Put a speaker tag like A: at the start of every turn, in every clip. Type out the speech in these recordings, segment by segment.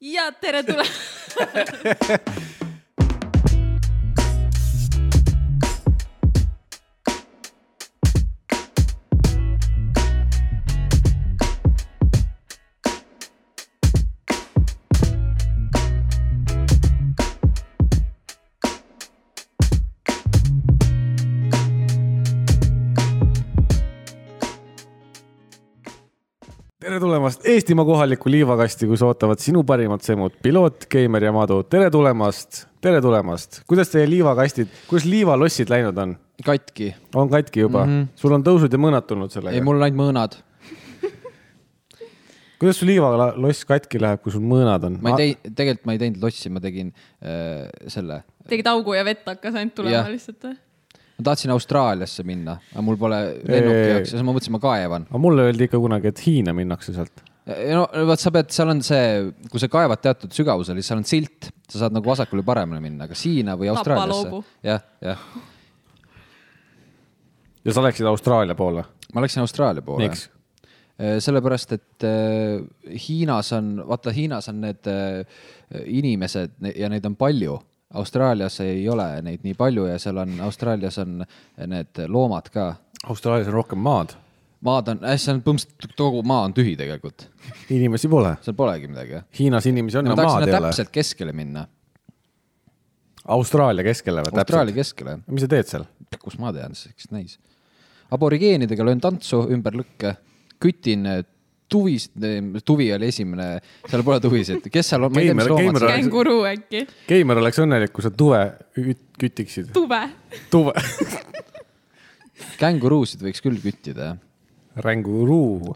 A: ja tere tulemast .
B: tere tulemast Eestimaa kohalikku liivakasti , kus ootavad sinu parimad semud , piloot , Keimer ja Madu , tere tulemast , tere tulemast . kuidas teie liivakastid , kuidas liivalossid läinud on ?
C: katki ,
B: on katki juba mm , -hmm. sul on tõusud ja mõõnad tulnud
C: Mhm. ei
B: sellega .
C: mul on ainult mõõnad ,
B: kuidas su liivaloss katki läheb , kui sul mõõnad on ? Ah,
C: ma ei tei- , tegelikult ma ei teinud lossi , ma tegin äh, selle ,
A: tegid augu ja vett hakkas ainult tulema
C: Jah.
A: lihtsalt eh? või ?
C: ma tahtsin Austraaliasse minna , aga mul pole
B: Ei.
C: lennuki jaoks ja siis ma mõtlesin , ma kaevan .
B: aga mulle öeldi ikka kunagi , et Hiina minnakse sealt .
C: no vot , sa pead , seal on see , kui sa kaevad teatud sügavusele , siis seal on silt , sa saad nagu vasakule paremale minna , kas Hiina või
A: Tapa
C: Austraaliasse
A: loobu. .
C: jah , jah ,
B: ja sa läksid Austraalia poole .
C: ma läksin Austraalia poole
B: miks ??
C: sellepärast , et äh, Hiinas on , vaata Hiinas on need äh, inimesed ne- ja neid on palju . Austraalias ei ole neid nii palju ja seal on , Austraalias on need loomad ka .
B: Austraalias on rohkem maad ,
C: maad on , seal on põhimõtteliselt kogu maa on tühi tegelikult ,
B: inimesi pole .
C: seal polegi midagi .
B: Hiinas inimesi on ,
C: ma
B: aga
C: tahaks
B: maad
C: sinna
B: ei ole .
C: täpselt keskele minna ,
B: Austraalia keskele või täpselt ?
C: Austraalia keskele ,
B: mis sa teed seal ?
C: kus ma tean , eks näis . aborigeenidega löön tantsu ümber lõkke , kütin äh, tuvis , tuvi oli esimene , seal pole tuvisid , kes seal on , ma ei tea , mis
B: Keimer-
C: loomad
B: Keimer
C: seal on .
A: känguru äkki ,
B: Keimer oleks õnnelik , kui sa tuve küt- kütiksid .
A: tuve .
B: tuve .
C: känguruusid võiks küll küttida , jah .
B: känguruu .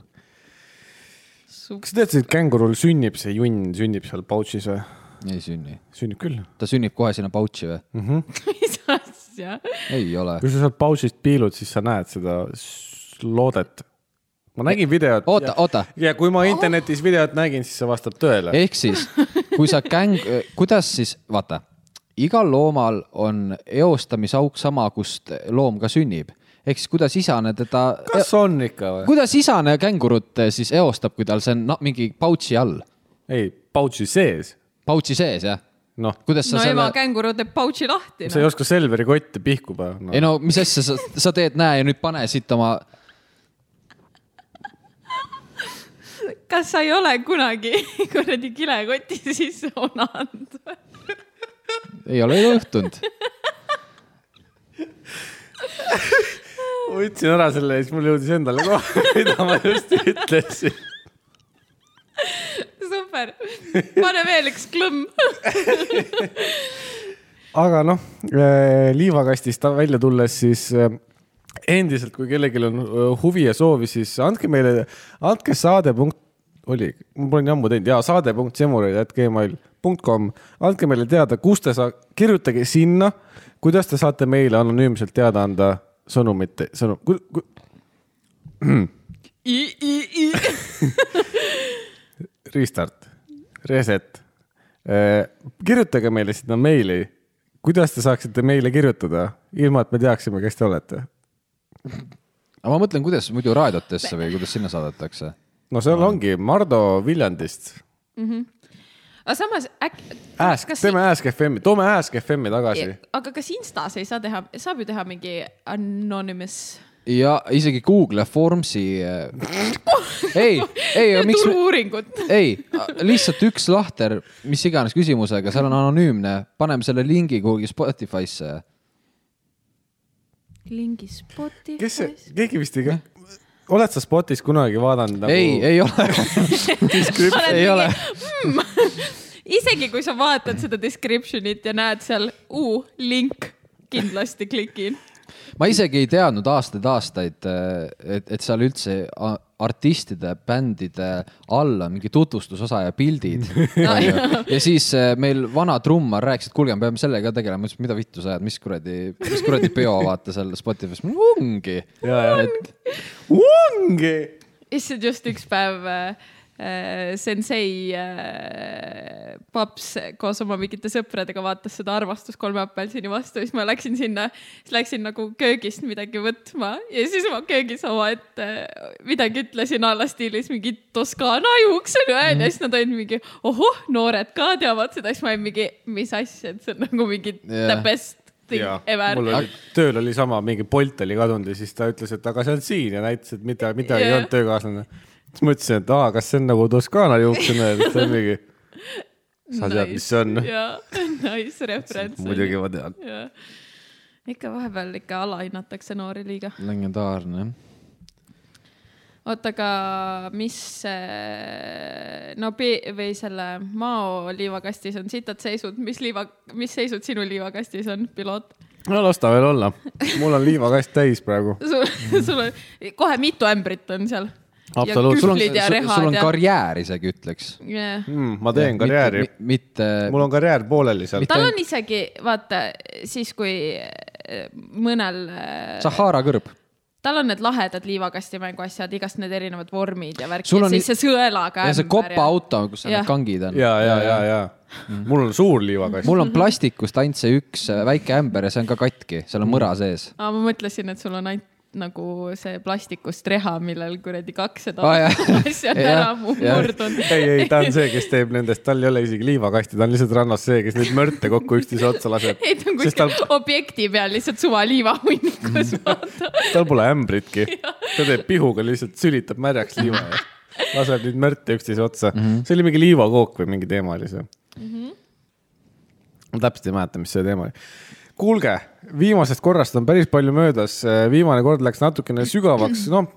B: kas sa teadsid , et kängurul sünnib see junn , sünnib seal pouch'is või ?
C: ei sünni .
B: sünnib küll .
C: ta sünnib kohe sinna pouch'i või ?
A: mis asja ?
C: ei ole .
B: kui sa sealt pouch'ist piilud , siis sa näed seda s- loodet . ma nägin videot .
C: oota , oota ,
B: ja kui ma internetis videot nägin , siis see vastab tõele .
C: ehk siis , kui sa käng , kuidas siis , vaata , igal loomal on eostamisauk sama , kust loom ka sünnib . ehk siis kuidas isane teda ,
B: kas on ikka või ?
C: kuidas isane kängurut eh, siis eostab , kui tal see on no, mingi pouch'i all ,
B: ei , pouch'i sees .
C: pouch'i sees , jah ?
B: noh ,
C: kuidas sa
A: no
C: selle
A: ema , känguru teeb pouch'i lahti noh.
B: sa . ei oska Selveri kotti noh. pihku panna no.
C: ei . no mis asja sa , sa teed , näe ja nüüd pane siit oma ,
A: kas sa ei ole kunagi kuradi kilekoti sisse onanud või ?
C: ei ole ju õhtunud .
B: ma võtsin ära selle ja siis mul jõudis endale kohe , mida ma just ütlesin .
A: super , pane veel üks klõmm .
B: aga noh , liivakastist välja tulles , siis äh, endiselt , kui kellelgi on äh, huvi ja soovi , siis andke meile , andke saade punkt , oli , ma pole nii ammu teinud , jaa , saade punkt semurid at gmail punkt kom . andke meile teada , kus te saa- , kirjutage sinna , kuidas te saate meile anonüümselt teada anda sõnumit , sõnum , restart , reset . kirjutage meile sinna meili , kuidas te saaksite meile kirjutada , ilma et me teaksime , kes te olete
C: aga ma mõtlen , kuidas muidu raadiotesse või kuidas sinna saadetakse
B: no seal ongi Mardo Viljandist .
A: aga samas äkki .
B: Ask , teeme Ask FM-i , toome Ask FM-i tagasi .
A: aga kas Instas ei saa teha , saab ju teha mingi anonymous ?
C: ja isegi Google Formsi . ei , ei , aga miks ,
A: turu-uuringut .
C: ei , lihtsalt üks lahter , mis iganes küsimusega , seal on anonüümne , paneme selle lingi kuhugi Spotify'sse .
A: lingi Spotify's .
B: kes see , keegi vist ei , oled sa Spotis kunagi vaadanud nagu... ?
C: ei , ei ole ,
A: Oled
C: ei
A: mingi- "Hmm."
C: ole ,
A: isegi kui sa vaatad seda description'it ja näed seal uu , link , kindlasti klikin .
C: ma isegi ei teadnud aastaid-aastaid , et , et seal üldse a- artistide , bändide all on mingi tutvustusosa ja pildid . ja siis äh, meil vana trummar rääkis , et kuulge , me peame sellega ka tegelema , ma ütlesin , mida vittu sa ajad , mis kuradi , mis kuradi peo vaata seal Spotify's , ongi . et
B: ongi .
A: issand , just üks päev äh, äh, sensei äh, paps koos oma mingite sõpradega vaatas seda armastust kolme apelsini vastu, siis ma läksin sinna, siis läksin nagu köögist midagi võtma ja siis ma köögis omaette midagi ütlesin a la stiilis mingi Toskaana juuksed ja
B: Mhm.
A: mm. siis nad olid mingi ohoh, noored ka teavad seda, siis ma olin mingi, mis asja, et see on nagu mingi yeah. the
C: Jah.
A: best thing yeah. ever
B: mul oli , tööl oli sama , mingi Bolt oli kadunud ja siis ta ütles , et aga see on siin ja näitas , et mida , mida yeah. ei
A: Jah.
B: olnud töökaaslane . siis ma ütlesin , et aa , kas see on nagu Toskaana juuksõna ja siis ta oli mingi , sa tead , mis see on ?
A: jaa , nice reference .
B: muidugi ma tean .
A: jaa . ikka vahepeal ikka alahinnatakse noori liiga .
C: legendaarne .
A: oota , aga mis see- no pi- või selle Mao liivakastis on sitad seisud , mis liiva , mis seisud sinu liivakastis on , piloot ?
B: no las ta veel olla . mul on liivakast täis praegu .
A: sul ,
C: Mhm.
A: sul on kohe mitu ämbrit on seal .
B: Absoluutselt.
A: ja
C: sul on ,
A: kühvlid ja
C: sul
A: rehad
C: on
A: ja .
C: karjäär isegi , ütleks .
A: Yeah.
B: mm, . ma teen karjääri .
C: mitte ,
B: mul on karjäär pooleli seal .
A: tal on isegi , vaata siis , kui äh, mõnel äh,
C: Sahara kõrb .
A: tal on need lahedad liivakastimängu asjad , igast need erinevad vormid ja värk
C: Sul
A: ja
C: on
A: siis see sõelaga .
C: ja see kopaauto , kus seal
A: Jah.
C: need kangid on .
B: ja , ja , ja , ja mul on suur liivakast .
C: mul
A: Mhm.
C: on plastikust ainult see üks äh, väike ämber ja see on ka katki , seal on
B: Mhm.
C: mõra sees .
A: aa , ma mõtlesin , et sul on ainult nagu see plastikust reha , millel kuradi kakssada
C: Aa, Ah, jah.
A: asja on
C: Jah,
A: ära mu-
C: jah.
A: murdunud .
B: ei , ei , ta on see , kes teeb nendest , tal ei ole isegi liivakasti , ta on lihtsalt rannas see , kes neid mörte kokku üksteise otsa laseb .
A: ei , ta on
B: sest
A: kuskil
B: tal ,
A: ta... objekti peal lihtsalt suva liivahunnikus , vaata .
B: tal pole ämbritki . ta teeb pihuga lihtsalt , sülitab märjaks liiva ja laseb neid mörte üksteise otsa mm . -hmm. see oli mingi liivakook või mingi teema oli see mm . -hmm. ma täpselt ei mäleta , mis see teema oli . kuulge , viimasest korrast on päris palju möödas , viimane kord läks natukene sügavaks , noh ,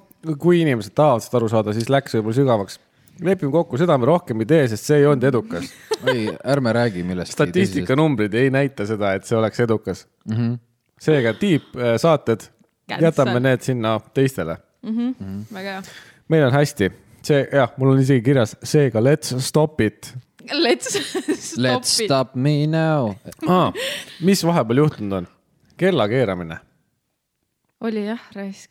B: kui inimesed tahavad seda aru saada , siis läks võib-olla sügavaks . lepime kokku , seda me rohkem ei tee , sest see ei olnud edukas
C: ei , ärme räägi millestki .
B: statistikanumbrid ei näita seda , et see oleks edukas mm . -hmm. seega tiibsaated ,
A: Cancel.
B: jätame need sinna teistele .
A: väga hea .
B: meil on hästi , see jah , mul on isegi kirjas , seega let's stop it
A: Let's stop
C: Let's
A: it .
C: stop me now .
B: ah, . mis vahepeal juhtunud on ? kella keeramine
A: oli jah , raisk .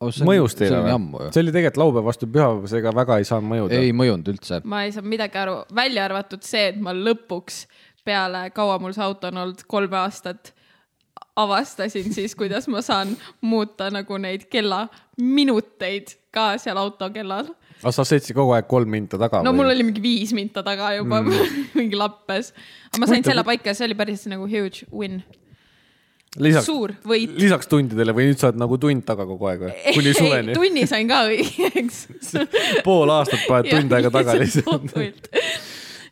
C: Oh,
B: mõjus teile
C: või ?
B: või ? see oli tegelikult laupäev vastu pühapäeva , seega väga ei saanud mõjuda .
C: ei mõjunud üldse .
A: ma ei saanud midagi aru , välja arvatud see , et ma lõpuks peale , kaua mul see auto on olnud , kolme aastat , avastasin siis , kuidas ma saan muuta nagu neid kella minuteid ka seal autokellal .
B: aga sa sõitsid kogu aeg kolm minta taga
A: no
B: või
A: mul ? oli mingi viis minta taga juba mm. , mingi lappes . aga ma sain selle paika ja see oli päris nagu huge win ,
B: lisaks ,
A: suur võit .
B: lisaks tundidele või nüüd sa oled nagu tund taga kogu aeg või ? kuni suveni ?
A: tunni sain ka õigeks .
B: pool aastat paned tund aega taga lihtsalt .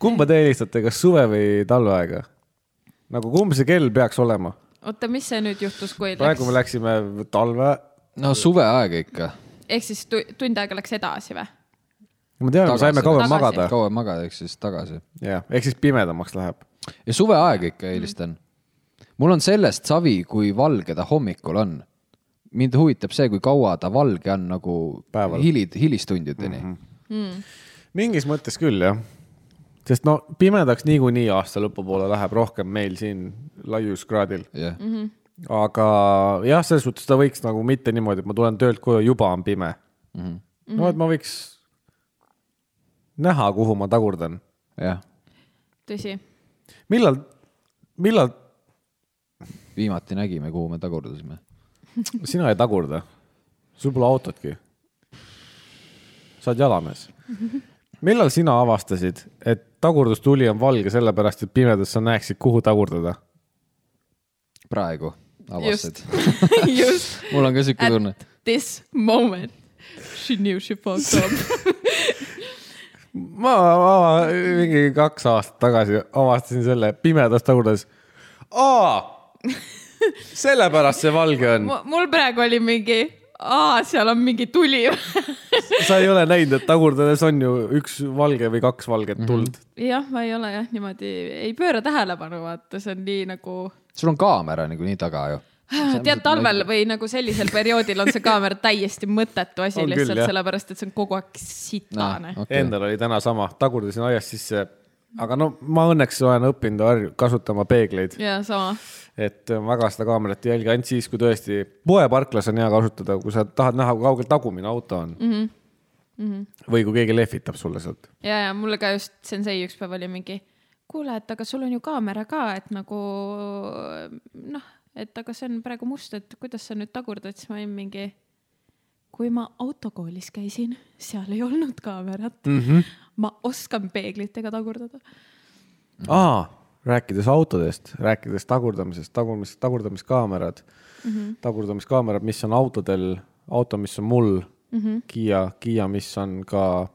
B: kumba te eelistate , kas suve või talveaega ? nagu kumb see kell peaks olema ?
A: oota , mis see nüüd juhtus , kui
B: praegu me
A: läks ,
B: läksime talve ,
C: no suveaega ikka .
A: ehk siis tu- tund aega läks edasi või ?
B: ma tean , me
C: Tagasi.
B: saime kauem
A: Tagasi.
B: magada ,
C: kaua magada , eks siis tagasi .
B: jah , ehk siis pimedamaks läheb .
C: ja suveaega
A: Mhm.
C: ikka eelistan . mul on sellest savi , kui valge ta hommikul on . mind huvitab see , kui kaua ta valge on nagu
B: Päeval. Mhm.
C: hilid , hilistundideni mm . -hmm.
B: mingis mõttes küll jah , sest no pimedaks niikuinii aasta lõpupoole läheb rohkem meil siin laiuskraadil ,
C: jah mm
A: Mhm.
C: -hmm. ,
B: aga jah , selles suhtes ta võiks nagu mitte niimoodi , et ma tulen töölt koju , juba on pime . Mhm. no et ma võiks näha , kuhu ma tagurdan
C: jah ,
A: tõsi ,
B: millal , millal
C: viimati nägime , kuhu me tagurdasime .
B: sina ei tagurda , sul pole autotki . sa oled jalamees . millal sina avastasid , et tagurdustuli on valge sellepärast , et pimedas sa näeksid , kuhu tagurdada ?
C: praegu avastasid .
A: just .
C: mul on ka siuke
A: At-
C: tunne .
A: this moment she knew she fucked up .
B: ma, ma mingi kaks aastat tagasi avastasin selle pimedas tagurdades . aa , sellepärast see valge on .
A: mul praegu oli mingi , aa , seal on mingi tuli .
B: sa ei ole näinud , et tagurdades on ju üks valge või kaks valget tuld mm .
A: jah , ma ei ole jah niimoodi , ei pööra tähelepanu , vaata , see on nii nagu ,
C: sul on kaamera niikuinii taga ju .
A: tead , talvel või nagu sellisel perioodil on see kaamera täiesti mõttetu asi
B: On küll,
A: lihtsalt
B: jah. Noh,
A: sellepärast , et see on kogu aeg sitane .
B: okay. .
C: okei ,
B: Endal oli täna sama , tagurdasin aias sisse . aga no ma õnneks olen õppinud harju- kasutama peegleid ,
A: ja sama ,
B: et väga seda kaamerat ei jälgi , ainult siis , kui tõesti poeparklas on hea kasutada , kui sa tahad näha , kui kaugel tagumine auto on mm . -hmm. või kui keegi lehvitab sulle sealt .
A: ja , ja mulle ka just sensei üks päev oli mingi , kuule , et aga sul on ju kaamera ka , et nagu noh , et aga see on praegu must , et kuidas sa nüüd tagurdad , siis ma olin mingi . kui ma autokoolis käisin , seal ei olnud kaamerat mm .
B: Mhm.
A: -hmm. ma oskan peeglitega tagurdada . Mhm.
B: aa , rääkides autodest , rääkides tagurdamisest , tagurmis , tagurdamiskaamerad mm ,
A: Mhm.
B: -hmm. tagurdamiskaamerad , mis on autodel , auto , mis on mul mm ,
A: Mhm.
B: -hmm. Kiia , Kiia , mis on ka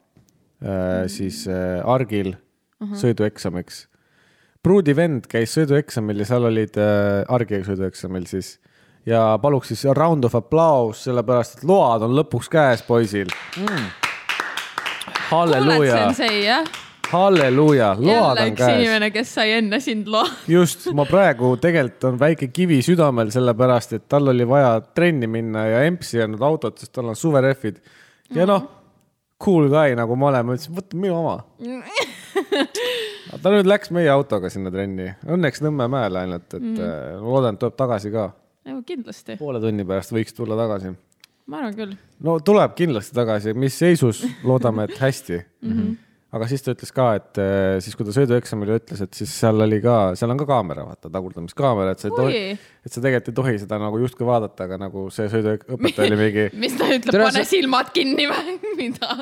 A: Mhm.
B: äh, siis äh, argil mm -hmm. sõidueksamiks . pruudi vend käis sõidueksamil ja seal olid äh, argi sõidueksamil siis ja paluks siis round of applause , sellepärast et load on lõpuks käes poisil mm. .
A: kuuled ,
B: halleluuja ,
A: sensei , jah ?
B: halleluuja , load
A: jälle
B: on
A: üks
B: käes .
A: inimene , kes sai enne sind loa .
B: just , ma praegu tegelikult on väike kivi südamel , sellepärast et tal oli vaja trenni minna ja EMS-i ei olnud autot , sest tal on suverehvid . ja noh , cool guy nagu ma olen , ma ütlesin , võta minu oma . ta nüüd läks meie autoga sinna trenni , õnneks Nõmmemäele ainult , et mm. loodan , et tuleb tagasi ka .
A: Nagu kindlasti ,
B: poole tunni pärast võiks tulla tagasi .
A: ma arvan küll .
B: no tuleb kindlasti tagasi , mis seisus , loodame , et hästi mm . -hmm. aga siis ta ütles ka , et eh, siis , kui ta sõidueksamil ütles , et siis seal oli ka , seal on ka kaamera , vaata tagurdamiskaamera , et sa ei tohi
A: Oi. ,
B: et sa tegelikult ei tohi seda nagu justkui vaadata , aga nagu see sõiduõpetaja oli mingi ,
A: mis ta ütleb ,
C: Tere,
A: pane
C: sa-
A: silmad kinni või mida ?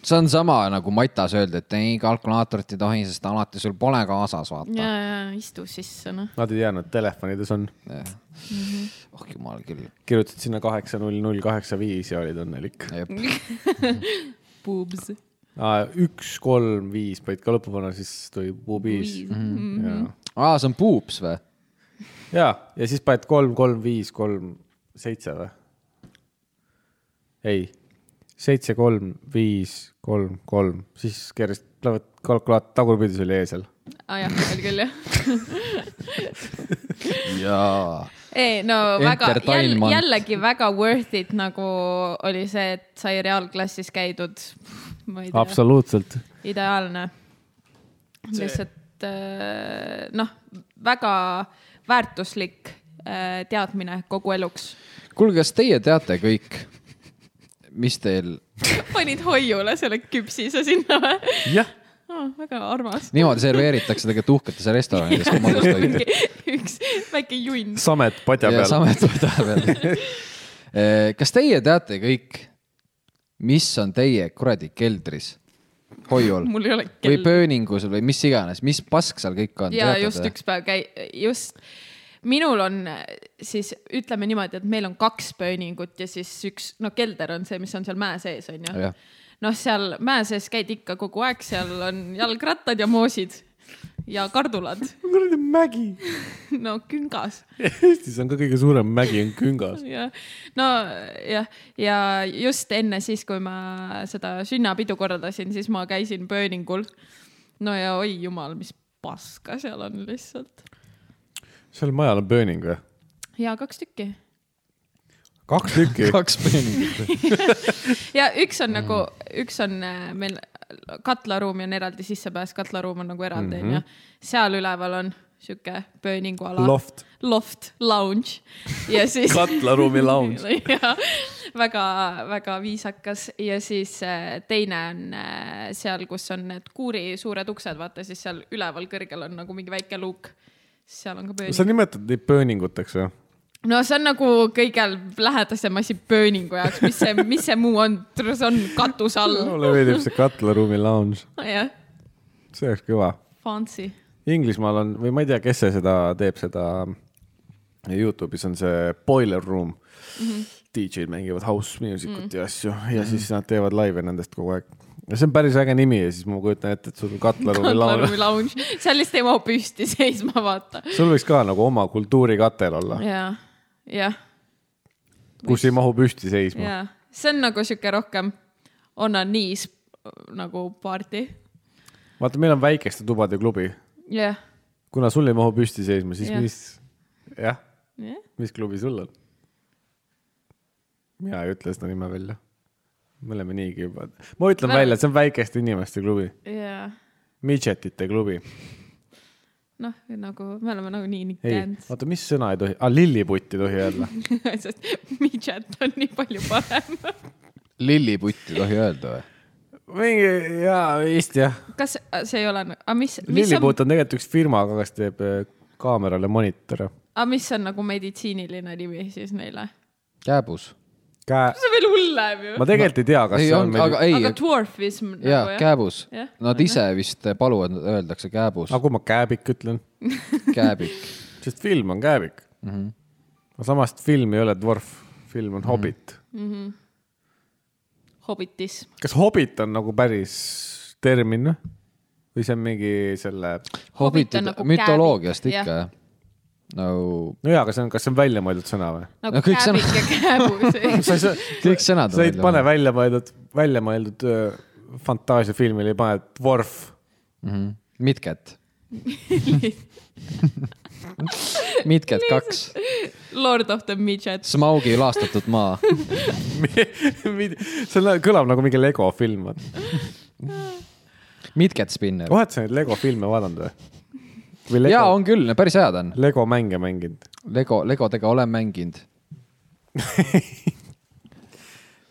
C: see on sama nagu Matas öeldi , et ei , kalkulaatorit ei tohi , sest alati sul pole kaasas ,
A: ja ,
C: vaata .
A: ja istu sisse noh .
B: nad ei teadnud , telefonides on ,
C: oh jumal küll .
B: kirjutasid sinna kaheksa null null kaheksa viis ja olid õnnelik .
A: Boobs .
B: üks , kolm , viis panid ka lõppu panna , siis tuli puupiis .
C: aa , see on puups või ?
B: ja , ja siis paned kolm , kolm , viis , kolm , seitse või ? ei , seitse , kolm , viis , kolm , kolm , siis keeras klavat- kalkulaat tagurpidi selle ees seal .
A: aa Ah, jah , oli küll jah .
C: jaa .
A: ei no väga ,
C: Entertainment.
A: jällegi väga worth it nagu oli see , et sai reaalklassis käidud . ma ei tea ,
B: absoluutselt .
A: ideaalne . lihtsalt äh, noh , väga väärtuslik äh, teadmine kogu eluks .
C: kuulge , kas teie teate kõik , mis teil
A: panid hoiule selle küpsise sinna või ?
B: jah ,
A: Oh, väga armas .
C: niimoodi serveeritakse tegelikult uhketes restoranides , kui magus toitu .
A: üks väike junn .
B: samet padja
C: ja
B: peal .
C: samet võta peal . kas teie teate kõik , mis on teie kuradi keldris , hoiul
A: mul ei ole
C: või
A: kell .
C: pööningus või mis iganes , mis pask seal kõik on ?
A: ja just üks päev käi- , just , minul on eh, siis ütleme niimoodi , et meil on kaks pööningut ja siis üks , no kelder on see , mis on seal mäe sees , on ju
C: Jah. .
A: noh , seal mäe sees käid ikka kogu aeg , seal on jalgrattad ja moosid ja kardulad ,
B: kuradi mägi .
A: no küngas
B: Eestis on ka kõige suurem mägi on küngas .
A: ja no jah , ja just enne siis , kui ma seda sünnapidu korraldasin , siis ma käisin pööningul . no ja oi jumal , mis paska seal on lihtsalt
B: seal majal on pööning või ?
A: ja kaks tükki
B: kaks tükki .
C: kaks pööningut .
A: ja üks on nagu , üks on äh, meil katlaruumi on eraldi sissepääs , katlaruum on nagu eraldi onju mm -hmm. , seal üleval on sihuke pööninguala .
B: Loft. .
A: Loft , lounge ja siis .
B: Katlaruumi lounge. .
A: väga-väga viisakas ja siis äh, teine on äh, seal , kus on need kuuri suured uksed , vaata siis seal üleval kõrgel on nagu mingi väike luuk . seal on ka pööning .
B: sa nimetad neid pööninguteks või ?
A: no see on nagu kõige lähedasem asi pööningu jaoks , mis see , mis see muu on , see on katuse all .
B: mulle meeldib see katlaruumi lounge ,
A: jah ,
B: see oleks kõva
A: fancy .
B: Inglismaal on või ma ei tea , kes see seda teeb , seda Youtube'is on see boiler room mm . -hmm. DJ-d mängivad house music ut mm -hmm. ja asju ja siis nad teevad laive nendest kogu aeg . ja see on päris äge nimi ja siis ma kujutan ette , et sul on katlaruumi laul .
A: Katlaruumi lounge , seal lihtsalt ei mahu püsti seisma , vaata .
B: sul võiks ka nagu oma kultuurikatel olla ,
A: ja , jah ,
B: kus ei mahu püsti seisma .
A: ja see on nagu sihuke rohkem onaniis nagu party .
B: vaata , meil on väikeste tubade klubi ,
A: jah ,
B: kuna sul ei mahu püsti seisma , siis
A: Jah.
B: ja. mis , jah ,
A: jah ,
B: mis klubi sul on ? mina ei ütle seda nime välja . me oleme niigi juba , ma ütlen
A: Me-
B: välja , et see on väikeste inimeste klubi
A: ja
B: midžetite klubi .
A: noh , nagu me oleme nagu nii
B: ei ,
A: dance ,
B: oota , mis sõna ei tohi ah, , lilliputt ei tohi öelda .
A: sest midžet on nii palju parem .
C: lilliputt ei tohi öelda või ?
B: mingi jaa , vist jah .
A: kas äh, see ei ole , aga mis , mis on ,
B: lillipuut on tegelikult üks firma , kes teeb äh, kaamerale monitore .
A: aga mis on nagu meditsiiniline nimi siis neile ?
C: kääbus .
B: käe ,
A: see on veel hullem ju .
B: ma tegelikult ei tea , kas
C: ei
B: see on
C: olnud ,
B: meil ,
C: aga ei ,
A: aga dwarfism
C: jaa
A: nagu , jah ?
C: kääbus
A: Jah. .
C: Nad ise vist paluvad , öeldakse kääbus ,
B: aga kui ma kääbik ütlen ,
C: kääbik .
B: sest film on kääbik mm .
C: Mhm.
B: -hmm. aga samas film ei ole dvorf , film on mm -hmm. hobit .
A: hobitism .
B: kas hobit on nagu päris termin või ? või see on mingi selle ,
A: Hobbit
C: hobitid
A: on nagu ,
C: mütoloogiast
A: kääbik,
C: ikka jah ? no
B: no jaa , aga see on , kas see on väljamõeldud sõna või ?
A: nagu
C: No
A: no,
C: kõik sõnad-
A: kääbik ja kääbus .
B: sa ei saa ,
C: kõik sõnad
B: sa ei pane . väljamõeldud , väljamõeldud öö, fantaasiafilmile ei pane dvorf
C: Mhm. Midget . Midget kaks ,
A: Lord of the midget .
C: Smaugi laastatud maa .
B: Mi- see lä- kõlab nagu mingi Lego film .
C: Midget spinner .
B: oled sa neid Lego filme vaadanud või ? või Lego,
C: jaa , on küll , päris head on .
B: Lego mänge mänginud ?
C: Lego , Legodega olen mänginud .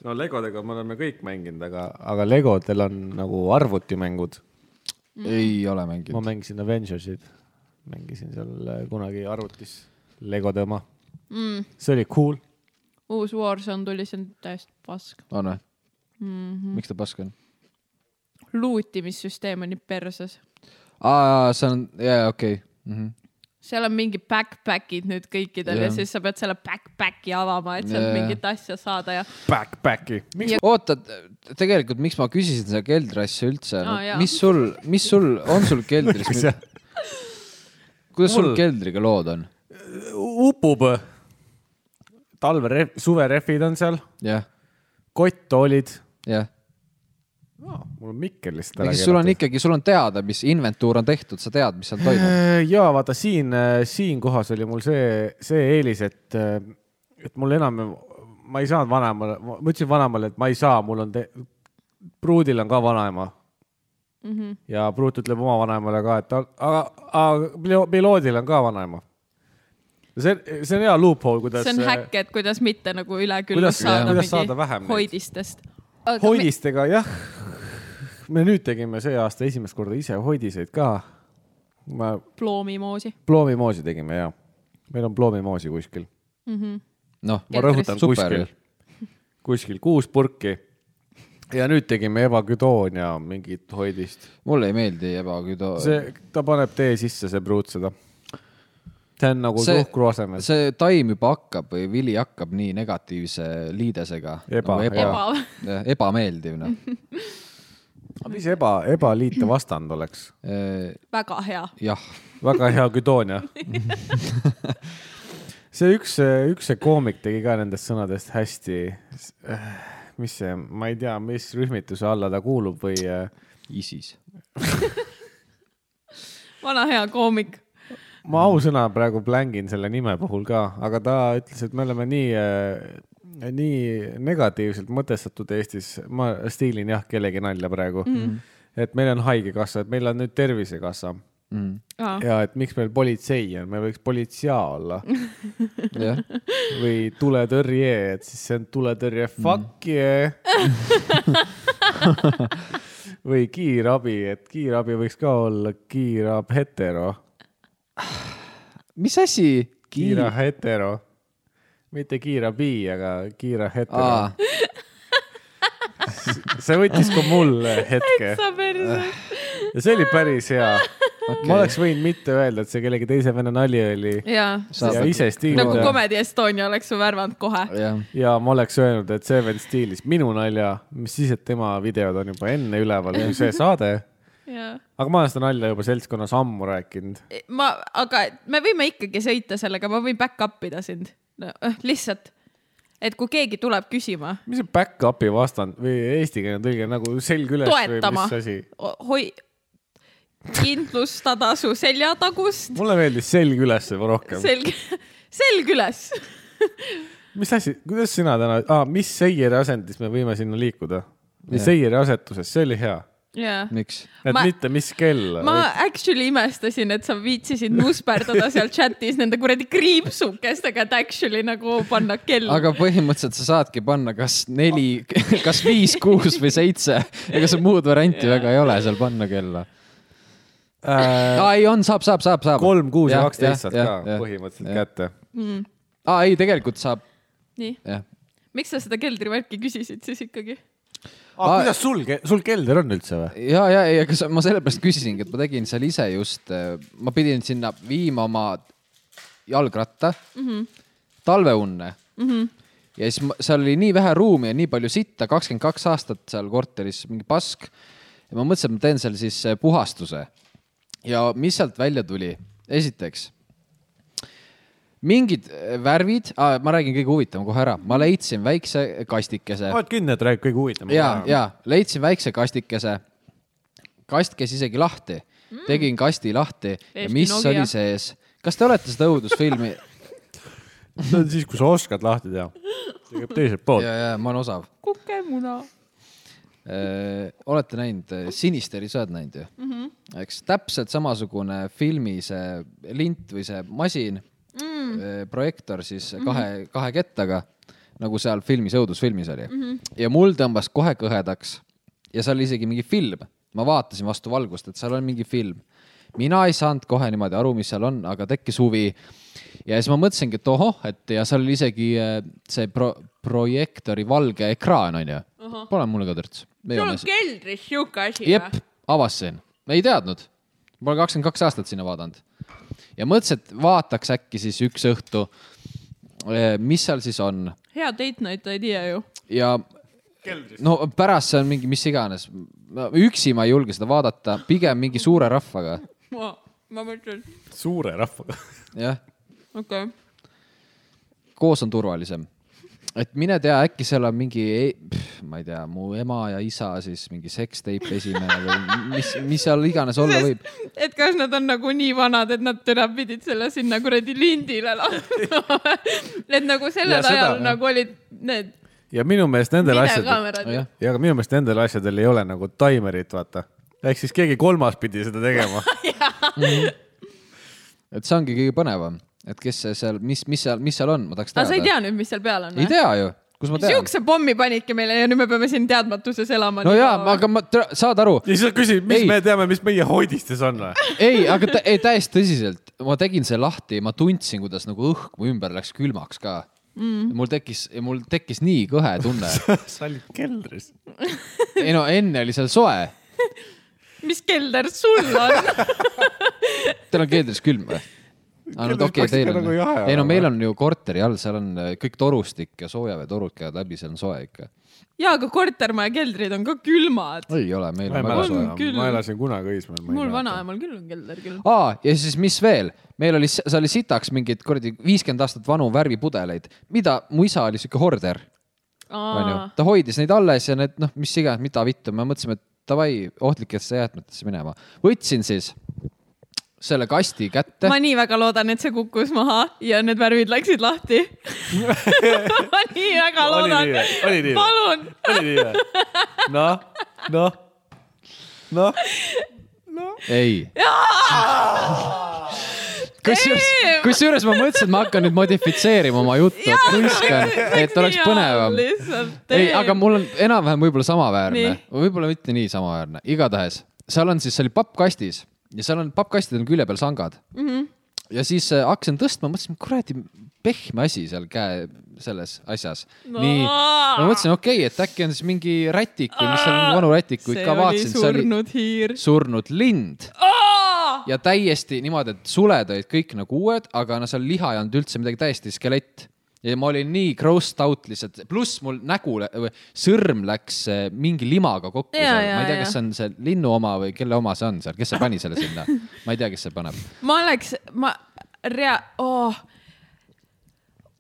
B: no Legodega me oleme kõik mänginud , aga , aga Legodel on nagu arvutimängud .
A: Mm.
C: ei ole
B: ma
C: mänginud .
B: mängisin Avengersid , mängisin seal äh, kunagi arvutis Legode oma mm. . see oli cool .
A: uus Warzone tuli , see on täiesti pask .
C: on või ?
A: Mhm.
C: miks ta pask on ?
A: luutimissüsteem on nii perses .
C: aa , see on , jaa , okei . Mhm.
A: seal on mingi backpack'id nüüd kõikidel ja
C: Jah.
A: siis sa pead selle backpack'i avama , et
C: Jah.
A: sealt mingit asja saada ja
B: Backpacki . miks
A: Ja-
C: oota , tegelikult , miks ma küsisin seda keldriasja üldse no,
A: Aa, ? jaa.
C: mis sul , mis sul , on sul keldris
B: see ,
C: kuidas sul
B: Mul-
C: keldriga lood on ?
B: upub ? talve , suverehvid on seal ,
C: jah ,
B: kotttoolid
C: jah .
B: no, . mul on mikker lihtsalt
C: ega sul on ikkagi , sul on teada , mis inventuur on tehtud , sa tead , mis seal toimub .
B: ja Äh, vaata siin , siinkohas oli mul see , see eelis , et , et mul enam , ma ei saanud vanemale , ma ütlesin vanemale , et ma ei saa , mul on , pruudil on ka vanaema mm .
A: Mhm.
B: -hmm. ja pruut ütleb oma vanaemale ka , et ta- aga , aga pilo- piloodil on ka vanaema . see , see on hea loophole , kuidas . äh,
A: see on häkk , et kuidas mitte nagu üle küll
B: uh, Kuidas-
A: saada
B: jah. kuidas
A: mingi
B: saada vähem neid?
A: hoidistest .
B: hoidistega jah , me nüüd tegime see aasta esimest korda ise hoidiseid ka . ma
A: ploomimoosi .
B: ploomimoosi tegime ja , meil on ploomimoosi kuskil
A: Mhm.
C: noh ,
B: ma rõhutan
C: Super
B: kuskil
C: ju. ,
B: kuskil kuus purki . ja nüüd tegime Eva Güdonia mingit hoidist .
C: mulle ei meeldi ebaküdo .
B: see , ta paneb tee sisse , see pruut seda . see on nagu
C: see
B: suhkru asemel .
C: see taim juba hakkab või vili hakkab nii negatiivse liidesega .
B: Eba,
C: eba,
A: ebav .
C: jah, ebameeldiv noh .
B: aga mis Eba , Eba liite vastand oleks ?
A: väga hea .
C: Eh, jah ,
B: väga hea Güdonia . see üks , üks see koomik tegi ka nendest sõnadest hästi , mis see , ma ei tea , mis rühmituse alla ta kuulub või äh,
C: ISIS .
A: vana hea koomik .
B: ma ausõna praegu blängin selle nime puhul ka , aga ta ütles , et me oleme nii , nii negatiivselt mõtestatud Eestis , ma stiilin jah kellegi nalja praegu mm. , et meil on haigekassa , et meil on nüüd tervisekassa
C: Mm.
A: Ah.
B: ja et miks meil politsei on , meil võiks politsea olla
C: jah ,
B: või tuletõrje , et siis see on tuletõrje fuck yeah või kiirabi , et kiirabi võiks ka olla kiirab hetero
C: mis asi ?
B: kiira . hetero , mitte kiira bi , aga kiira hetero .
C: aa ,
B: see võttis ka mul hetke
A: sa perse .
B: Äh. ja see oli päris hea okay. . ma oleks võinud mitte öelda , et see kellegi teise venna nali oli
A: jaa .
C: Saab
B: ja
C: nagu-
B: ise
A: nagu
B: stiilida .
A: Comedy Estonia oleks su värvanud kohe .
C: jah ,
B: ja ma oleks öelnud , et see vend stiilis minu nalja , mis siis , et tema videod on juba enne üleval kui see saade .
A: jaa
B: aga ma olen seda nalja juba seltskonnas ammu rääkinud .
A: ma , aga me võime ikkagi sõita sellega , ma võin back-up ida sind no, . lihtsalt , et kui keegi tuleb küsima ,
B: mis see back-up'i vastand või eestikeelne tõlge nagu selg üles
A: Toetama.
B: või mis asi ?
A: hoi- , kindlustada su seljatagust ,
B: mulle meeldis selg üles juba rohkem .
A: selg , selg üles .
B: mis asi , kuidas sina täna ah, , mis seieri asendis me võime sinna liikuda ? seieri asetuses , see oli hea .
A: jaa .
C: miks ?
B: et
A: Ma-
B: ma... mitte mis kell .
A: ma actually imestasin , et sa viitsisid nusperdada seal chatis nende kuradi kriipsukestega , et actually nagu panna kell .
C: aga põhimõtteliselt sa saadki panna kas neli , kas viis , kuus või seitse , ega sul muud varianti yeah. väga ei ole seal panna kella .
B: äh,
C: aa , ei on , saab , saab , saab , saab .
B: kolm , kuus ja kaksteist saad ka . põhimõtteliselt
C: jah.
B: kätte .
C: aa , ei , tegelikult saab ,
A: nii ,
C: jah .
A: miks sa seda keldrivärki küsisid siis ikkagi ?
C: Aa,
B: Ah, kuidas sul , sul kelder on üldse või ?
C: ja , ja , ja kas ma sellepärast küsisingi , et ma tegin seal ise just , ma pidin sinna viima oma jalgratta mm , -hmm. talveunne mm . -hmm ja siis ma, seal oli nii vähe ruumi ja nii palju sitta , kakskümmend kaks aastat seal korteris , mingi pask . ja ma mõtlesin , et ma teen seal siis äh, puhastuse . ja mis sealt välja tuli ? esiteks mingid äh, värvid ah, , ma räägin kõige huvitavam kohe ära , ma leidsin väikse kastikese .
B: oled kinni , et räägib kõige huvitavam .
C: ja , ja leidsin väikse kastikese . kast käis isegi lahti mm. , tegin kasti lahti ja
A: Eesti
C: mis
A: Nokia.
C: Nogia. oli sees ? kas te olete seda õudusfilmi ?
B: see on siis , kui sa oskad lahti teha . see käib teiselt poolt .
C: ja , ja ma olen osav .
A: kukemuna .
C: olete näinud , Sinisteri sa oled näinud ju mm ? -hmm. eks täpselt samasugune filmi see lint või see masin mm. , projektor siis kahe mm , -hmm. kahe kettaga , nagu seal filmis , õudusfilmis oli mm . -hmm. ja mul tõmbas kohe kõhedaks ja seal oli isegi mingi film , ma vaatasin vastu valgust , et seal on mingi film . mina ei saanud kohe niimoodi aru , mis seal on , aga tekkis huvi . ja siis ma mõtlesingi , et ohoh , et ja seal oli isegi äh, see pro projektori valge ekraan onju . Pole mulle ka törts .
A: sul on keldris siuke asi
C: jep , avastasin , ei teadnud , ma olen kakskümmend kaks aastat sinna vaadanud ja mõtlesin , et vaataks äkki siis üks õhtu , mis seal siis on
A: hea date night idea ju .
C: ja no pärast see on mingi mis iganes , üksi ma ei julge seda vaadata , pigem mingi suure rahvaga ,
A: ma , ma mõtlen ,
B: suure rahvaga .
C: jah ,
A: okei okay. .
C: koos on turvalisem et mine tea , äkki seal on mingi , ma ei tea , mu ema ja isa siis mingi seksteip esimene või mis , mis seal iganes olla võib .
A: et kas nad on nagu nii vanad , et nad täna pidid selle sinna kuradi lindile laskma . et nagu
B: Ja
A: sellel
B: seda,
A: ajal
B: jah.
A: nagu olid need
B: ja minu meelest nendel asjadel ,
A: videokaamerad
C: jah .
B: ja ka minu meelest nendel asjadel ei ole nagu taimerit , vaata . ehk siis keegi kolmas pidi seda tegema .
C: et see ongi kõige põnevam , et kes see seal , mis , mis seal , mis seal on , ma tahaks
A: aga sa ei
C: teada .
A: tea nüüd , mis seal peal on
C: ei ? tea ju , kus ma tean .
A: sihukese pommi panidki meile ja nüüd me peame siin teadmatuses elama . nagu,
C: no jaa , aga ma , saad aru ,
B: ja siis sa küsid , mis
C: Ei.
B: ei. me teame , mis meie hoidistes on või ?
C: ei , aga tä- ei, täiesti tõsiselt , ma tegin see lahti ja ma tundsin , kuidas nagu õhk mu ümber läks külmaks ka mm. . mul tekkis , mul tekkis nii kõhe tunne .
B: sa olid keldris .
C: ei no enne oli seal soe ,
A: mis kelder sul on ?
C: teil on keldris külm või ? aga no
B: Keldris
C: okei ,
B: peaks
C: teil
B: ikka
C: on
B: nagu , jahe
C: ei no
B: olema.
C: meil on ju korteri all , seal on äh, kõik torustik ja soojaveetorud käivad läbi , seal on soe ikka .
A: jaa , aga kortermaja keldrid on ka külmad .
C: ei ole , meil
B: ma ei
C: on väga
B: mäleta
C: soe
A: On .
B: enam ,
A: küll.
B: ma elasin kunagi Õismäel .
A: mul . vanaemal küll on kelder küll .
C: aa , ja siis mis veel , meil oli , see oli sitaks mingeid kuradi viiskümmend aastat vanu värvipudeleid , mida mu isa oli sihuke horder , onju . ta hoidis neid alles ja need noh , mis iganes , mida vittu , me mõtlesime , et davai ohtlikesse jäätmetesse minema . võtsin siis selle kasti kätte
A: ma . nii väga loodan , et see kukkus maha ja need värvid läksid lahti . ma nii väga
B: Oli
A: loodan
B: nii või? Oli nii või? .
A: palun ,
B: oli nii või ? noh , noh , noh .
C: ei . kusjuures , kusjuures ma mõtlesin , et ma hakkan nüüd modifitseerima oma juttu , et kuiskan , et oleks põnevam
A: lihtsalt
C: ei , aga . mul on enam-vähem võib-olla samaväärne
A: Nii. ,
C: võib-olla mitte nii samaväärne , igatahes seal on siis , see oli pappkastis ja seal on pappkastidel on külje peal sangad mm .
A: Mhm.
C: -hmm. ja siis äh, hakkasin tõstma , mõtlesin , kuradi pehme asi seal käe selles asjas
A: No.
C: no. . nii , ma mõtlesin , okei okay, , et äkki on siis mingi rätik või mis seal on , vanu rätikuid
A: see
C: ka
A: oli
C: vaatasin , see oli
A: surnud hiir .
C: surnud lind ja täiesti niimoodi , et suled olid kõik nagu uued , aga no seal liha ei olnud üldse midagi , täiesti skelett . ja ma olin nii grossed out lihtsalt , pluss mul nägu lä- või sõrm läks eh, mingi limaga kokku
A: Ja,
C: seal ,
A: ja,
C: ma ei tea ,
A: ja.
C: kas see on see linnu oma või kelle oma see on seal , kes see pani selle sinna , ma ei tea , kes see paneb .
A: ma oleks , ma rea- oh. ,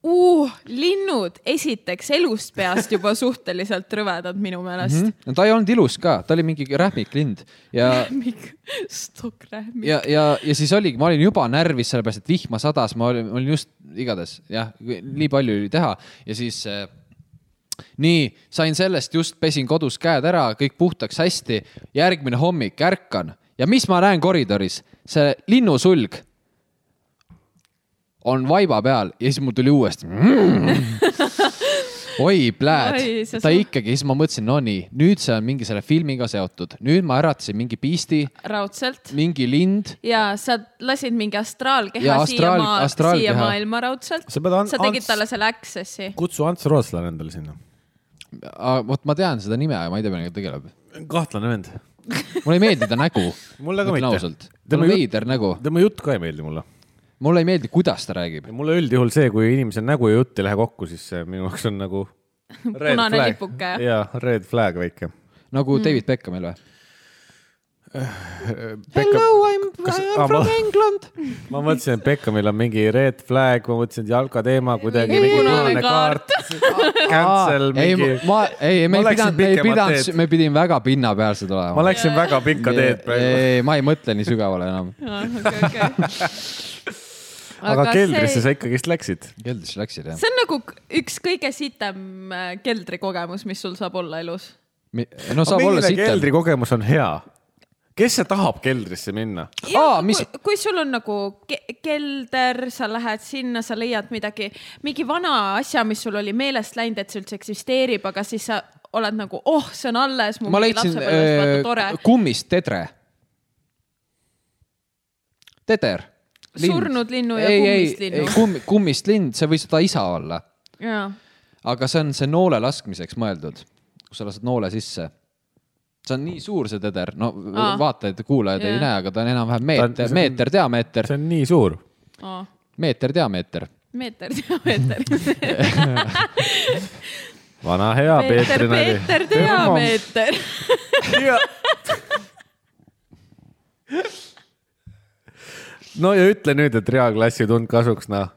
A: uh, linnud esiteks elust peast juba suhteliselt rõvedad minu meelest mm .
C: Mhm. no ta ei olnud ilus ka , ta oli mingi rähmik lind ja ,
A: -hmm. Mikk , stokk rähmi .
C: ja , ja , ja siis oligi , ma olin juba närvis , sellepärast et vihma sadas , ma olin , olin just igatahes jah , nii palju oli teha ja siis eh, äh, nii , sain sellest , just pesin kodus käed ära , kõik puhtaks hästi . järgmine hommik ärkan ja mis ma näen koridoris , see linnusulg on vaiba peal ja siis mul tuli uuesti mm. . oi , plääd
A: Oi, sa ,
C: ta
A: su-
C: ikkagi , siis ma mõtlesin , no nii , nüüd see on mingi selle filmiga seotud , nüüd ma äratasin mingi piisti ,
A: raudselt
C: mingi lind
A: ja sa lasid mingi astraalkeha
C: Jaa,
A: siia
C: astraal-
A: maa , siia
C: astraalkeha.
A: maailma raudselt .
B: Sa pead an-
A: sa tegid
B: ans-
A: talle selle access'i .
B: kutsu Ants Rootslane endale sinna .
C: Aga vot ma tean seda nime , aga ma ei tea , millega ta tegeleb .
B: kahtlane vend .
C: mulle ei meeldi ta nägu .
B: Mulle ka mitte.
C: ausalt , tal
B: Tema
C: on
B: ju-
C: veider nägu .
B: tema jutt ka ei meeldi mulle .
C: mulle ei meeldi , kuidas ta räägib .
B: mulle üldjuhul see , kui inimese nägu ja jutt ei lähe kokku , siis see minu jaoks on nagu .
A: Punane lipuke.
B: jaa , red flag väike .
C: nagu mm. David Beckhamil või ? I
B: Äh, Kas- I am ah, from ma-
C: England .
B: ma mõtlesin , et Beckhamil on mingi red flag , ma mõtlesin , et jalka teema kuidagi .
A: Mingi punane kaart. .
B: Cancel
C: ei ,
B: mingi .
C: ma , ei , me
B: Ma
C: ei
B: läksin
C: pidanud , me ei
B: pikemat
C: pidanud
B: teed. ,
C: me pidime väga pinnapealsed olema .
B: ma läksin väga pikka teed praegu .
C: ei , ma ei mõtle nii sügavale enam .
B: aga keldrisse sa ikkagist läksid .
C: keldrisse läksid jah ?
A: see on nagu k- üks kõige sitem äh, keldrikogemus , mis sul saab olla elus .
C: no saab olla sitem .
B: keldrikogemus on hea . kes see tahab keldrisse minna ?
C: Aa, mis-
A: kui, kui sul on nagu ke kelder , sa lähed sinna , sa leiad midagi , mingi vana asja , mis sul oli meelest läinud , et see üldse eksisteerib , aga siis sa oled nagu , oh , see on alles .
C: ma leidsin äh, kummist tedre . teder .
A: Surnud linnu ja kummist linnu.
C: kumm, . kummist lind , see võis ta isa olla ,
A: jaa ,
C: aga see on see noole laskmiseks mõeldud , kus sa lased noole sisse see on nii suur , see teder , no
A: Aa.
C: vaatajad ja kuulajad yeah.
A: Jaa.
C: ei näe , aga ta on enam-vähem
B: Ta on-
C: meeter ,
B: see on-
C: meeter diameeter ,
B: see on nii suur .
C: meeter diameeter .
A: meeter , diameeter .
B: vana hea
A: meeter ,
B: Peetri nali .
A: meeter , diameeter .
B: no ja ütle nüüd , et reaalklassi tund kasuks , noh .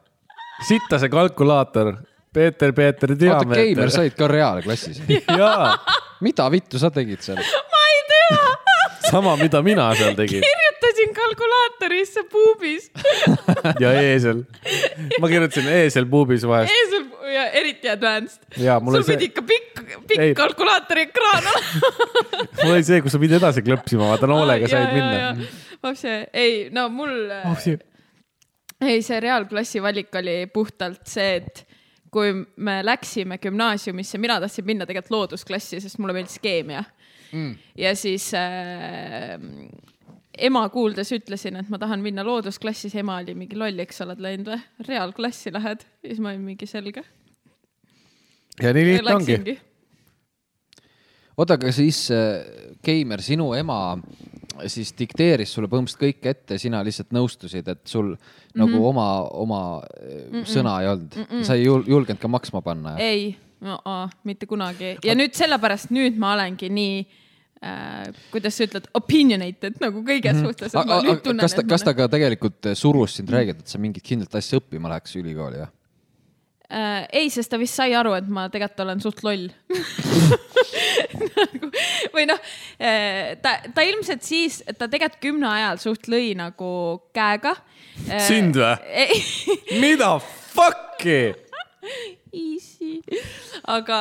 B: sitta see kalkulaator . Peeter , Peeter ,
C: oota , Keimer ,
B: diameeter .
C: said ka reaalklassis .
B: jaa ,
C: mida vittu sa tegid seal ?
A: ma ei tea ,
B: sama , mida mina seal tegin
A: kirjutasin kalkulaatorisse puubis
B: ja eesel . ma kirjutasin eesel puubis vahest .
A: eesel ja eriti advanced .
B: Jaa, mul
A: sul
B: oli see-
A: pidi ikka pikk , pikk
B: Ei.
A: kalkulaatori ekraan olema .
B: mul oli see , kus sa pidid edasi klõpsima , vaata noolega said minna ..
A: vapsi , ei no mul ,
B: Oh,
A: ei see reaalklassi valik oli puhtalt see , et kui me läksime gümnaasiumisse , mina tahtsin minna tegelikult loodusklassi , sest mulle meeldis keemia mm. . ja siis äh, ema kuuldes ütlesin , et ma tahan minna loodusklassi , siis ema oli mingi lolliks oled läinud või , reaalklassi lähed ? ja siis ma olin mingi selge .
B: ja nii lihtne ongi .
C: oota , aga siis äh, Keimer , sinu ema äh, siis dikteeris sulle põhimõtteliselt kõik ette , sina lihtsalt nõustusid , et sul mm -hmm.
A: Mhm.
C: nagu oma , oma mm -mm. sõna ei olnud mm , -mm. sa ei jul- julgenud ka maksma panna .
A: ei no, , mitte kunagi ja nüüd sellepärast nüüd ma olengi nii äh, , kuidas sa ütled , opinionated nagu kõige suhtes , et ma nüüd tunnen .
C: Mhm. kas ta , kas ta ka tegelikult äh, surus sind räägida , et sa mingit kindlat asja õppima läheks ülikooli , jah ?
A: äh, ? ei , sest ta vist sai aru , et ma tegelikult olen suht loll nagu, . või noh äh, , ta , ta ilmselt siis , ta tegelikult kümne ajal suht lõi nagu käega äh, .
B: Sind või?
A: ei ,
B: mida fuck'i ?
A: easy , aga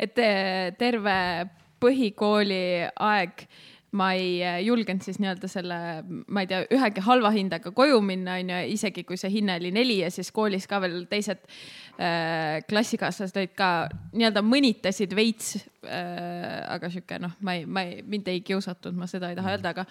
A: et eh, terve põhikooli aeg ma ei eh, julgenud siis nii-öelda selle , ma ei tea , ühegi halva hindega koju minna , onju , isegi kui see hinne oli neli ja siis koolis ka veel teised äh, klassikaaslased olid ka nii-öelda mõnitasid veits äh, . aga sihuke noh , ma ei , ma ei , mind ei kiusatud , ma seda ei taha öelda , aga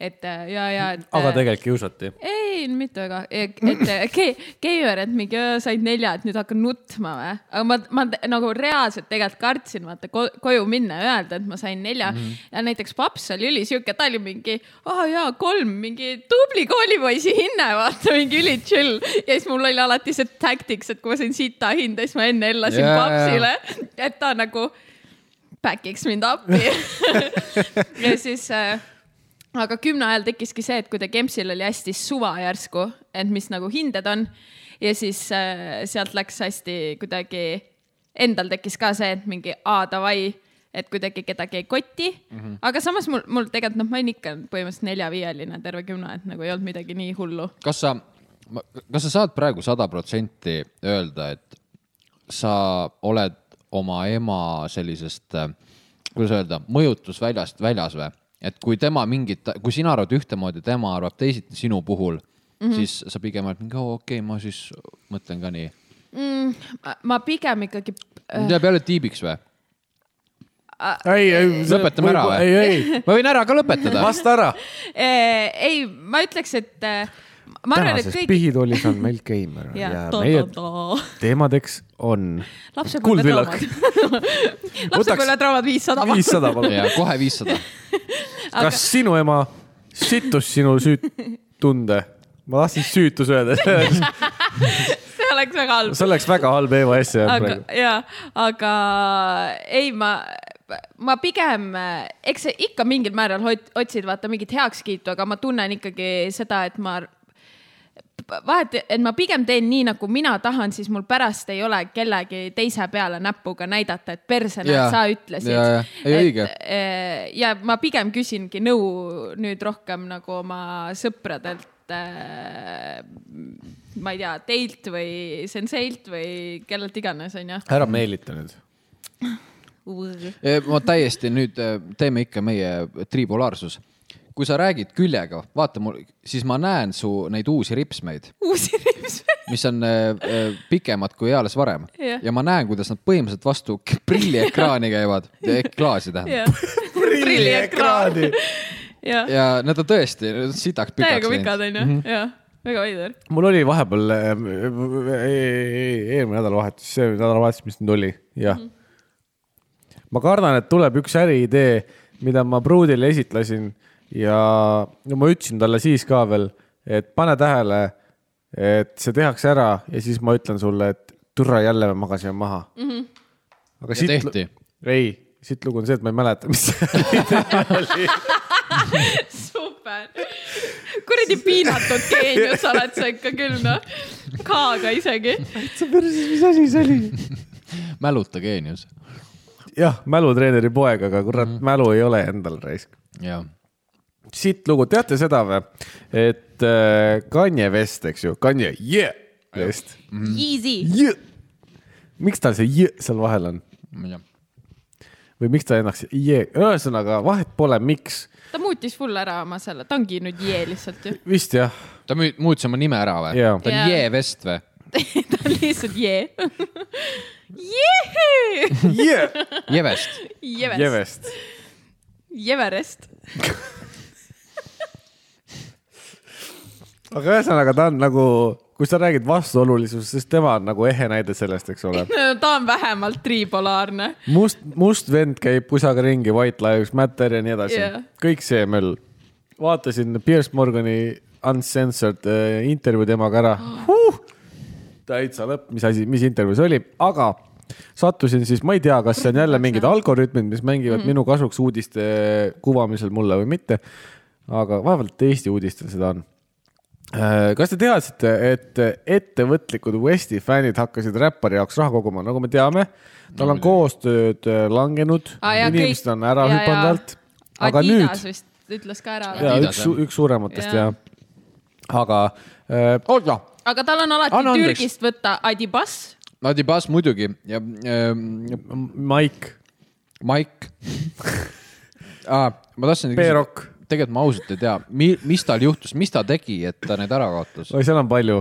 A: et äh, ja , ja .
B: aga tegelikult kiusati .
A: ei , mitte väga , et e, ke- Keiver , et mingi öö, said nelja , et nüüd hakkan nutma või ? aga ma , ma t- nagu reaalselt tegelikult kartsin vaata ko koju minna ja öelda , et ma sain nelja mm .
C: Mhm.
A: -hmm. ja näiteks paps oli ülisihuke , ta oli mingi , aa jaa , kolm , mingi tubli koolipoisi hinne , vaata mingi üli chill . ja siis mul oli alati see tactics , et kui ma sain sita hinda , siis ma enne ellasin
C: Jaa,
A: yeah.
C: jaa.
A: papsile , et ta nagu back'iks mind appi . ja siis äh, aga kümne ajal tekkiski see , et kuidagi EMS-il oli hästi suva järsku , et mis nagu hinded on ja siis äh, sealt läks hästi kuidagi , endal tekkis ka see , et mingi aa davai , et kuidagi kedagi ei koti mm .
B: Mhm.
A: -hmm. aga samas mul , mul tegelikult noh , ma olin ikka põhimõtteliselt nelja-viieline terve kümne , et nagu ei olnud midagi nii hullu .
C: kas sa , kas sa saad praegu sada protsenti öelda , et sa oled oma ema sellisest , kuidas öelda , mõjutusväljast väljas või ? et kui tema mingit , kui sina arvad ühtemoodi , tema arvab teisiti sinu puhul mm , -hmm. siis sa pigem oled mingi , oo okei okay, , ma siis mõtlen ka nii .
A: mm, . ma pigem ikkagi äh, , äh,
C: jääb jälle tiibiks või ?
B: ei , ei .
C: lõpetame ära või ?
B: ei , ei ,
C: ma võin ära ka lõpetada .
B: vasta ära .
A: äh, ei , ma ütleks , et äh, ma arvan , et
B: tänases
A: kõik .
B: pihitoolis on meil Keimar ja, ja meie teemadeks on
A: lapsepõlvetraumad
B: Kuldvillak. .
A: lapsepõlvetraumad viissada .
B: viissada , palun .
C: ja kohe viissada .
B: kas sinu ema sittus sinu süüd tunde ? ma tahtsin süütus öelda ,
A: see oleks väga halb .
B: see oleks väga halb Eeva esse
A: aga
B: praegu .
A: ja , aga ei , ma , ma pigem , eks sa ikka mingil määral hot- otsid vaata mingit heakskiitu , aga ma tunnen ikkagi seda , et ma vahet , et ma pigem teen nii , nagu mina tahan , siis mul pärast ei ole kellegi teise peale näpuga näidata , et perse näed
C: Jaa. ,
A: sa ütlesid .
C: Jaa, jaa. Ei, õige.
A: Äh, ja ma pigem küsingi nõu nüüd rohkem nagu oma sõpradelt äh, ma ei tea , teilt või senseilt või kellelt iganes ,
B: ära meelita nüüd .
A: onju .
C: ma täiesti nüüd eh, teeme ikka meie tribulaarsus . kui sa räägid küljega , vaata mul , siis ma näen su neid uusi ripsmeid ,
A: uusi ripsmeid .
C: mis on eh, eh, pikemad kui eales varem
A: Jah.
C: ja ma näen , kuidas nad põhimõtteliselt vastu k- prilliekraani käivad , klaasi tähendab .
A: prilliekraani. . jah ,
C: ja nad on tõesti sitaks pikaks
A: täiega
C: läinud .
A: pikad
C: Mhm.
A: onju , jah , väga veider .
B: mul oli vahepeal ähm, e- e- eelmine nädalavahetus , see nädalavahetus , mis nüüd oli , jah mm . -hmm. ma kardan , et tuleb üks äriidee , mida ma pruudile esitlesin ja no ma ütlesin talle siis ka veel , et pane tähele , et see tehakse ära ja siis ma ütlen sulle , et türa jälle me magasime maha mm . -hmm. aga
C: Mhm. Ja tehti. .
B: ei , siit lugu on see , et ma ei mäleta , mis
A: super . kuradi piinatud geenius oled sa ikka küll noh , K-ga isegi .
B: mis asi see oli .
C: mäluta geenius .
B: jah , mälutreeneri poeg , aga kurat
C: Mhm.
B: mm , -hmm. mälu ei ole endal raisk .
C: jah ,
B: siit lugu , teate seda või , et äh, Kanye West , eks ju , Kanye yeah, West
C: Mhm.
A: Easy .
B: yeah. . miks tal see yeah seal vahel on
C: ma ei tea .
B: või miks ta ennast yeah , ühesõnaga vahet pole , miks
A: ta muutis full ära oma selle , ta ongi nüüd jee lihtsalt ju .
B: vist jah ,
C: ta müü- muutis oma nime ära või
B: Jaa.
C: ta on
A: Jaa.
C: Jee Vest või ?
A: ta on lihtsalt jee . Jee ,
B: yeah. .
C: Jee Vest .
B: Kanye
A: Jeves ,
B: West ,
A: Jeverest .
B: aga ühesõnaga ta on nagu , kui sa räägid vastuolulisusest , siis tema on nagu ehe näide sellest , eks ole .
A: No, ta on vähemalt tripolaarne .
B: must , must vend käib pusaga ringi , White Lives Matter ja nii edasi
A: Jah.
B: yeah. , kõik see möll . vaatasin Piers Morgani uncensored äh, intervjuu temaga ära huh! . täitsa lõpp , mis asi , mis intervjuu see oli , aga sattusin siis , ma ei tea , kas see on jälle mingid algoritmid , mis mängivad mm -hmm. minu kasuks uudiste kuvamisel mulle või mitte . aga vaevalt Eesti uudistel seda on . Äh, kas te teadsite , et ettevõtlikud Westi fännid hakkasid räppari jaoks raha koguma , nagu me teame , tal on koostööd äh, langenud , inimesed on ära hüpanud alt . aga
A: Adidas
B: nüüd ,
A: vist ütles ka ära .
B: ja
C: Adidas,
B: üks
C: jah. ,
B: üks suurematest
A: Jaa.
B: ja, ja. , aga äh,
C: oota ,
A: aga tal on alati
C: Anna
A: Anna
C: andeks.
A: Türgist võtta Adibas .
C: Adibas muidugi ja ähm,
B: Mike ,
C: Maik ah, . ma tahtsin .
B: Perok. .
C: tegelikult ma ausalt ei tea , mis tal juhtus , mis ta tegi , et ta need ära kaotas ?
B: oi , seal on palju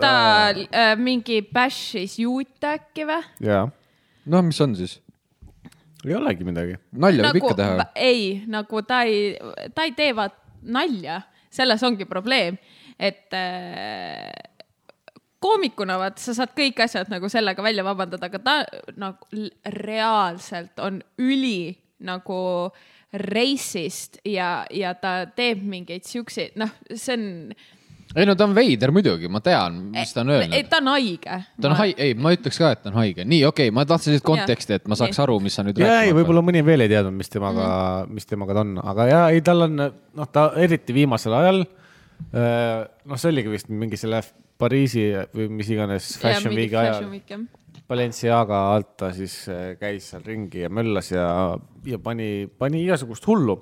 A: ta äh, mingi bash'is juute äkki või ?
B: ja
C: noh , mis on siis ?
B: ei olegi midagi .
C: nalja võib ikka teha .
A: Nagu ei , nagu ta ei , ta ei tee vaat nalja , selles ongi probleem , et äh, koomikuna vaata , sa saad kõik asjad nagu sellega välja vabandada , aga ta nagu l- reaalselt on üli nagu reisist ja , ja ta teeb mingeid siukseid , noh , see on .
C: ei no ta on veider muidugi , ma tean , mis ta on öelnud .
A: Eh, ta on haige .
C: ta on haige , ei , ma ütleks ka , et ta on haige . nii , okei okay, , ma tahtsin lihtsalt konteksti , et ma
A: Nii.
C: saaks aru , mis sa nüüd
B: ja ei ,. võib-olla mõni veel ei teadnud , mis temaga mm , -hmm. mis temaga ta on , aga ja ei , tal on noh , ta eriti viimasel ajal . noh , see oligi vist mingi selle F- Pariisi või mis iganes Fashion Weeki ajal , Balenciaga alt ta siis äh, käis seal ringi ja möllas ja , ja pani , pani igasugust hullu .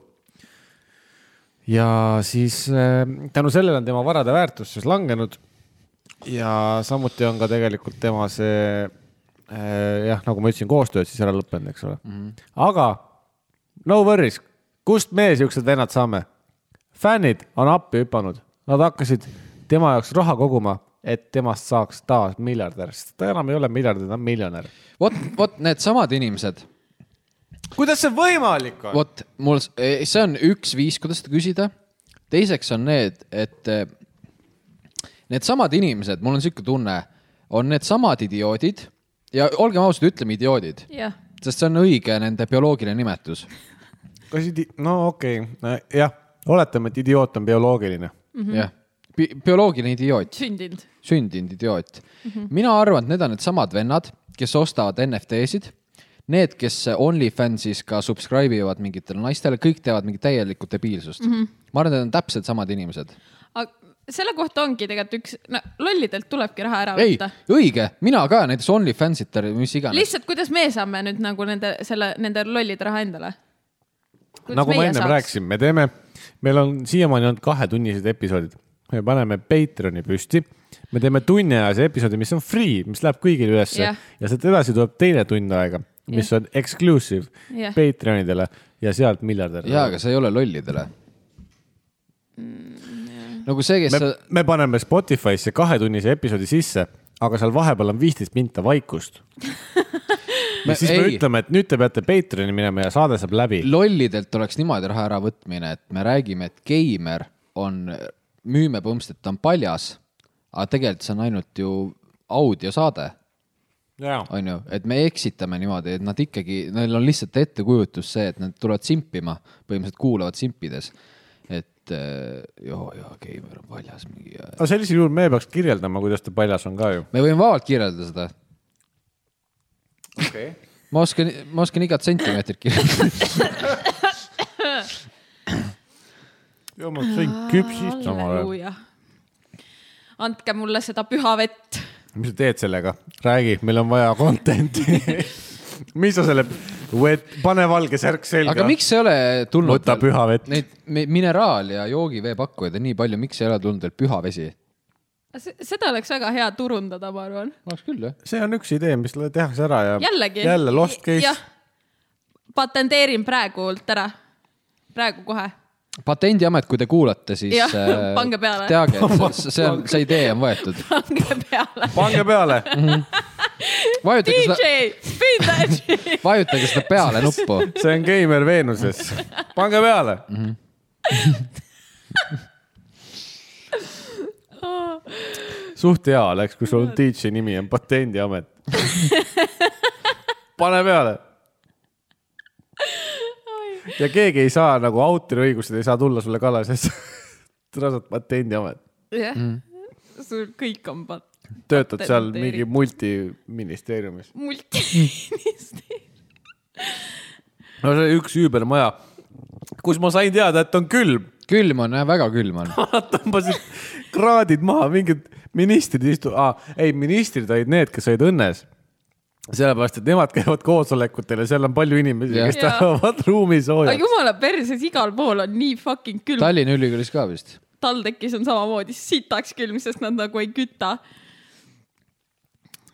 B: ja siis äh, tänu sellele on tema varade väärtus siis langenud . ja samuti on ka tegelikult tema see jah , nagu ma ütlesin , koostööd siis ära lõppenud , eks ole mm . -hmm. aga no worries , kust meie siuksed vennad saame ? fännid on appi hüpanud , nad hakkasid tema jaoks raha koguma , et temast saaks taas miljardär , sest ta enam ei ole miljardär , ta on miljonär .
C: vot , vot needsamad inimesed ,
B: kuidas see võimalik on ?
C: vot mul , see on üks viis , kuidas seda küsida . teiseks on need , et eh, needsamad inimesed , mul on sihuke tunne , on needsamad idioodid ja olgem ausad , ütleme idioodid ,
A: jah ,
C: sest see on õige nende bioloogiline nimetus .
B: kas idi- , no okei okay. , jah , oletame , et idioot on bioloogiline .
C: jah , bioloogiline idioot ,
A: sündinud .
C: sündinud idioot mm . -hmm. mina arvan , et need on needsamad vennad , kes ostavad NFT-sid . Need , kes OnlyFansis ka subscribe ivad mingitele naistele , kõik teevad mingit täielikku debiilsust mm . -hmm. ma arvan , et need on täpselt samad inimesed
A: aga selle kohta ongi tegelikult üks , no lollidelt tulebki raha ära
C: ei
A: võtta .,
C: õige , mina ka näiteks OnlyFansit või mis iganes .
A: lihtsalt , kuidas meie saame nüüd nagu nende , selle , nende lollide raha endale ?
B: nagu ma ennem rääkisin , me teeme , meil on siiamaani olnud kahetunnised episoodid , me paneme Patreoni püsti , me teeme tunniajase episoodi , mis on free , mis läheb kõigile ülesse
A: Jah.
B: yeah. ja sealt edasi tuleb teine tund aega , mis yeah. on exclusive
A: Jah.
B: yeah. Patreonidele ja sealt miljardärile .
C: jaa , aga see ei ole lollidele . nagu see , kes
B: me
C: me... ,
B: me paneme Spotify'sse kahetunnise episoodi sisse , aga seal vahepeal on viisteist minta vaikust . ja
C: Me-
B: siis me
C: ei.
B: ütleme , et nüüd te peate Patreoni minema ja saade saab läbi .
C: lollidelt oleks niimoodi raha äravõtmine , et me räägime , et geimer on , müüme põhimõtteliselt , et ta on paljas , aga tegelikult see on ainult ju audiosaade , on ju , et me eksitame niimoodi , et nad ikkagi , neil on lihtsalt ettekujutus see , et nad tulevad simpima , põhimõtteliselt kuulavad simpides , et eh, joo , joo , geimer on paljas mingi ja
B: aga sellisel juhul me peaks kirjeldama , kuidas ta paljas on ka ju .
C: me võime vabalt kirjeldada seda .
B: okei okay. .
C: ma oskan , ma oskan igat sentimeetrit kirjeldada .
B: jumal , sõin
C: Ah,
B: küpsist omal ajal .
A: andke mulle seda püha vett .
B: mis sa teed sellega ? räägi , meil on vaja content'i . mis sa selle , pane valge särk selga .
C: aga miks ei ole tulnud ?
B: Võta püha vett.
C: Neid mi- mineraal- ja joogivee pakkujaid on nii palju , miks ei ole tulnud veel püha vesi ?
A: seda oleks väga hea turundada , ma arvan .
C: oleks küll jah .
B: see on üks idee , mis tehakse ära ja
A: jällegi .
B: jälle lost case .
A: patenteerin praegult ära , praegu kohe .
C: patendiamet , kui te kuulate , siis äh,
A: Jah, pange peale.
C: teage , et see , see on , see idee on võetud .
A: pange peale .
B: pange peale ,
C: vajutage seda ,
A: DJ , spin that shit .
C: vajutage seda peale nuppu .
B: see on Geimer Veenuses . pange peale . suht hea oleks , kui sul DJ nimi on Patendiamet . pane peale . ja keegi ei saa nagu autoriõigused ei saa tulla sulle kallale , sest sa oled Patendiamet ,
A: jah ,
B: Mm.
A: sul kõik on pat- ,
B: töötad seal
A: Patenteeritud.
B: mingi multiministeeriumis . Mm.
A: multiministeerium .
B: no see oli üks üübermaja , kus ma sain teada , et on külm
C: külm on jah , väga külm on .
B: Nad tõmbasid kraadid maha , mingid ministrid istu- ah, , ei ministrid olid need , kes olid õnnes . sellepärast , et nemad käivad koosolekutel ja seal on palju inimesi ,
C: Jah.
B: kes
A: Jaa.
B: tahavad ruumi
A: aga
B: soojaks .
A: jumala perses , igal pool on nii fucking külm .
C: Tallinna Ülikoolis ka vist .
A: TalTechis on samamoodi sitaks külm , sest nad nagu ei küta .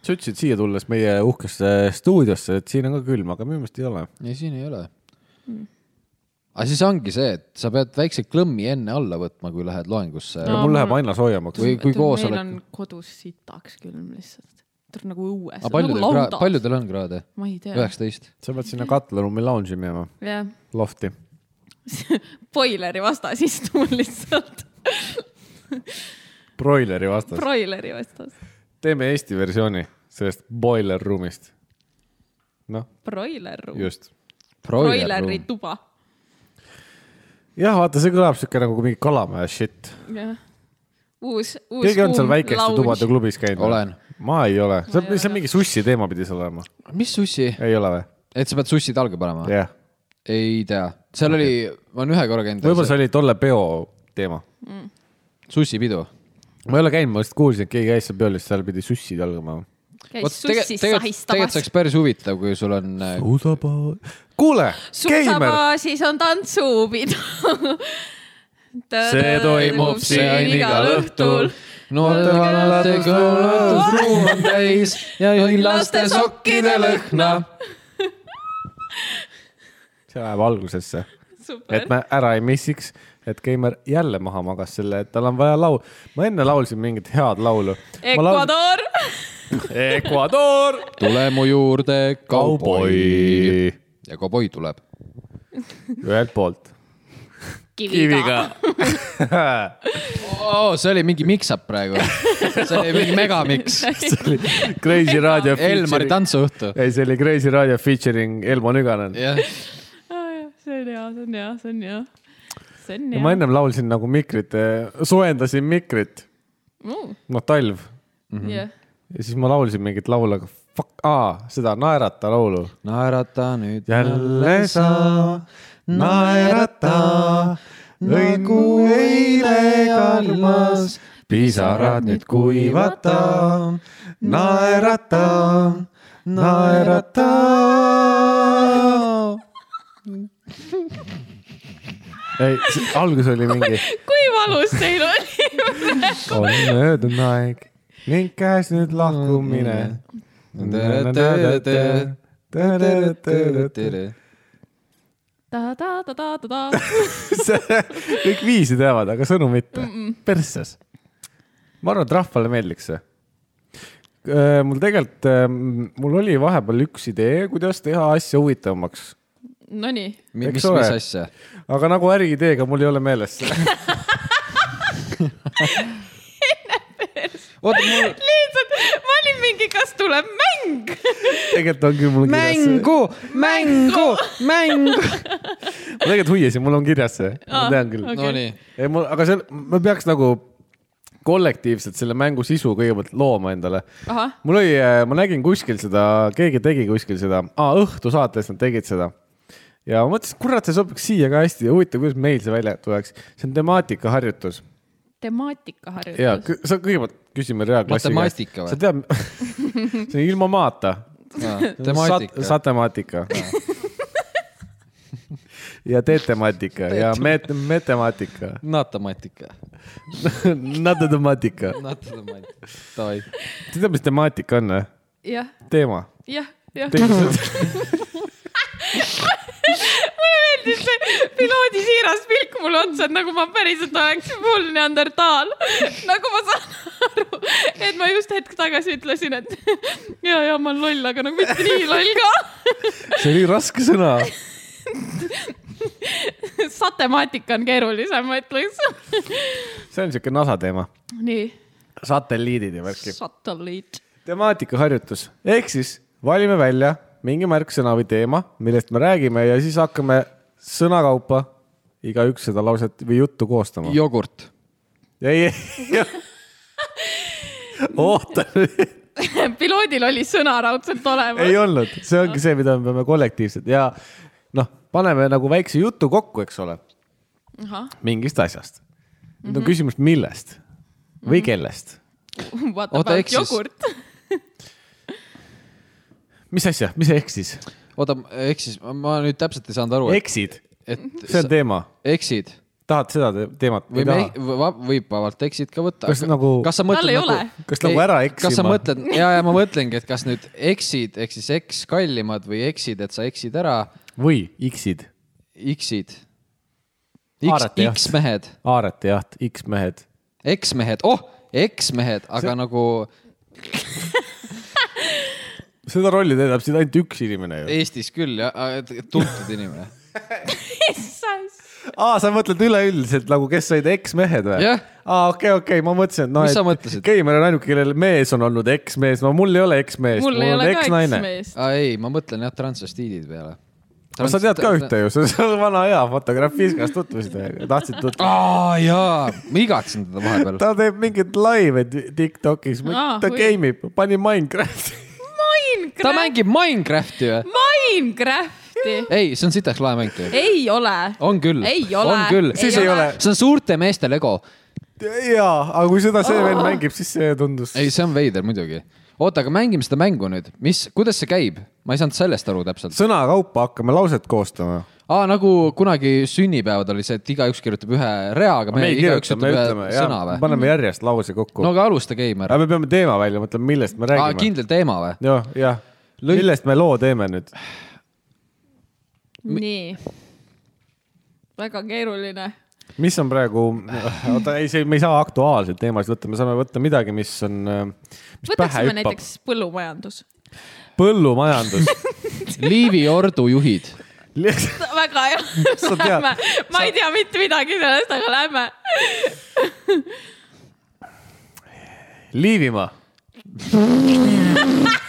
B: sa ütlesid siia tulles meie uhkesse stuudiosse , et siin on ka külm , aga minu meelest ei ole .
C: ei , siin ei ole .
A: Hmm.
C: aga siis ongi see , et sa pead väikse klõmmi enne alla võtma , kui lähed loengusse
B: aga mul läheb aina soojemaks .
C: Või- kui koosolek-
A: meil on kodus sitaks külm lihtsalt . ta on nagu õues .
C: aga paljudel
A: nagu
C: nagu ,
A: lauda.
C: paljudel on kraade ?
A: ma ei tea .
C: üheksateist .
B: sa pead sinna katlaruumi lounge'i minema ,
A: jah ,
B: lofti .
A: boileri vastas istun lihtsalt .
B: Broileri vastas .
A: Broileri vastas .
B: teeme Eesti versiooni sellest boiler room'ist . noh ,
A: Broiler ruum .
B: just .
A: Broileri tuba .
B: jah , vaata , see kõlab siuke nagu mingi kalamaja shit
A: jah . uus , uus .
B: keegi on seal väikeste tubade . klubis käinud ?
C: Olen. .
B: ma ei ole , see on
A: ei ,
B: see on mingi sussi teema pidi seal olema ,
C: mis sussi ?
B: ei ole või ?
C: et sa pead sussid jalga panema ?
B: jah ,
C: ei tea , seal oli , ma olen ühe korra
B: võib-olla
C: käinud ,
B: see oli tolle peo teema .
C: sussipidu .
B: ma ei ole käinud , ma lihtsalt kuulsin , et keegi käis seal peol ja siis seal pidi sussid jalgama .
A: käis sussis
C: tegelikult tegelikult
A: sahistamas
C: see . oleks päris huvitav , kui sul on , äh,
B: suusaba . kuule , Keimer ,
A: suusabaasis on tantsupidu . see toimub siin igal õhtul .
C: noorte vanade kõlatusruum on täis ja juhin laste sokkide lõhna .
B: see läheb algusesse , et
A: super .
B: me ära ei missiks , et Keimer jälle maha magas selle , et tal on vaja laul . ma enne laulsin mingit head laulu .
A: Ecuador .
B: Ecuador .
C: tule mu juurde , kauboi . ja kauboi tuleb .
B: ühelt poolt .
A: kiviga .
C: Oh, see oli mingi mix-up praegu . see oli mingi megamix .
B: Crazy raadio .
C: Elmari . tantsuõhtu .
B: ei , see oli Crazy raadio featuring Elmo Nüganen .
C: jah ,
A: Ah, see on hea , see on hea , see on hea . see on
B: ja ma
A: hea .
B: ennem laulsin nagu mikrit , soojendasin mikrit ,
C: Mm.
B: noh talv
A: jah ,
B: ja siis ma laulsin mingit laulu , aga fuck , aa , seda Naerata laulu .
C: naerata nüüd
B: jälle sa naerata , nagu eile kalmas , pisarad nüüd kuivata , naerata , naerata . ei , algus oli mingi .
A: kui valus teil oli .
B: on möödunud aeg ning käes nüüd lahkumine .
A: ta-ta-ta-ta-ta-ta .
B: kõik viisi teavad , aga sõnu mitte . persses . ma arvan , et rahvale meeldiks see . mul tegelikult , mul oli vahepeal üks idee , kuidas teha asja huvitavamaks ,
A: Nonii ,
C: mis , mis
B: Eks ole.
C: asja ?
B: aga nagu äriideega mul ei ole meeles .
C: oota , mul
A: lihtsalt ma olin mingi , kas tuleb mäng ?
B: tegelikult on küll mul kirjas see .
C: mängu , mängu , mängu . Ah,
B: ma tegelikult huvisin , mul on kirjas see , ma
A: Aa,
B: tean küll
A: okei.
C: Nonii ,
B: ei , mul , aga seal , ma peaks nagu kollektiivselt selle mängu sisu kõigepealt looma endale .
A: ahah ,
B: mul oli , ma nägin kuskil seda , keegi tegi kuskil seda ah, , Õhtu saates nad tegid seda . ja ma mõtlesin , kurat , see sobiks siia ka hästi , huvitav , kuidas meil see välja tuleks . see on temaatikaharjutus ja
A: temaatikaharjutus .
B: kõ- sa kõigepealt küsime reaalklassi
C: Matemaatika või?
B: sa tead , see on ilma maata .
C: temaatika .
B: satemaatika . ja teetemaatika ja met- , metemaatika ,
C: natamaatika .
B: natetemaatika
C: natamaatika . Davai .
B: sa tead , mis temaatika on või ?
A: jah ,
B: teema .
A: jah , jah .
B: see
A: meeldis see piloodi siiras pilk mul otsa , et nagu ma päriselt oleks full neandertaal . nagu ma saan aru , et ma just hetk tagasi ütlesin , et ja , ja ma olen loll , aga nagu mitte nii loll ka .
B: oli raske sõna .
A: satemaatika on keerulisem , ma ütleks .
B: see on siuke NASA teema .
A: nii ,
B: satelliidid ja värki .
A: satelliit .
B: temaatikaharjutus ehk siis valime välja mingi märksõna või teema , millest me räägime ja siis hakkame sõnakaupa igaüks seda lauset või juttu koostama .
C: jogurt .
B: ei , ei , oota ,
A: piloodil oli sõna raudselt olemas
B: ei . olnud , see ongi see , mida me peame kollektiivselt ja noh , paneme nagu väikse jutu kokku , eks ole
A: ahah ,
B: mingist asjast . nüüd on küsimus , millest või kellest ,
A: what
C: Oota,
A: about
C: ehk siis-
A: jogurt ?
B: mis asja , mis sa eksis ,
C: oota , ehk siis ma- ma nüüd täpselt ei saanud aru , et ,
B: eksid ,
C: et
B: see on
C: sa
B: teema ,
C: eksid
B: tahad seda te- teemat või
C: või me
B: taha ?
C: võib vabalt eksid ka võtta .
B: Kas nagu-
C: kas sa
A: Tal
C: mõtled
A: ei
C: nagu
A: ole. ,
B: Kas nagu ära eksima?
C: kas sa mõtled ja , ja ma mõtlengi , et kas nüüd eksid ehk siis eks kallimad või eksid , et sa eksid ära ,
B: või iksid ,
C: iksid .
B: Haarata jaht.
C: X-mehed ,
B: haarete jaht , X-mehed ,
C: X-mehed , oh , X-mehed , aga see... nagu
B: seda rolli täidab siin ainult üks inimene ju .
C: Eestis küll jah , tuntud inimene .
B: aa , sa mõtled üleüldiselt nagu , kes olid eks-mehed või
C: Jah. ?
B: aa , okei , okei , ma mõtlesin , et noh ,
C: Mis sa
B: et
C: mõtlesid?
B: Keimer on ainuke , kellel mees on olnud eks-mees , no mul ei ole eks-meest ,
A: mul ei ole ka üks
B: eks-naine .
A: meest .
C: aa Ah, ei , ma mõtlen jah transvestiidid peale .
B: aga sa tead ka . ühte ju , sa oled vana hea fotograafist , kas tutvusid , tahtsid tutvuda ?
C: aa Ah, jaa , ma igatsen teda vahepeal .
B: ta teeb mingeid laive Tiktokis ,
A: Aa,
B: ta
A: või-
B: game ib , pani Minecrafti .
C: ta
A: Minecraft ,
C: mängib Minecrafti või ?
A: Minecrafti
C: ei , see on sitaks lahe mäng ju .
A: ei ole .
C: on küll .
A: Ei ole.
C: on küll .
B: Siis ei ole.
C: see on suurte meeste lego .
B: jaa , aga kui seda see veel mängib , siis see tundus .
C: ei , see on veider muidugi . oota , aga mängime seda mängu nüüd , mis , kuidas see käib ? ma ei saanud sellest aru täpselt .
B: sõnakaupa hakkame lauset koostama .
C: aa , nagu kunagi sünnipäevad oli see , et igaüks kirjutab ühe rea , aga me,
B: me ei
C: igaüks
B: kirjuta , me
C: ütleb
B: ütleme
C: ühe , sõna
B: jah ,
C: või ?
B: paneme järjest lause kokku
C: no . aga alusta , Keimar .
B: aga me peame teema välja mõtlema , millest me
C: aa ,
B: räägime .
C: kindel teema või ?
B: jah , jah .
C: Lõi-
B: millest me loo teeme nüüd ?
A: nii . väga keeruline .
B: mis on praegu , oota , ei , see , me ei saa aktuaalseid teemasid võtta , me saame võtta midagi , mis on , mis pähe
A: võtaksime
B: hüppab .
A: näiteks põllumajandus .
B: põllumajandus .
C: Liivi ordu juhid .
A: väga hea
B: Sa . tead-
A: lähme , ma ei tea mitte midagi sellest , aga lähme .
B: Liivimaa .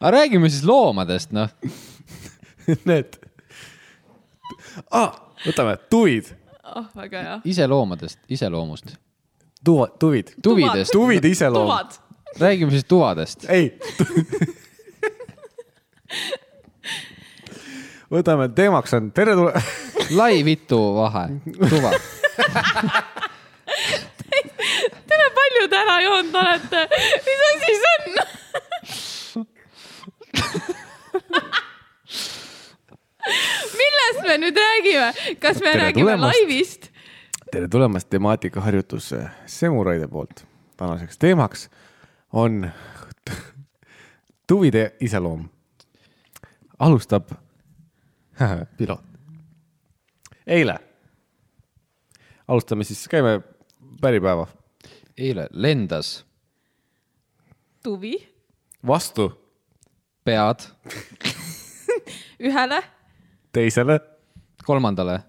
C: aga räägime siis loomadest , noh .
B: Need ah, . võtame tuvid ,
A: oh , väga hea .
C: ise loomadest , iseloomust .
B: tuva , tuvid ,
C: tuvidest ,
B: tuvide iseloom .
A: tuvad .
C: räägime siis tuvadest .
B: ei . võtame teemaks on tere tule- ,
C: lai vitu vahe , tuva .
A: tere , palju te ära joonud olete ? mis asi see on ? millest me nüüd räägime , kas me
B: Tere
A: räägime
B: tulemast.
A: laivist ?
B: tere tulemast temaatikaharjutusse Semuraide poolt . tänaseks teemaks on tuvide iseloom . alustab piloot . eile . alustame siis , käime päripäeva
C: eile lendas
A: tuvi
B: vastu
C: pead
A: ühele ,
B: teisele
C: kolmandale ,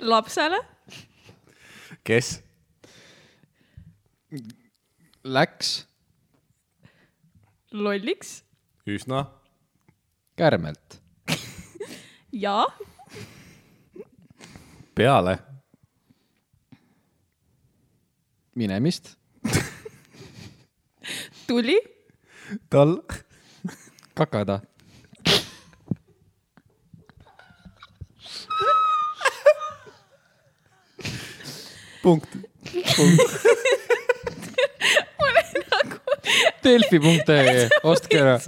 A: lapsele ,
B: kes
C: läks
A: lolliks
B: üsna
C: kärmelt
A: ja
B: peale
C: minemist
A: tuli
B: tal
C: kakada .
B: punkt .
C: Delfi.ee , ostke ära .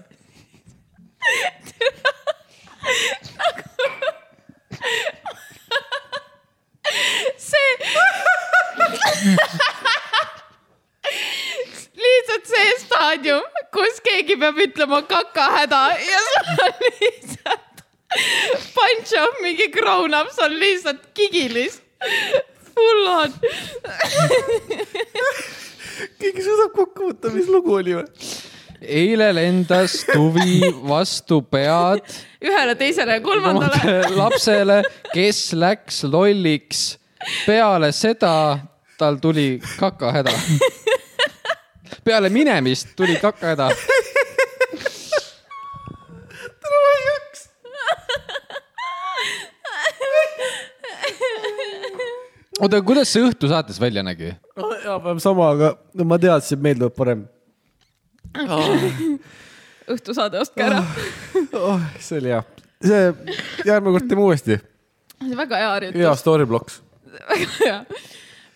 A: see . lihtsalt see staadium , kus keegi peab ütlema kakahäda ja sul on lihtsalt punch up mingi grown up , see on lihtsalt kigilis . Full on .
B: keegi suudab kokku võtta , mis lugu oli või ?
C: eile lendas tuvi vastu pead
A: ühele , teisele ja kolmandale .
C: kolmandale lapsele , kes läks lolliks . peale seda tal tuli kakahäda . peale minemist tuli kakahäda . oota , kuidas see Õhtusaates välja nägi ?
B: enam-vähem sama , aga no ma teadsin , et meil tuleb parem
A: õhtusaade , ostke ära .
B: oh, . see oli hea . see , järgmine kord teeme uuesti .
A: see on väga hea harjutus .
B: hea story blocks .
A: Jah.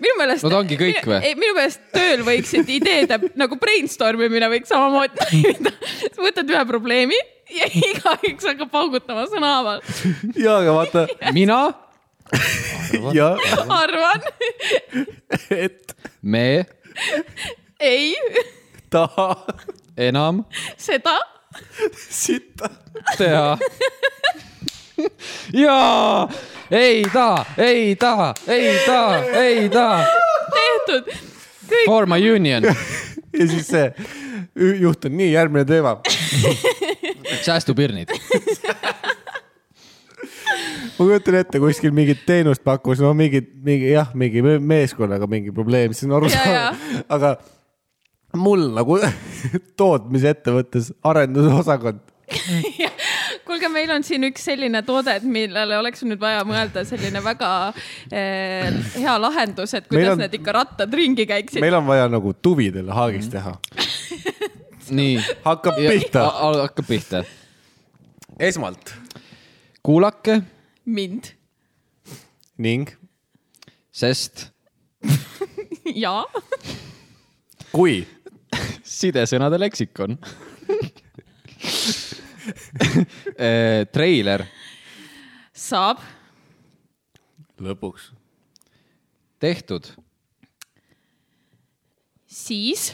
A: minu meelest .
C: No ta ongi kõik või?
A: ei , minu meelest tööl võiksid ideede nagu brainstorm imine võiks samamoodi toimida . võtad ühe probleemi ja igaüks hakkab paugutama sõna haaval .
B: ja , aga vaata
C: mina ,
B: ja
A: arvan ,
B: et
C: me ,
A: ei ,
B: ta
C: enam ,
A: seda ,
B: sita .
C: teha . jaa , ei taha , ei taha , ei taha , ei taha .
A: tehtud .
C: For my union ,
B: ja siis see ü- juht on nii , järgmine teema .
C: säästupirnid .
B: ma kujutan ette , kuskil mingit teenust pakkus , no mingi , mingi jah , mingi me- meeskonnaga mingi probleem , siis on arusaadav , aga mul nagu tootmisettevõttes arendusosakond ,
A: kuulge , meil on siin üks selline toode , et millele oleks nüüd vaja mõelda selline väga eh, hea lahendus , et
B: Meil
A: kuidas
B: on-
A: on... need ikka rattad ringi käiksid .
B: meil on vaja nagu tuvidele haagis teha .
C: nii .
B: hakkab pihta ,
C: hakkab pihta .
B: esmalt
C: kuulake ,
A: mind
B: ning
C: sest
A: ja
B: kui
C: sidesõnade leksikon . Eh, treiler ,
A: saab ,
B: lõpuks .
C: tehtud ,
A: siis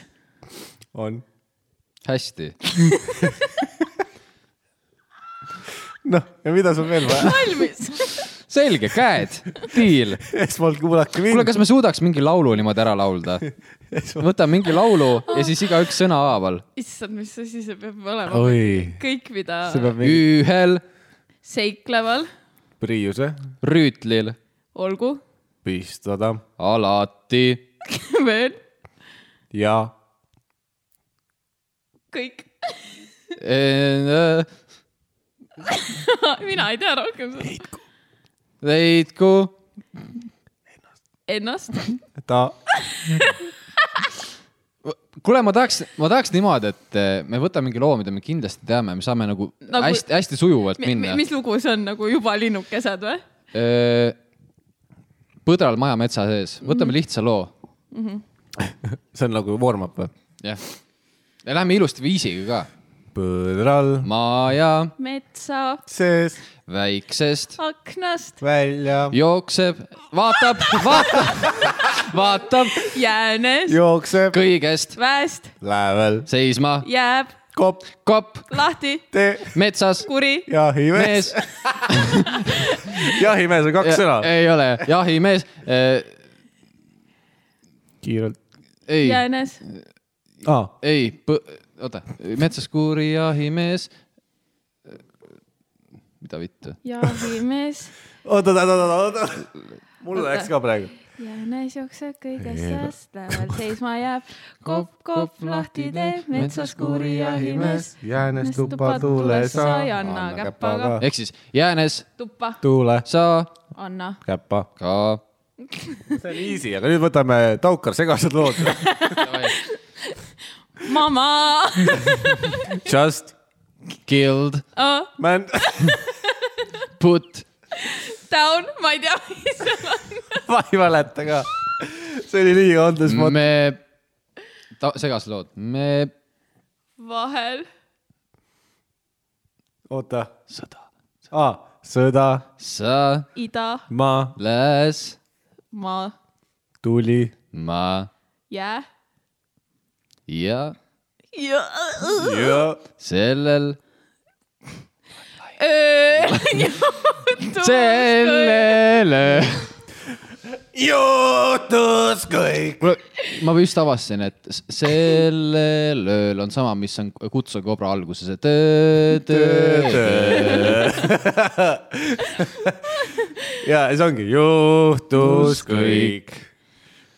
B: on .
C: hästi .
B: noh , ja mida sul veel vaja ?
A: valmis .
C: selge , käed , deal .
B: esmalt kuulake
C: kuule ,
B: mind .
C: kas me suudaks mingi laulu niimoodi ära laulda ? võtame mingi laulu ja siis igaüks sõna haaval .
A: issand , mis asi see peab olema .
B: oi ,
A: kõik , mida
B: see peab mingi
C: ühel
A: seikleval ,
B: priiuse
C: rüütlil
A: olgu ,
B: pistada
C: alati
A: veel
B: ja
A: kõik .
C: eh,
A: mina ei tea rohkem sellest.
C: leidku
A: ennast .
B: ta
C: kuule , ma tahaks , ma tahaks niimoodi , et eh, me võtame mingi loo , mida me kindlasti teame , me saame nagu
A: Nagu-
C: hästi-hästi nagu... sujuvalt minna .
A: mis lugu see on nagu juba linnukesed või ?
C: Äh, põdral maja metsa sees ,
B: Mhm.
C: võtame lihtsa loo ,
B: see on nagu warm-up või ?
C: jah . ja läheme ilusti viisiga ka .
B: põdral
C: maja
A: metsa
B: sees
C: väiksest
A: aknast
B: välja
C: jookseb , vaatab , vaatab , vaatab
A: jäänes
B: jookseb
C: kõigest
A: väest
B: lävel
C: seisma ,
A: jääb
B: kopp
C: kopp
A: lahti
B: tee
C: metsas ,
A: kuri
B: jahimees
C: mees .
B: jahimees on kaks sõna .
C: ei ole jahimees ,
B: kiirelt .
C: ei ,
A: jäänes
B: aa ,
C: ei , oota , metsas kuuri jahimees . mida vittu ?
A: jahimees
B: oot , oot , oot , oot , oot . mul läks ka praegu .
A: jäänes jookseb kõigest sääst lävel seisma jääb kopp kopp lahti tee metsas kuri jahimees
B: jäänes
A: tuppa tuule sa ei anna käpaga
C: ehk siis jäänes
A: tuppa
B: tuule
C: sa
A: anna
B: käpa .
C: ka .
B: see oli easy , aga nüüd võtame Taukar segased lood .
A: mama
B: Just
C: Killed ,
A: oh,
B: man .
C: put ,
A: down ma ei tea mis seal on
B: ma ei mäleta ka . see oli liiga on the spot .
C: me , segased lood , me ,
A: vahel
B: oota ,
C: sõda ,
B: aa , sõda ,
C: sa ,
A: ida
B: ma ,
C: lääs ,
A: maa
B: tuli ,
C: ma
A: jää
C: ja
A: ja
B: ja
C: sellel ,
A: öö
C: sellele .
B: juhtus kõik .
C: kuule , ma just avastasin , et s- sellel ööl on sama , mis on Kutsu Kobra alguses , et töö , töö , töö .
B: ja see ongi juhtus kõik .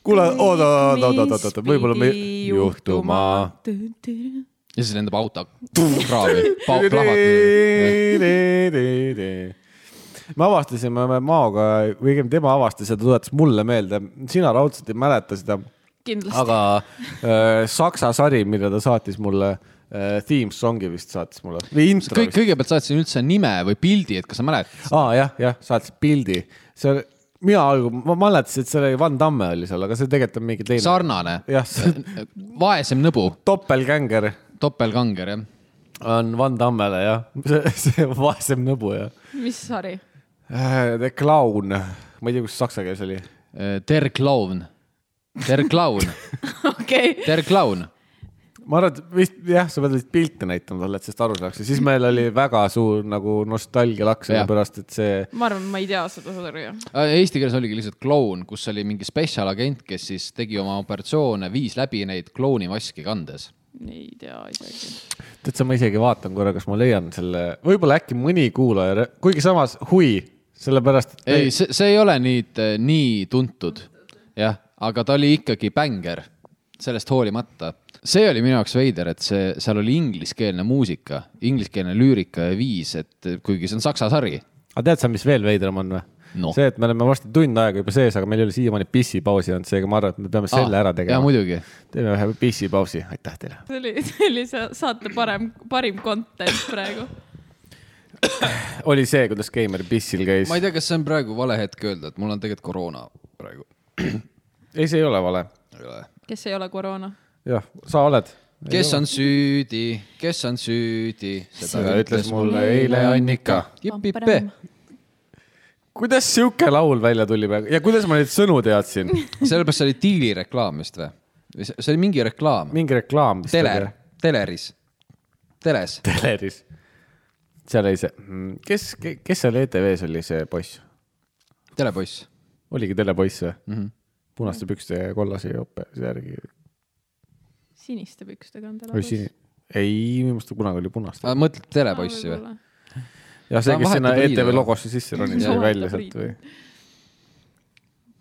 B: kuule , oota , oota , oota , oota , oota , võib-olla me juhtuma .
C: ja siis lendab auto kraavi , plahvatab .
B: me avastasime me Maoga , või õigemini tema avastas ja ta tuletas mulle meelde , sina raudselt ei mäleta seda ,
A: kindlasti ,
B: aga äh, saksa sari , mille ta saatis mulle äh, , theme song'i vist saatis mulle või intro
C: kõik ,
B: vist .
C: kõigepealt saatsin üldse nime või pildi , et kas sa mäletad ?
B: aa ah, jah , jah , saatis pildi , see , mina algul , ma mäletasin , et see oli Van Damme oli seal , aga see tegelikult on mingi teine .
C: sarnane ,
B: jah , see
C: vaesem nõbu ,
B: topelgänger
C: topelganger jah .
B: on Van Dammele jah , see , see vaesem nõbu jah .
A: mis sari ?
B: The Clown , ma ei tea , kus saksa keeles oli .
C: Äh, Der Clown , Der Clown ,
A: okei okay. ,
C: Der Clown .
B: ma arvan , et vist jah , sa pead vist pilte näitama talle , et sellest aru saaks ja siis meil oli väga suur nagu nostalgialaks
C: Mm. Jah.
B: sellepärast , et see
A: ma arvan , ma ei tea seda sari .
C: Äh, Eesti keeles oligi lihtsalt kloun , kus oli mingi spetsialagent , kes siis tegi oma operatsioone , viis läbi neid klounimaski kandes .
A: ei tea isegi .
B: täitsa ma isegi vaatan korra , kas ma leian selle , võib-olla äkki mõni kuulaja , kuigi samas hui , sellepärast et
C: ei , see , see ei ole nüüd eh, nii tuntud , jah , aga ta oli ikkagi bänger , sellest hoolimata . see oli minu jaoks veider , et see , seal oli ingliskeelne muusika , ingliskeelne lüürika ja viis , et äh, kuigi see on saksa sari ,
B: aga tead sa , mis veel veidram on või
C: Noh.
B: see , et me oleme varsti tund aega juba sees , aga meil ei ole siiamaani pissipausi olnud , seega ma arvan , et me peame selle
C: Aa,
B: ära
C: Ah, jaa,
B: tegema .
C: muidugi.
B: teeme ühe pissipausi , aitäh teile .
A: see oli , see oli see saate parem , parim content praegu .
B: oli see , kuidas Keimer pissil käis
C: ma ? ei tea , kas see on praegu vale hetk öelda , et mul on tegelikult koroona praegu .
B: ei , see ei ole vale .
A: kes ei ole koroona ?
B: jah , sa oled .
C: kes on süüdi , kes on süüdi ?
B: Seda ütles mulle eile Annika.
C: Jipp-jippe .
B: kuidas sihuke laul välja tuli praegu ja kuidas ma neid sõnu teadsin ?
C: sellepärast see oli diili reklaam vist või ? see oli mingi reklaam .
B: mingi reklaam .
C: teler ., teleris , teles .
B: teleris . seal oli see , kes , kes seal ETV-s oli see poiss ?
C: telepoiss . Mhm.
B: oligi telepoiss või mm -hmm. ? punaste pükste ja kollase jope järgi .
A: siniste pükstega on tal
B: või siin , ei , minu meelest ta kunagi oli punaste .
C: Ah, mõtled telepoissi või ??
B: jah , see ,
C: Ta
B: kes sinna
C: vahetab
B: ETV
C: riide.
B: logosse sisse ronis ,
A: Jah.
B: oli välja
A: Vahetab
B: sealt või ?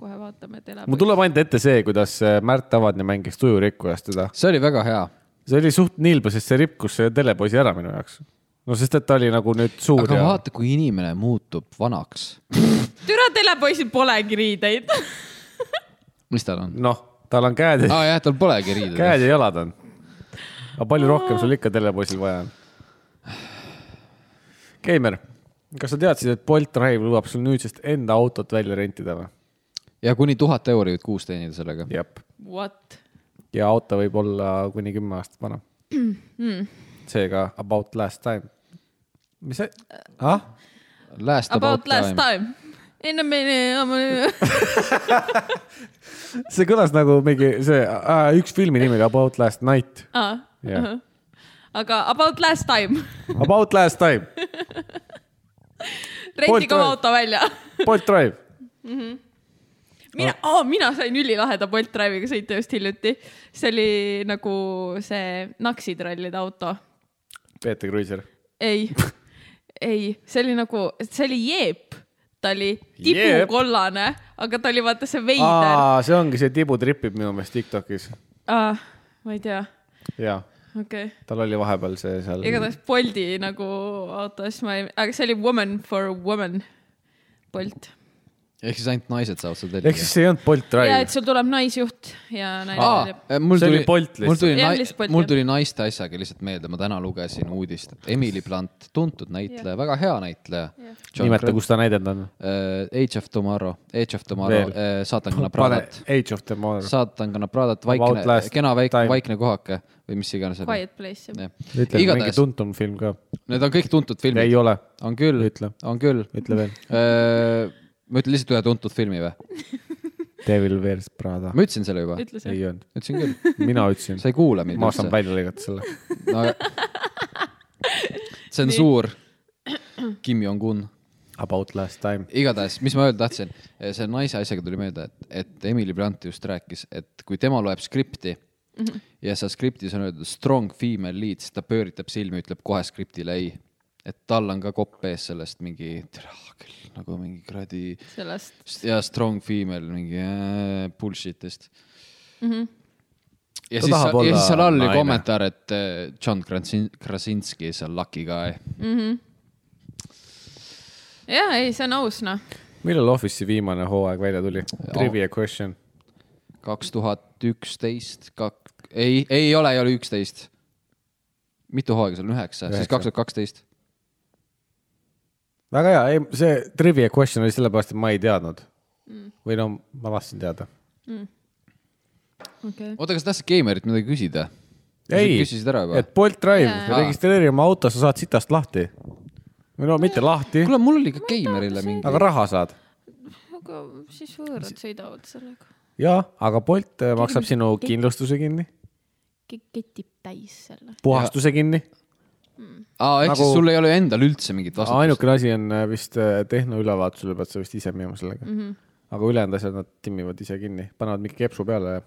A: kohe vaatame tele .
B: mul tuleb ainult ette see , kuidas äh, Märt Avadne mängis tujurikkujast teda .
C: see oli väga hea .
B: see oli suht nilbe , sest see rikkus selle telepoisi ära minu jaoks . no sest , et ta oli nagu nüüd suur
C: aga
B: ja
C: vaata , kui inimene muutub vanaks .
A: türa telepoisil polegi riideid .
C: mis tal on ?
B: noh , tal on käed ja ,
C: aa jah , tal polegi riideid .
B: käed ja jalad on . aga palju rohkem sul ikka telepoisil vaja on ? Keimer , kas sa teadsid , et Bolt Drive lubab sul nüüdsest enda autot välja rentida või ?
C: ja kuni tuhat eurot kuus teenida sellega .
B: jep .
A: What ?
B: ja auto võib olla kuni kümme aastat vana mm. . seega about last time . mis see
A: Äh.
B: ah? ?
C: Last
A: About last . time . enne meil ,
B: see kõlas nagu mingi see äh, üks filmi nimega About last night . Jah.
A: Ah, Äh. aga about last time .
B: About last time ,
A: rentige oma
B: Bolt-
A: auto välja
B: Bolt Drive .
A: mina
B: Ah.
A: oh, , mina sain ülilaheda Bolt Drive'iga sõita just hiljuti . see oli nagu see naksitrallide auto .
B: Peeter Kruiser .
A: ei , ei , see oli nagu , see oli jeep , ta oli
B: Jeep.
A: tibukollane , aga ta oli vaata see veider .
B: aa , see ongi see tibu tripib minu meelest Tiktokis .
A: Ah, ma ei tea ,
B: jaa ,
A: okei okay. ,
B: tal oli vahepeal see seal .
A: igatahes Bolti nagu autos ma ei , aga see oli woman for woman , Bolt .
C: ehk siis ainult naised saavad seda
B: ehk
C: tellida
B: siis . see ei olnud Bolt
A: ja , et
B: Drive .
A: sul tuleb naisjuht ja naine
C: Aa,
A: tuleb .
C: mul
B: See oli
C: tuli
B: Bolt ,
C: mul tuli
A: Jah, lihtsalt Bolt, ,
C: mul
A: jah.
C: tuli naiste asjaga lihtsalt meelde , ma täna lugesin uudist , et Emily Blunt , tuntud näitleja , väga hea näitleja .
B: nimeta , kus ta näidend on .
C: Age of Tomorrow , Age of
B: Veel.
C: Tomorrow , äh, saatankonna
B: pane
C: Pradat ,
B: Age of the Mother .
C: saatankonna Pradat ,
B: About
C: vaikne
B: last ,
C: kena väike
B: time. ,
C: vaikne kohake või mis iganes oli .
A: Quiet Place .
B: ütle mingi
C: igatahes ,
B: tuntum film ka .
C: need on kõik tuntud
B: ei
C: filmid ,
B: ole ,
C: on küll
B: Ütle. ,
C: on küll .
B: ütle veel .
C: ma ütlen lihtsalt ühe tuntud filmi või ?
B: Devil Wears Prada .
C: ma ütlesin selle juba ,
A: ütle see
B: ei . olnud ,
C: ütlesin küll ,
B: mina ütlesin .
C: sa ei kuula mind
B: ma saan . välja lõigata selle .
C: tsensuur , Kim Jong-un
B: About last time .
C: igatahes , mis ma öelda tahtsin , see naise asjaga tuli meelde , et , et Emily Blunt just rääkis , et kui tema loeb skripti mm -hmm. ja seal skriptis on öeldud strong female lead , siis ta pööritab silmi , ütleb kohe skriptile ei . et tal on ka kopp ees sellest mingi , tere küll , nagu mingi kuradi
A: sellest
C: ja strong female mingi äh, bullshit'ist mm .
A: Mhm.
C: -hmm. ja
B: Ta
C: siis
B: tahab ,
C: ja
B: olla
C: siis seal all oli
B: naine.
C: kommentaar , et äh, John Krasin- Krasinski is a lucky guy .
A: Mhm. ja ei , see on aus noh .
B: millal Office'i viimane hooaeg välja tuli ? Trivia question .
C: kaks tuhat üksteist , kak- , ei , ei ole , ei ole üksteist . mitu hooaega seal on , üheksa , siis
B: Üheksa.
C: kaks tuhat kaksteist .
B: väga hea , ei see trivia question oli sellepärast , et ma ei teadnud mm. . või no ma tahtsin teada .
A: okei okay. .
C: oota , kas tahtsid Keimerit midagi küsida ?
B: ei ,
C: küsisid ära juba
B: et ? Bolt Drive yeah.
A: Jaa. ,
B: registreeri oma auto , sa saad sitast lahti . või no mitte lahti ,
C: kuule , mul oli ka Keimerile mingi ,
B: aga raha saad .
A: aga siis võõrad sõidavad sellega .
B: jaa , aga Bolt äh, maksab sinu kindlustuse kinni ,
A: ketib täis selle .
B: puhastuse ja. kinni .
C: aa , ehk
B: nagu-
C: siis sul ei ole endal üldse mingit vastutust .
B: ainukene asi on äh, vist äh, tehnoülevaatusele pead sa vist ise minema sellega mm .
A: Mhm.
B: -hmm. aga ülejäänud asjad nad timmivad ise kinni , panevad mingi kepsu peale ja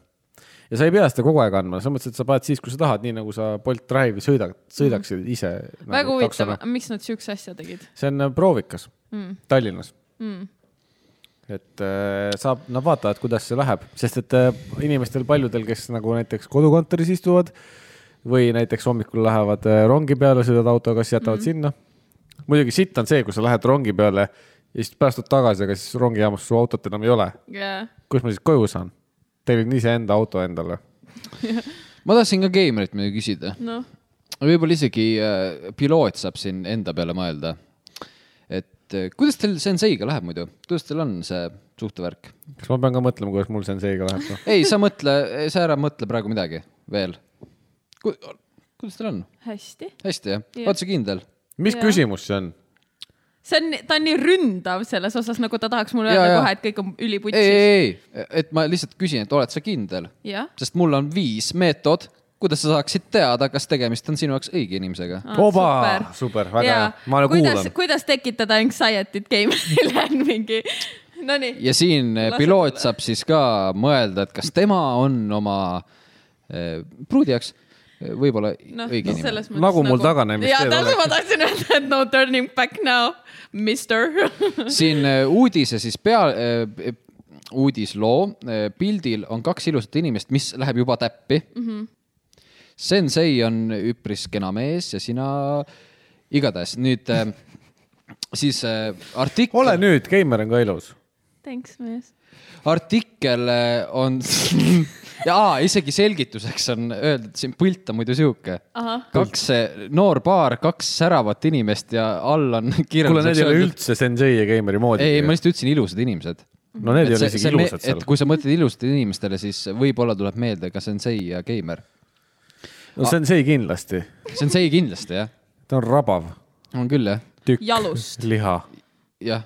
B: ja sa ei pea seda kogu aeg andma , selles mõttes , et sa paned siis , kui sa tahad , nii nagu sa Bolt Drive'i sõidad , sõidaksid ise .
A: Mhm. väga huvitav , miks nad siukse asja tegid ?
B: see on äh, proovikas mm. Tallinnas mm. . et äh, saab , nad vaatavad , kuidas see läheb , sest et äh, inimestel paljudel , kes nagu näiteks kodukontoris istuvad või näiteks hommikul lähevad äh, rongi peale , sõidavad autoga , siis
A: Mhm.
B: jätavad mm. sinna . muidugi sitt on see , kui sa lähed rongi peale ja siis päästud tagasi , aga siis rongijaamas su autot enam ei ole .
A: jaa ,
B: kus ma siis koju saan ? tellin iseenda auto endale .
C: ma tahtsin ka Keimerit midagi küsida .
A: noh ,
C: võib-olla isegi äh, piloot saab siin enda peale mõelda . et äh, kuidas teil Senseiga läheb muidu , kuidas teil on see suhtevärk ?
B: kas ma pean ka mõtlema , kuidas mul senseiga läheb no? ?
C: ei , sa mõtle , sa ära mõtle praegu midagi veel . kuidas teil on ?
A: hästi .
C: hästi jah
A: Jah.
C: yeah. ? oled sa kindel ?
B: mis
A: Jaa.
B: küsimus see on ?
A: see on , ta on nii ründav selles osas , nagu ta tahaks mulle
C: Jaa,
A: öelda
C: jaa.
A: kohe , et kõik on
C: ei ,
A: üliputsis .
C: ei , ei , et ma lihtsalt küsin , et oled sa kindel ,
A: jah ,
C: sest mul on viis meetod , kuidas sa saaksid teada , kas tegemist on sinu jaoks õige inimesega .
A: Ah.
B: Oba! Super, väga hea. Ma nagu
A: kuidas
B: kuulan. ,
A: kuidas tekitada anxiety't game'ile on mingi , nonii .
C: ja siin eh,
A: Lase
C: piloot
A: tulla.
C: saab siis ka mõelda , et kas tema on oma eh, pruudi jaoks eh, võib-olla
A: noh ,
C: õige inimene .
A: selles mõttes
B: Nagu mul taganemist
A: jaa ,
B: ei
A: täpselt
B: ole.
A: ma tahtsin öelda , et no turning back now , mister .
C: siin eh, uudise siis pea , uudisloo eh, pildil on kaks ilusat inimest , mis läheb juba täppi mm . -hmm. Sensei on üpris kena mees ja sina , igatahes nüüd eh, siis eh, artikkel .
B: ole nüüd , Keimer on ka ilus .
A: Thanks , mees .
C: artikkel eh, on ja isegi selgituseks on öeldud , siin pilt on muidu sihuke .
A: ahah ,
C: kaks eh, noor paar , kaks säravat inimest ja all on
B: kuule , need
C: kirjelduseks
B: ei ole üldse Sensei ja Keimeri moodi .
C: ei , ma lihtsalt ütlesin ilusad inimesed .
B: no need ei ole isegi ilusad seal
C: et . kui sa mõtled ilusatele inimestele , siis võib-olla tuleb meelde ka Sensei ja Keimer .
B: no Sensei kindlasti ,
C: Sensei kindlasti jah ,
B: ta on rabav
C: on küll jah ,
B: tükk
A: jalust .
B: liha .
C: jah .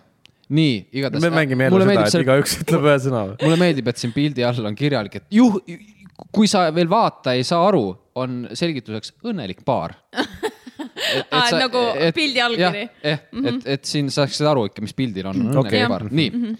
C: nii , igatahes .
B: me mängime jälle seda , et igaüks ütleb ühe sõna .
C: mulle meeldib , et siin pildi all on kirjalik , et juh , kui sa veel vaata ei saa aru , on selgituseks õnnelik paar .
A: Aa, et nagu pildi Mhm. allkiri. .
C: jah , et , et siin saaksid aru ikka , mis pildil on .
A: Mhm,
B: Okei.
C: okei , nii .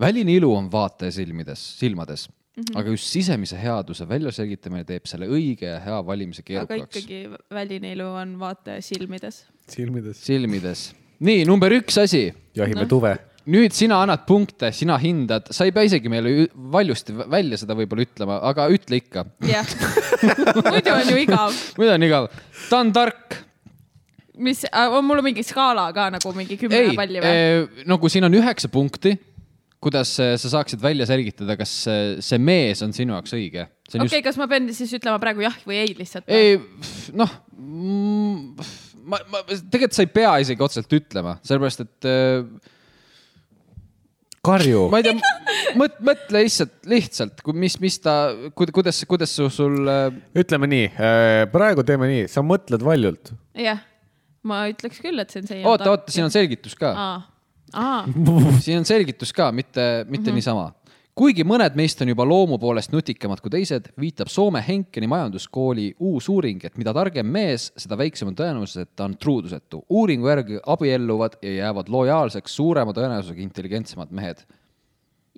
C: väline ilu on vaataja silmides , silmades ,
A: Mhm.
C: aga just sisemise headuse väljaselgitamine teeb selle õige ja hea valimise
A: aga
C: keerukaks .
A: ikkagi väline ilu on vaataja silmides .
B: silmides .
C: silmides . nii , number üks asi
B: jahime tuve .
C: nüüd sina annad punkte , sina hindad , sa ei pea isegi meile ü- valjusti vä- välja seda võib-olla ütlema , aga ütle ikka .
A: jah , muidu on ju igav .
C: muidu on igav . ta on tark .
A: mis , on mul mingi skaala ka nagu mingi kümme
C: ei
A: palli või ?,
C: nagu siin on üheksa punkti , kuidas eh, sa saaksid välja selgitada , kas eh, see mees on sinu jaoks õige . see on
A: okei , kas ma pean siis ütlema praegu jah või ei lihtsalt ?
C: just , ei pff, noh , ma , ma tegelikult sa ei pea isegi otseselt ütlema , sellepärast et eh,
B: karju .
C: ma ei tea , mõt- , mõtle lihtsalt , lihtsalt , mis , mis ta , kuidas , kuidas su- sul eh,
B: ütleme nii , praegu teeme nii , sa mõtled valjult .
A: jah , ma ütleks küll , et see on see .
C: oota , oota , siin on selgitus ka ,
A: aa , aa ,
C: siin on selgitus ka , mitte , mitte mm -hmm. niisama . kuigi mõned meist on juba loomu poolest nutikamad kui teised , viitab Soome Henkeni majanduskooli uus uuring , et mida targem mees , seda väiksem on tõenäosus , et ta on truudusetu . uuringu järgi abielluvad ja jäävad lojaalseks suurema tõenäosusega intelligentsemad mehed .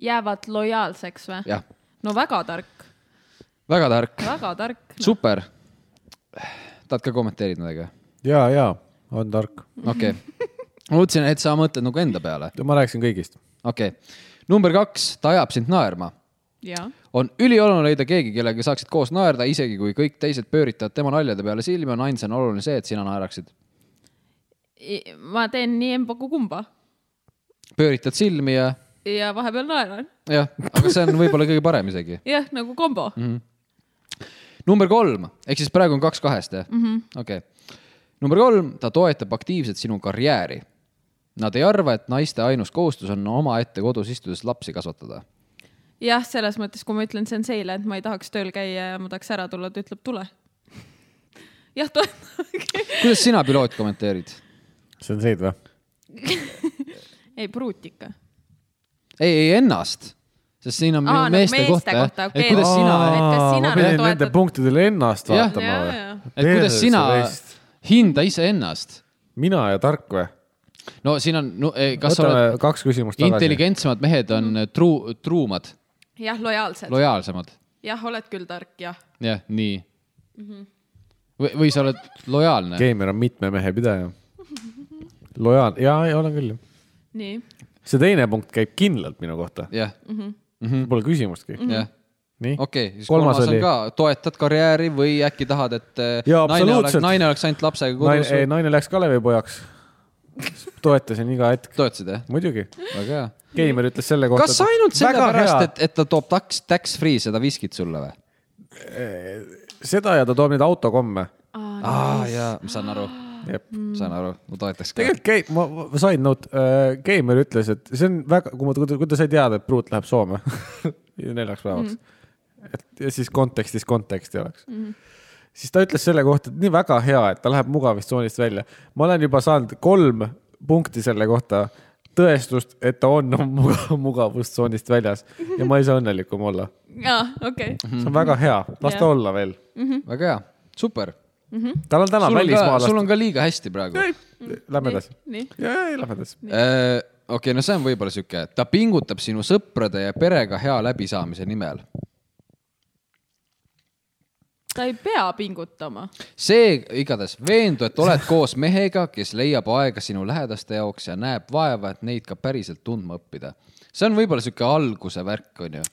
A: jäävad lojaalseks või ?
C: jah ,
A: no väga tark ,
C: väga tark ,
A: väga tark .
C: super . tahad ka kommenteerida midagi ?
B: ja , ja on tark .
C: okei okay. , ma mõtlesin , et sa mõtled nagu enda peale ,
B: ma rääkisin kõigist .
C: okei okay. . number kaks , ta ajab sind naerma
A: jah ,
C: on ülioluline leida keegi , kellega saaksid koos naerda , isegi kui kõik teised pööritavad tema naljade peale silmi , on ainsana oluline see , et sina naeraksid .
A: ma teen nii emba-kumba
C: pööritad silmi ja ,
A: ja vahepeal naeran ,
C: jah , aga see on võib-olla kõige parem isegi .
A: jah nagu kombo mm. .
C: number kolm , ehk siis praegu on kaks kahest , jah ?
A: Mhm.
C: okei . number kolm , ta toetab aktiivselt sinu karjääri . Nad ei arva , et naiste ainus kohustus on omaette kodus istudes lapsi kasvatada .
A: jah , selles mõttes , kui ma ütlen senseile , et ma ei tahaks tööl käia ja ma tahaks ära tulla , ta ütleb tule . jah , tule .
C: kuidas sina , piloot , kommenteerid ?
B: see on seid või ?
A: ei , pruut ikka .
C: ei , ei ennast , sest siin on
A: Aa,
C: Aa,
A: nagu
C: meeste,
A: meeste
C: meeste kohta,
A: kohta,
C: kohta ,
A: okei.
C: okay. kuidas sina
A: Aa. et kas sina
B: ma pidin
A: nagu
B: nende
A: toetad-
B: punktidele ennast
C: Jah.
B: vaatama
A: Jaa,
B: või
A: jaa. ?
C: et kuidas sina hinda iseennast ?
B: mina ja tark või ?
C: no siin on no, , kas sa oled
B: võtame kaks küsimust tagasi .
C: intelligentsemad mehed on truu- , truumad ,
A: jah , lojaalsed .
C: lojaalsemad ,
A: jah , oled küll tark , jah .
C: jah , nii . või , või sa oled lojaalne ,
B: Keimer on mitme mehe pidaja . lojaalne , jaa , jaa , olen küll .
A: nii .
B: see teine punkt käib kindlalt minu kohta ,
C: jah ,
B: pole küsimustki .
C: jah .
B: nii ,
C: Mhm. okei , siis kolmas, kolmas on ka , toetad karjääri või äkki tahad , et eh,
B: Jaa,
C: naine oleks ,
B: absoluutselt.
C: naine oleks ainult lapsega
B: naine ,
C: kodus
B: ei , naine läks Kalevipojaks . toetasin iga hetk ,
C: toetasid jah ,
B: muidugi .
C: väga hea .
B: Keimer ütles selle kohta .
C: kas ainult sellepärast ,? et , et ta toob taks , tax free seda viskit sulle või ?
B: seda ja ta toob neid autokomme .
C: aa jaa , ma saan aru ,
B: jep .
C: saan aru , ma toetaks ka .
B: tegelikult Kei- , ma ma- side note äh, , Keimer ütles , et see on väga , kui ma , kui ta sai teada , et pruut läheb Soome
C: Mhm.
B: neljaks päevaks mm. . et ja siis kontekstis konteksti oleks mm. . siis ta ütles selle kohta , et nii väga hea , et ta läheb mugavast tsoonist välja . ma olen juba saanud kolm punkti selle kohta tõestust , et ta on muga- mugavustsoonist väljas ja ma ei saa õnnelikum olla .
A: aa , okei .
B: see on väga hea , las ta
A: Jah.
B: olla veel .
C: väga hea , super .
B: tal on täna
C: Mhm. sul
B: välismaalast .
C: on ka liiga hästi praegu .
B: Lähme edasi .
A: nii ,
B: ja , ja , ja lähme edasi .
C: Äh, okei , no see on võib-olla sihuke , ta pingutab sinu sõprade ja perega hea läbisaamise nimel .
A: ta ei pea pingutama .
C: see igatahes veendu , et oled koos mehega , kes leiab aega sinu lähedaste jaoks ja näeb vaeva , et neid ka päriselt tundma õppida . see on võib-olla sihuke alguse värk , onju .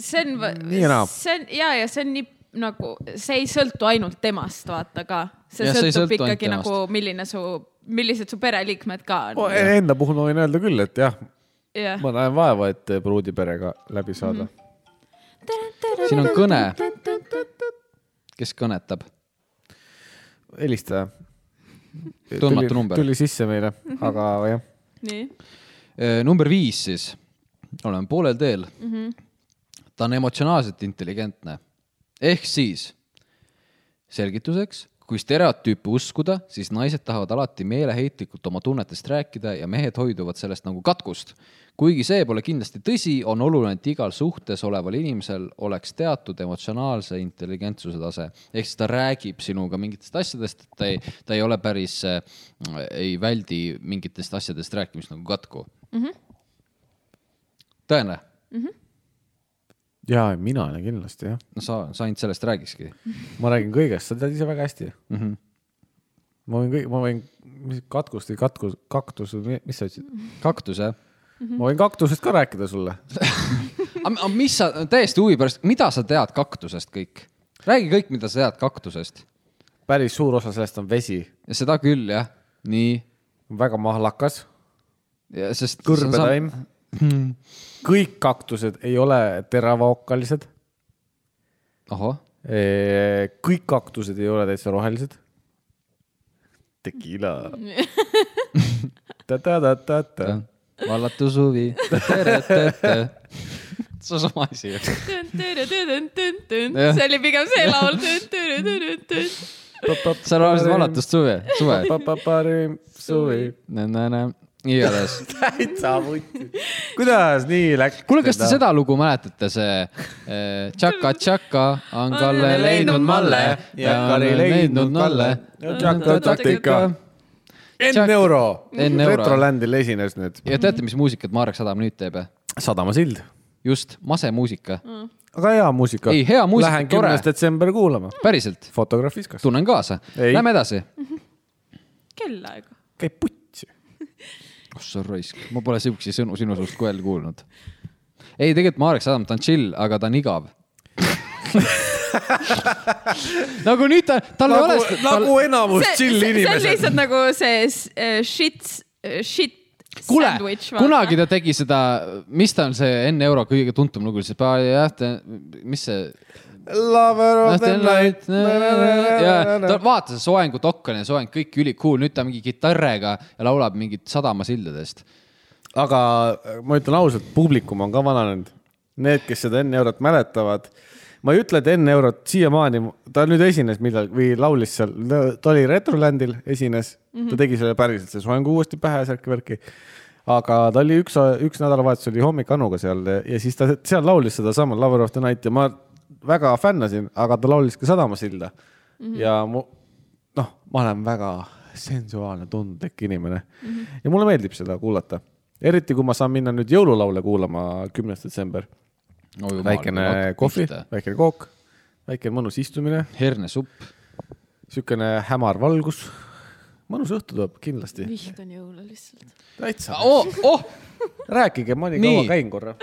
A: see on
B: Nii ja naa. ,
A: see on ja , ja see on nii nagu , see ei sõltu ainult temast , vaata ka . see
C: Jah, see ei
A: sõltub
C: sõltu ainult
A: ikkagi nagu , milline su , millised su pereliikmed ka on .
B: e, Enda puhul ma võin öelda küll , et jah ,
A: jah .
B: ma näen vaeva , et pruudi perega läbi saada .
C: siin on kõne , kes kõnetab .
B: helistaja .
C: Tundmatu number.
B: tuli sisse meile , aga jah ,
A: nii ,
C: Äh, number viis siis , oleme poolel teel mm . -hmm. ta on emotsionaalselt intelligentne . ehk siis , selgituseks , kui stereotüüpi uskuda , siis naised tahavad alati meeleheitlikult oma tunnetest rääkida ja mehed hoiduvad sellest nagu katkust . kuigi see pole kindlasti tõsi , on oluline , et igal suhtes oleval inimesel oleks teatud emotsionaalse intelligentsuse tase . ehk siis ta räägib sinuga mingitest asjadest , ta ei , ta ei ole päris , ei väldi mingitest asjadest rääkimist nagu katku mm . -hmm. tõene ,
B: ja mina olen kindlasti jah ,
C: no sa , sa ainult sellest räägikski
B: ma räägin kõigest , sa tead ise väga hästi .
C: mm . -hmm.
B: ma võin kõik , ma võin , mis katkust või katkus , kaktus või mi- mis sa ütlesid ,
C: kaktus jah ?
B: ma võin kaktusest ka rääkida sulle .
C: aga mis sa , täiesti huvi pärast , mida sa tead kaktusest kõik ? räägi kõik , mida sa tead kaktusest .
B: päris suur osa sellest on vesi ,
C: seda küll jah , nii .
B: väga mahlakas ,
C: sest .
B: kõrbetaim . Mhm. kõik kaktused ei ole teravaokkalised ,
C: ahah ,
B: Äh, kõik kaktused ei ole täitsa rohelised . tekila ta-ta-ta-ta-ta
C: vallatus huvi . see on sama asi . Jah.
A: see oli pigem see laul .
C: sa laulsid vallatust suve , suve .
B: parim suvi .
C: igatahes ,
B: täitsa vuti . kuidas nii läks ?
C: kuule , kas te ? seda lugu mäletate , see eh, Tšaka-tšaka on Kalle leidnud malle ja Kari leidnud nalle .
B: Tšaka-tšatika. Enn
C: Jack-
B: Euro .
C: Enn Euro.
B: retroländil esines nüüd .
C: ja teate , mis muusikat Marek Sadam nüüd teeb ?
B: sadamasild .
C: just , masemuusika ,
B: aga hea muusika .
C: Ei, hea muusika,
B: Lähen
C: tore.
B: kümnes detsember kuulama .
C: päriselt ,
B: fotograaf viskas .
C: tunnen kaasa .
B: Ei.
C: Lähme edasi .
A: kellaaeg ?
B: käib putsi .
C: oh sa raisk , ma pole siukseid sõnu sinu suust kohe kuulnud . ei , tegelikult Marek Sadam , ta on chill , aga ta on igav . nagu nüüd ta , tal ei ole
B: nagu , nagu enamus chill
A: see on
B: inimesed .
A: lihtsalt nagu see s- eh, shit , shit
C: kuule
A: sandwich .,
C: kunagi ta tegi seda , mis ta on see enne euro kõige tuntum lugu , see , mis see .
B: Lover of the night .
C: ja ta vaata see soengu tokkane soeng , kõik ülikool , nüüd ta mingi kitarriga ja laulab mingit sadamasildadest .
B: aga ma ütlen ausalt , publikum on ka vananenud . Need , kes seda Enn Eurot mäletavad , ma ei ütle , et Enn Eurot siiamaani , ta nüüd esines millal või laulis seal , ta oli Retrolandil , esines mm , -hmm. ta tegi selle päriselt , see soeng uuesti pähe , särki värki . aga ta oli üks , üks nädalavahetus oli hommik Anuga seal ja siis ta seal laulis sedasama Lover of the Night ja ma väga fännasin , aga ta laulis ka Sadamasilda mm . -hmm. ja mu , noh , ma olen väga sensuaalne tundlik inimene mm -hmm. ja mulle meeldib seda kuulata . eriti kui ma saan minna nüüd jõululaule kuulama , kümnes detsember .
C: Oh,
B: väikene kohvi , väikene kook , väike mõnus istumine ,
C: hernesupp ,
B: niisugune hämar valgus . mõnus õhtu tuleb kindlasti ,
A: vihkan jõule lihtsalt .
B: täitsa .
C: oh , oh ,
B: rääkige , ma nii
C: Nii.
B: kaua käin korra .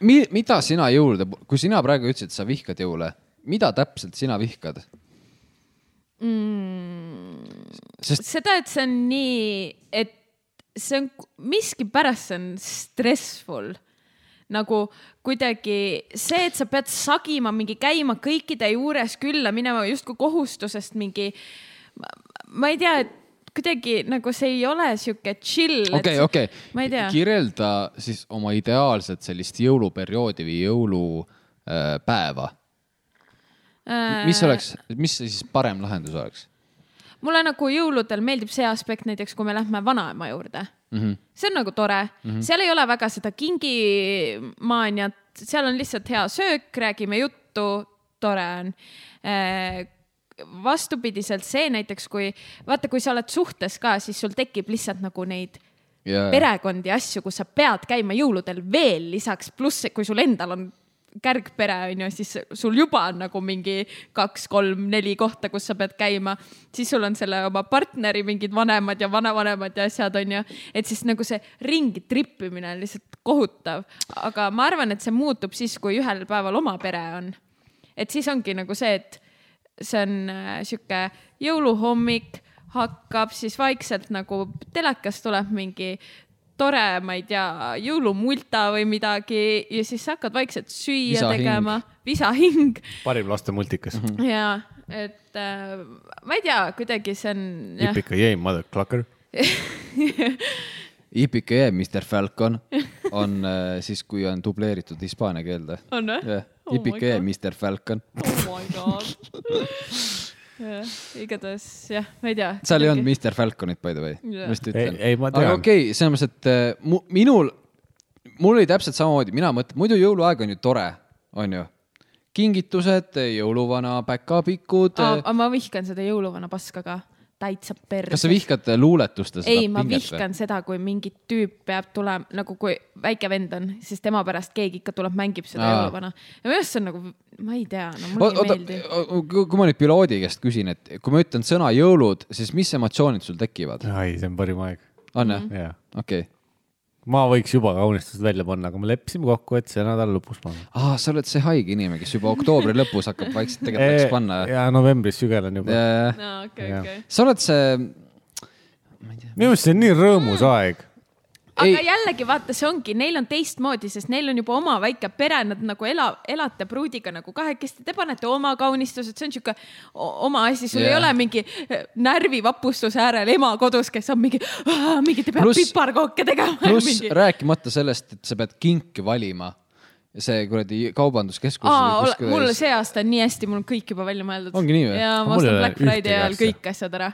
C: mi- , mida sina jõulude , kui sina praegu ütlesid , et sa vihkad jõule , mida täpselt sina vihkad ?
A: Mm.
C: sest
A: seda , et see on nii , et see on miskipärast , see on stressful nagu kuidagi see , et sa pead sagima mingi käima kõikide juures külla minema justkui kohustusest mingi . ma ei tea , et kuidagi nagu see ei ole sihuke chill .
C: okei , okei
A: ma ei tea. ,
C: kirjelda siis oma ideaalset sellist jõuluperioodi või jõulupäeva .
A: Äh.
C: mis ? oleks , mis siis parem lahendus oleks
A: mulle nagu jõuludel meeldib see aspekt näiteks , kui me lähme vanaema juurde
C: mm ? -hmm.
A: see on nagu tore mm , -hmm. seal ei ole väga seda kingimaaniat , seal on lihtsalt hea söök , räägime juttu , tore on . vastupidiselt see näiteks , kui vaata , kui sa oled suhtes ka , siis sul tekib lihtsalt nagu neid
C: ja
A: perekondi ja asju , kus sa pead käima jõuludel veel lisaks , pluss kui sul endal on kärgpere onju , siis sul juba on nagu mingi kaks-kolm-neli kohta , kus sa pead käima , siis sul on selle oma partneri mingid vanemad ja vanavanemad ja asjad onju , et siis nagu see ringi tripimine on lihtsalt kohutav , aga ma arvan , et see muutub siis , kui ühel päeval oma pere on . et siis ongi nagu see , et see on äh, sihuke jõuluhommik , hakkab siis vaikselt nagu telekast tuleb mingi tore , ma ei tea , jõulumulta või midagi ja siis sa hakkad vaikselt süüa
C: Visahing.
A: visahing. tegema , visahing
B: parim laste multikas .
A: ja et äh, ma ei tea , kuidagi see on jah ,
B: Ipika jäi , mother clucker .
C: IPKE , Mr Falcon on äh, siis , kui on dubleeritud hispaania keelde .
A: on Oh või
C: jah , E IPKE , Mr Falcon .
A: oh my god jah , igatahes jah , ma ei tea .
C: seal ei olnud Mr Falconit by the way ,
A: Jaa.
C: ma just
B: ei
C: ütlen .,
B: ei ma
C: aga
B: tean .
C: okei okay, , selles mõttes , et äh, mu, minul , mul oli täpselt samamoodi , mina mõtlen , muidu jõuluaeg on ju tore , on ju . kingitused , jõuluvana päkapikud .
A: aga ma vihkan seda jõuluvana paska ka , täitsa perse .
C: kas sa vihkad äh, luuletuste seda
A: ei , ma
C: pinget või ?
A: vihkan seda , kui mingi tüüp peab tulema , nagu kui väike vend on , siis tema pärast keegi ikka tuleb , mängib seda
C: Aa.
A: jõuluvana . ja minu arust see on nagu , ma ei tea , no mulle ei
C: oota ,
A: meeldi .
C: kui ma nüüd piloodi käest küsin , et kui ma ütlen sõna jõulud , siis mis emotsioonid sul tekivad ?
B: ai , see on parim aeg .
C: on jah ?
B: jaa .
C: okei okay. .
B: ma võiks juba kaunistused välja panna , aga me leppisime kokku , et see nädala lõpus paneme .
C: aa , Ah, sa oled see haige inimene , kes juba oktoobri lõpus hakkab vaikselt
B: Eh,
C: tegelikult võiks panna .
B: jaa , novembris sügelen juba .
A: no okei ,
B: Jah.
A: okei .
C: sa oled see ,
B: minu meelest see on nii rõõmus aeg .
A: aga
C: Ei.
A: jällegi vaata , see ongi , neil on teistmoodi , sest neil on juba oma väike pere , nad nagu ela , elate pruudiga nagu kahekesti , te panete oma kaunistused , see on sihuke o- oma asi , sul yeah. ei
C: Jah.
A: ole mingi eh, närvivapustuse äärel ema kodus , kes on mingi , mingite peab
C: Pluss-
A: piparkooke tegema .
C: pluss rääkimata sellest , et sa pead kinki valima . see kuradi kaubanduskeskus .
A: aa , ole , mul see aasta on nii hästi , mul on kõik juba välja mõeldud .
C: Ongi nii või?
A: ja
B: Aga
A: ma
B: mul
A: ostan
B: ei ole
A: Black Friday
B: ühtegi
A: ajal
B: asja.
A: kõik asjad ära .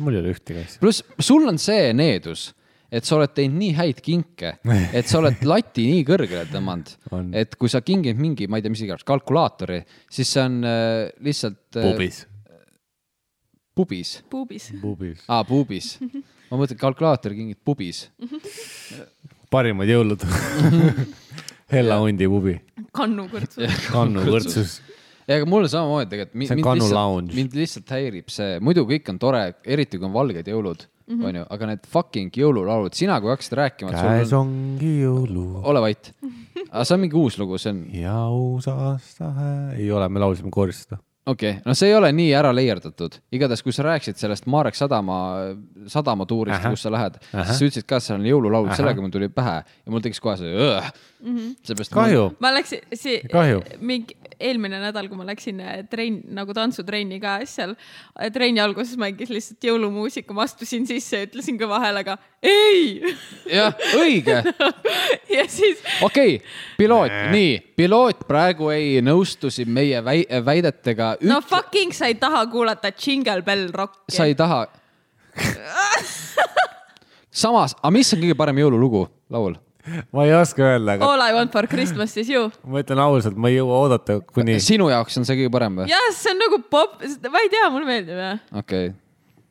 B: mul ei ole ühtegi asja .
C: pluss sul on see needus , et sa oled teinud nii häid kinke , et sa oled lati nii kõrgele tõmmanud
B: On. ,
C: et kui sa kingid mingi , ma ei tea , mis iganes , kalkulaatori , siis see on äh, lihtsalt äh,
B: pubis .
C: pubis .
A: puubis .
B: pubis .
C: aa , pubis . ma mõtlen , kalkulaator kingid pubis .
B: parimad jõulud . Hella hundi pubi .
A: kannu kõrtsu .
B: kannu võrdsus .
C: ega mul samamoodi tegelikult .
B: See on Kanu lounge.
C: mind lihtsalt häirib see , muidu kõik on tore , eriti kui on valged jõulud mm , -hmm. onju , aga need fucking jõululaulud , sina kui hakkasid rääkima , et
B: käes
C: sul on ,
B: ongi jõulu
C: ole vait . aga see on mingi uus lugu , see on ,
B: ja uus aasta . ei ole , me laulsime kooris seda .
C: okei okay. , no see ei ole nii ära leierdatud , igatahes , kui sa rääkisid sellest Marek Sadama , sadama tuurist ,
B: Ahah.
C: kus sa lähed ,
B: Ahah.
C: siis sa ütlesid ka , et seal on jõululaul ,
B: Ahah.
C: sellega mul tuli pähe ja mul tekkis kohe see mm -hmm. . seepärast .
B: kahju .
A: ma läksin , see
B: Kahju.
A: mingi eelmine nädal , kui ma läksin eh, trenn , nagu tantsutrenni ka , siis seal eh, trenni alguses mängis lihtsalt jõulumuusika , ma astusin sisse ja ütlesin kõva häälega ei
C: jah , õige ,
A: ja siis
C: okei okay. , piloot , nii , piloot praegu ei nõustu siin meie väi- , väidetega .
A: no fucking sa ei taha kuulata Jingle Bell Rocki .
C: sa ei taha . samas , aga mis on kõige parem jõululugu , laul ?
B: ma ei oska öelda , aga
A: All I want for Christmas is you .
C: Oh.
B: ma ütlen ausalt , ma ei jõua oodata , kuni
C: sinu jaoks on see kõige parem või ?
A: jah , see on nagu pop , ma ei tea , mulle meeldib jah .
C: okei okay. ,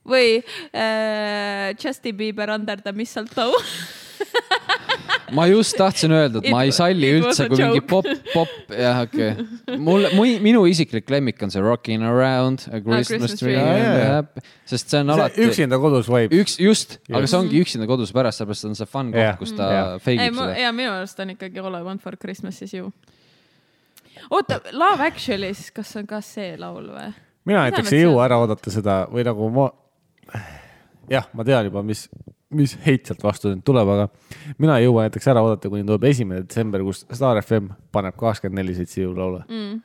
A: või äh, Justin Bieber Under the Mistletoe .
C: ma just tahtsin öelda , et ma ei
A: It-
C: salli
A: it was
C: üldse
A: a ,
C: kui mingi
A: joke.
C: pop , pop , jah , okei okay. . mul , minu isiklik lemmik on see Rockin' around a Christmas
A: Ah, Christmas
C: tree
A: tree.
B: Jaa, jaa.
C: yeah. , sest see on alati üks,
B: üksinda kodus vaib .
C: just , aga
B: Just.
C: see ongi üksinda kodus pärast , sellepärast on see fun koht
B: Jah,
C: yeah. , kus ta
B: jah.
C: yeah. fake
A: ei ,
C: ib seda .
A: ja minu arust on ikkagi All I want for Christmas is you . oota , Love Actualis , kas on ka see laul või ?
B: mina
A: Mida
B: näiteks
A: nad
B: ei
A: seal-
B: jõua ära oodata seda või nagu ma , jah , ma tean juba , mis , mis heit sealt vastu nüüd tuleb , aga mina ei jõua näiteks ära oodata , kuni tuleb esimene detsember , kus Star FM paneb kakskümmend neli seitse jõululaule mm. .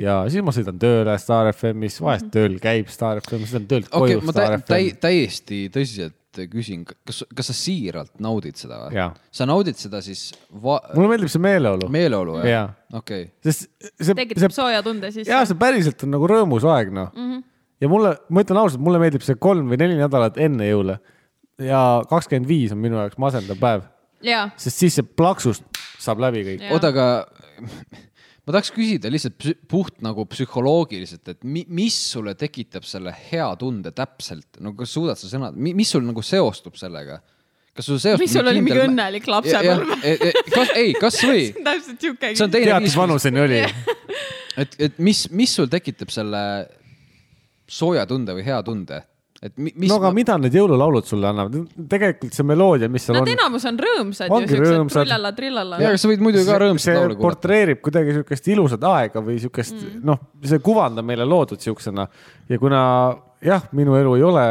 B: ja siis ma sõidan tööle Star FM-is , vahest tööl käib Star FM , sõidan töölt
C: okei
B: koju
C: okay, , ma
B: Star
C: tä-
B: FM
C: täi- , täiesti tõsiselt et küsin , kas , kas sa siiralt naudid seda või
B: Jaa. ?
C: sa naudid seda siis va- ,
B: mulle meeldib see meeleolu ,
C: meeleolu
B: Jaa.
C: jah ? okei ,
B: sest see ,
A: tekitab
B: see ,
A: sooja tunde siis .
B: jaa , see päriselt on nagu rõõmus aeg , noh mm . -hmm. ja mulle , ma ütlen ausalt , mulle meeldib see kolm või neli nädalat enne jõule ja kakskümmend viis on minu jaoks masendav päev ,
A: jaa ,
B: sest siis see plaksust saab läbi kõik .
A: Jaa.
C: oota , aga ma tahaks küsida lihtsalt psü- puht nagu psühholoogiliselt , et mi, mis sulle tekitab selle hea tunde täpselt , no kas suudad sa sõna , mis sul nagu seostub sellega ? kas sul seostub ?
A: Mis sul oli mingi õnnelik lapsepõlv? ?
C: kas , ei , kas või ?
A: täpselt siuke .
C: see on teine
B: tead , mis vanuseni oli ?
C: et , et mis , mis sul tekitab selle sooja tunde või hea tunde ? et mi, mis
B: no aga mida need jõululaulud sulle annavad ? tegelikult see meloodia , mis seal
A: Nad
B: on ,
A: enamus on rõõmsad ju ,
B: Ongi
A: siuksed
B: rõõmsad.
A: trullala , trillala .
C: ja kas sa võid muidu ka rõõmsat laulu kuulata ?
B: portreerib kuidagi siukest ilusat aega või siukest mm. , noh , see kuvand on meile loodud siuksena ja kuna jah , minu elu ei ole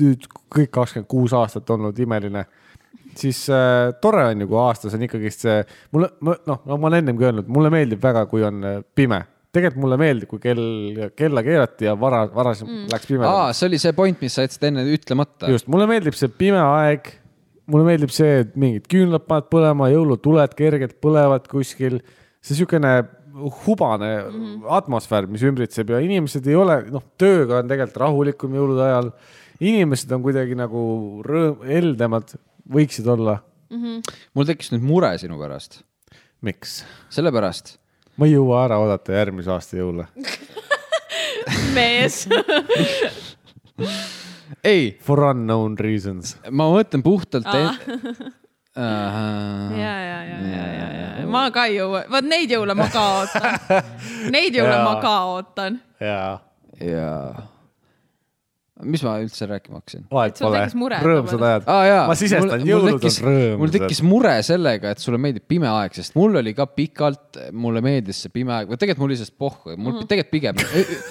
B: nüüd kõik kakskümmend kuus aastat olnud imeline , siis äh, tore on ju , kui aastas on ikkagist see , mulle , noh , ma olen ennemgi öelnud , mulle meeldib väga , kui on äh, pime tegelikult mulle meeldib , kui kell , kella keerati ja vara , varasem mm. läks pimedaks .
C: aa , see oli see point , mis sa jätsid enne ütlemata .
B: just , mulle meeldib see pime aeg , mulle meeldib see , et mingid küünlad panevad põlema , jõulutuled kergelt põlevad kuskil . see siukene hubane mm
A: Mhm.
B: -hmm. atmosfäär , mis ümbritseb ja inimesed ei ole , noh , tööga on tegelikult rahulikum jõulude ajal . inimesed on kuidagi nagu rõõm , heldemad võiksid olla .
C: mul tekkis nüüd mure sinu pärast ,
B: miks ?
C: sellepärast
B: ma ei jõua ära oodata järgmise aasta jõule .
A: mees .
C: ei ,
B: For unknown reasons .
C: ma mõtlen puhtalt
A: Aa.
C: en... .
A: ja ,
C: Uh,
A: ja , ja , ja , ja , ja , ma ka ei jõua , vot neid jõule ma ka ootan . Neid jõule
B: Jaa.
A: ma ka ootan .
B: jaa ,
C: ja mis ma üldse rääkima hakkasin ?
B: vahet
A: Et sul
B: pole
A: tekkis , mure
B: rõõmsad ajad
A: tõepoolest.
C: Ah, jaa.
B: ma sisestan ,
C: Mul- mul
B: jõulud on
C: tekkis-
B: rõõmsad .
C: mul tekkis mure sellega , et sulle meeldib pime aeg , sest mul oli ka pikalt , mulle meeldis see pime aeg , või tegelikult mul oli sellest pohhu , mul mm -hmm. tegelikult pigem ,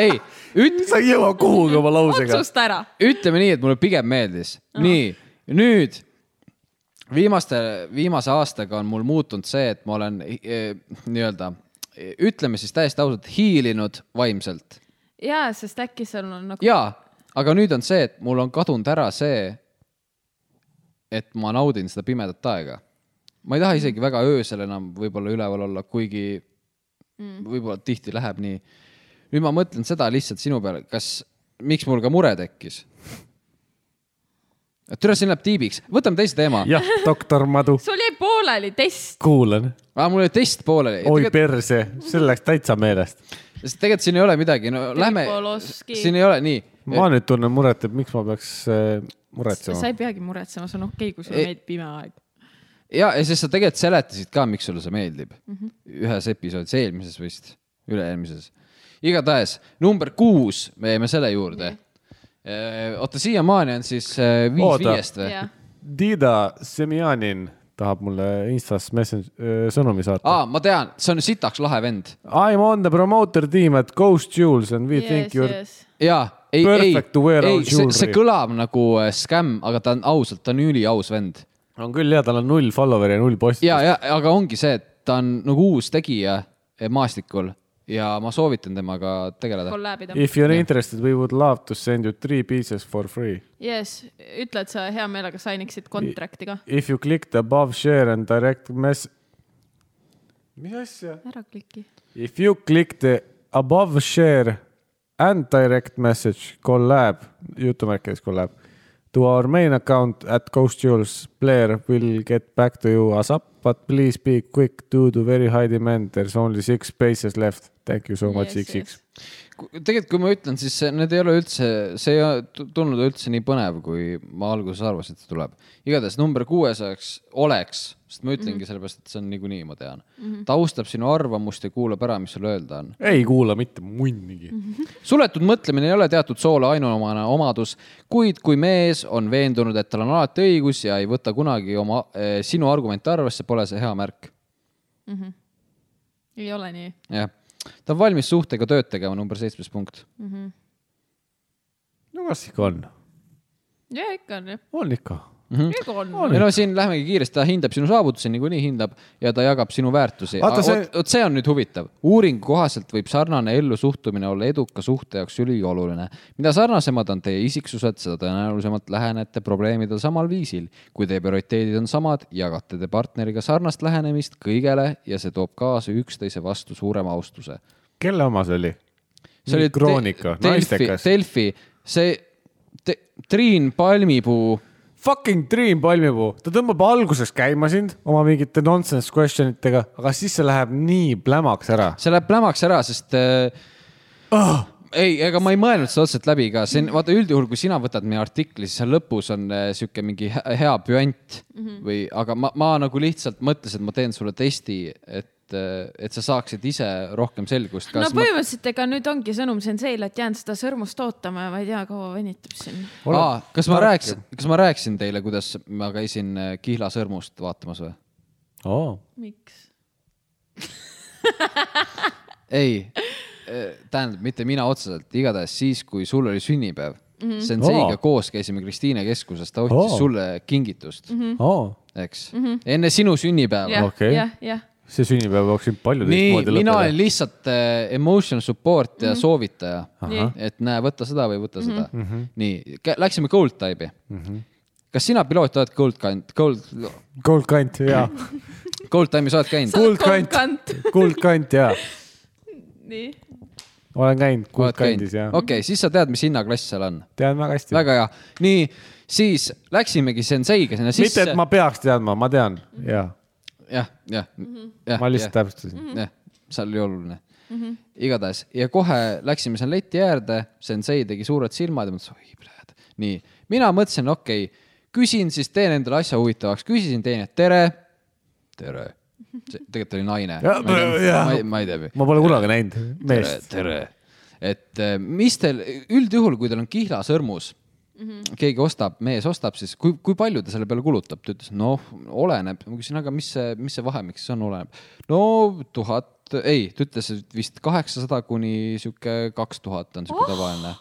C: ei , üt- ,
B: sa ei jõua kuhugi oma lausega .
A: otsusta ära .
C: ütleme nii , et mulle pigem meeldis mm , -hmm. nii , nüüd viimaste , viimase aastaga on mul muutunud see , et ma olen eh, nii-öelda , ütleme siis täiesti ausalt , hiilinud vaimselt
A: ja , sest äkki seal on nagu ,
C: jaa , aga nüüd on see , et mul on kadunud ära see , et ma naudin seda pimedat aega . ma ei taha isegi väga öösel enam võib-olla üleval olla , kuigi võib-olla tihti läheb nii . nüüd ma mõtlen seda lihtsalt sinu peale , kas , miks mul ka mure tekkis ? türa , siin läheb tiibiks , võtame teise teema .
B: jah , doktor Madu ,
A: sul jäi pooleli test .
B: kuulan .
C: aa , Ah, mul oli test pooleli .
B: oi perse , see läks täitsa meelest .
C: sest tegelikult siin ei ole midagi , no lähme ,
A: Tripoloski.
C: siin ei ole nii .
B: ma nüüd tunnen muret , et miks ma peaks äh,
A: sa
B: muretsema .
A: ei peagi muretsema , see on okei , kui sulle
C: Ei-
A: meeldib pime aeg .
C: ja , ja sest sa tegelikult seletasid ka , miks sulle see meeldib mm . -hmm. ühes episoodis , eelmises vist , üle-eelmises . igatahes number kuus , me jäime selle juurde . oota , siiamaani on siis eh, viis
B: Oota.
C: oota. viiest või ?
A: jah ,
B: Dida Semjanin tahab mulle Instas message , sõnumi saata ah. .
C: aa , ma tean , see on sitaks lahe vend .
B: I am on the promoter team at Ghost Jewels and we Ah.
A: yes ,
B: yes, think you are yes.
A: yes .
C: jaa , ei , ei ,
B: Perfect to wear
C: ei
B: out ,
C: see, see
B: jewelry.
C: kõlab nagu eh, skäm , aga ta on ausalt , ta on üliaus vend .
B: on küll hea , tal on null follower'i ja null postitust
C: ja , ja , aga ongi see , et ta on nagu uus tegija eh, maastikul ja ma soovitan temaga tegeleda .
A: kolläbida .
B: If you are interested , we would love to send you three pieces for free .
A: Yes , ütle , et sa hea meelega sainiksid contract'i ka .
B: If you click the above share and direct mess- . mis asja ?
A: ära kliki .
B: If you click the above share and direct message collab , jutumärkides collab , to our main account at Ghost Jewels player will get back to you asap , but please be quick due to very high demand , there is only six spaces left . Thank you so much yes, , XX yes. ..
C: Ku- tegelikult , kui ma ütlen , siis see- need ei ole üldse , see ei ole tu- tulnud üldse nii põnev , kui ma alguses arvasin , et see tuleb . igatahes number kuuesajaks oleks , sest ma ütlengi mm -hmm. sellepärast , et see on niikuinii , ma tean mm . -hmm. ta austab sinu arvamust ja kuulab ära , mis sul öelda on .
B: ei kuula mitte munnigi mm . -hmm.
C: suletud mõtlemine ei ole teatud soole ainuomane omadus , kuid kui mees on veendunud , et tal on alati õigus ja ei võta kunagi oma , sinu argumente arvesse , pole see hea märk .
A: ei ole nii .
C: jah , ta on valmis suhtega tööd tegema , number seitsmes punkt .
A: Mhm.
B: no kas ikka on ?
A: ja ikka on jah .
B: on ikka .
A: ega on .
C: ei no siin lähmegi kiiresti , ta hindab sinu saavutusi , niikuinii hindab ja ta jagab sinu väärtusi .
B: Vaata,
C: vot
B: see-
C: see... see on nüüd huvitav . uuringu kohaselt võib sarnane ellusuhtumine olla eduka suhte jaoks ülioluline . mida sarnasemad on teie isiksused , seda tõenäolisemalt lähenete probleemidele samal viisil . kui teie prioriteedid on samad , jagate te partneriga sarnast lähenemist kõigele ja see toob kaasa üksteise vastu suurema austuse .
B: kelle oma see oli ?
C: see oli
B: Kroonika ,
C: Delfi ,
B: naistekas .
C: Delfi , see te, Triin Palmipuu
B: Fucking Dream palmipuu , ta tõmbab alguses käima sind oma mingite nonsense question itega , aga siis see läheb nii plämaks ära .
C: see läheb plämaks ära , sest äh,
B: Oh,
C: ei , ega ma ei mõelnud seda otseselt läbi ka , see on , vaata üldjuhul , kui sina võtad meie artikli , siis seal lõpus on äh, sihuke mingi hä- hea püant mm -hmm. või , aga ma , ma nagu lihtsalt mõtlesin , et ma teen sulle testi , et , et sa saaksid ise rohkem selgust .
A: no põhimõtteliselt , ega nüüd ongi sõnum Senseile , et jään seda sõrmust ootama ja ma ei tea , kaua venitab siin .
B: Ole
C: Aa, kas ma
B: tark
C: rääkisin , kas ma rääkisin teile , kuidas ma käisin äh, Kihla sõrmust vaatamas või ?
B: oh. .
A: miks ?
C: ei , tähendab mitte mina otseselt , igatahes siis , kui sul oli sünnipäev mm -hmm. , Senseiga
B: Oo.
C: oh. koos käisime Kristiine keskuses , ta ostis
B: Oo.
C: oh. sulle kingitust mm ,
B: Oh.
C: -hmm. eks mm , -hmm. enne sinu sünnipäeva
A: jah ,
B: Okei.
A: jah , jah .
B: see sünnipäev peaks siin palju
C: nii ,
B: teistmoodi
C: mina
B: lõppeda
C: olen . lihtsalt äh, emotion support ja mm -hmm. soovitaja
A: Ahah. ,
C: et näe , võta seda või võta seda mm . -hmm. nii , läksime Gold Type'i mm . -hmm. kas sina , piloot , oled Gold Kind , Gold ,
B: kuldkant , jaa .
C: Gold Time'is oled käinud ?
B: kuldkant , kuldkant , jaa .
A: nii .
B: olen käinud
C: oled
B: kuldkandis , jaa .
C: okei okay, , siis sa tead , mis hinnaklass seal on .
B: tean väga hästi .
C: väga hea , nii , siis läksimegi Senseiga sinna sisse .
B: mitte , et ma peaks teadma , ma tean , jaa .
C: jah , jah , jah .
B: ma lihtsalt . täpsustasin .
C: jah , seal oli oluline mm . -hmm. igatahes ja kohe läksime seal leti äärde , sensei tegi suured silmad ja mõtles , oi , pljääd . nii , mina mõtlesin , okei okay, , küsin siis , teen endale asja huvitavaks , küsisin teine , tere . tere . tegelikult oli naine .
B: Ja, jah.
C: ma ei tea .
B: ma pole kunagi näinud meest .
C: tere , tere . et eh, mis teil üldjuhul , kui teil on kihla sõrmus mm , -hmm. keegi ostab , mees ostab , siis kui , kui palju ta selle peale kulutab ? ta ütles , noh , oleneb . ma küsin , aga mis see , mis see vahemik siis on , oleneb ? no tuhat , ei , ta ütles et vist kaheksasada kuni sihuke kaks tuhat on sihuke tavaline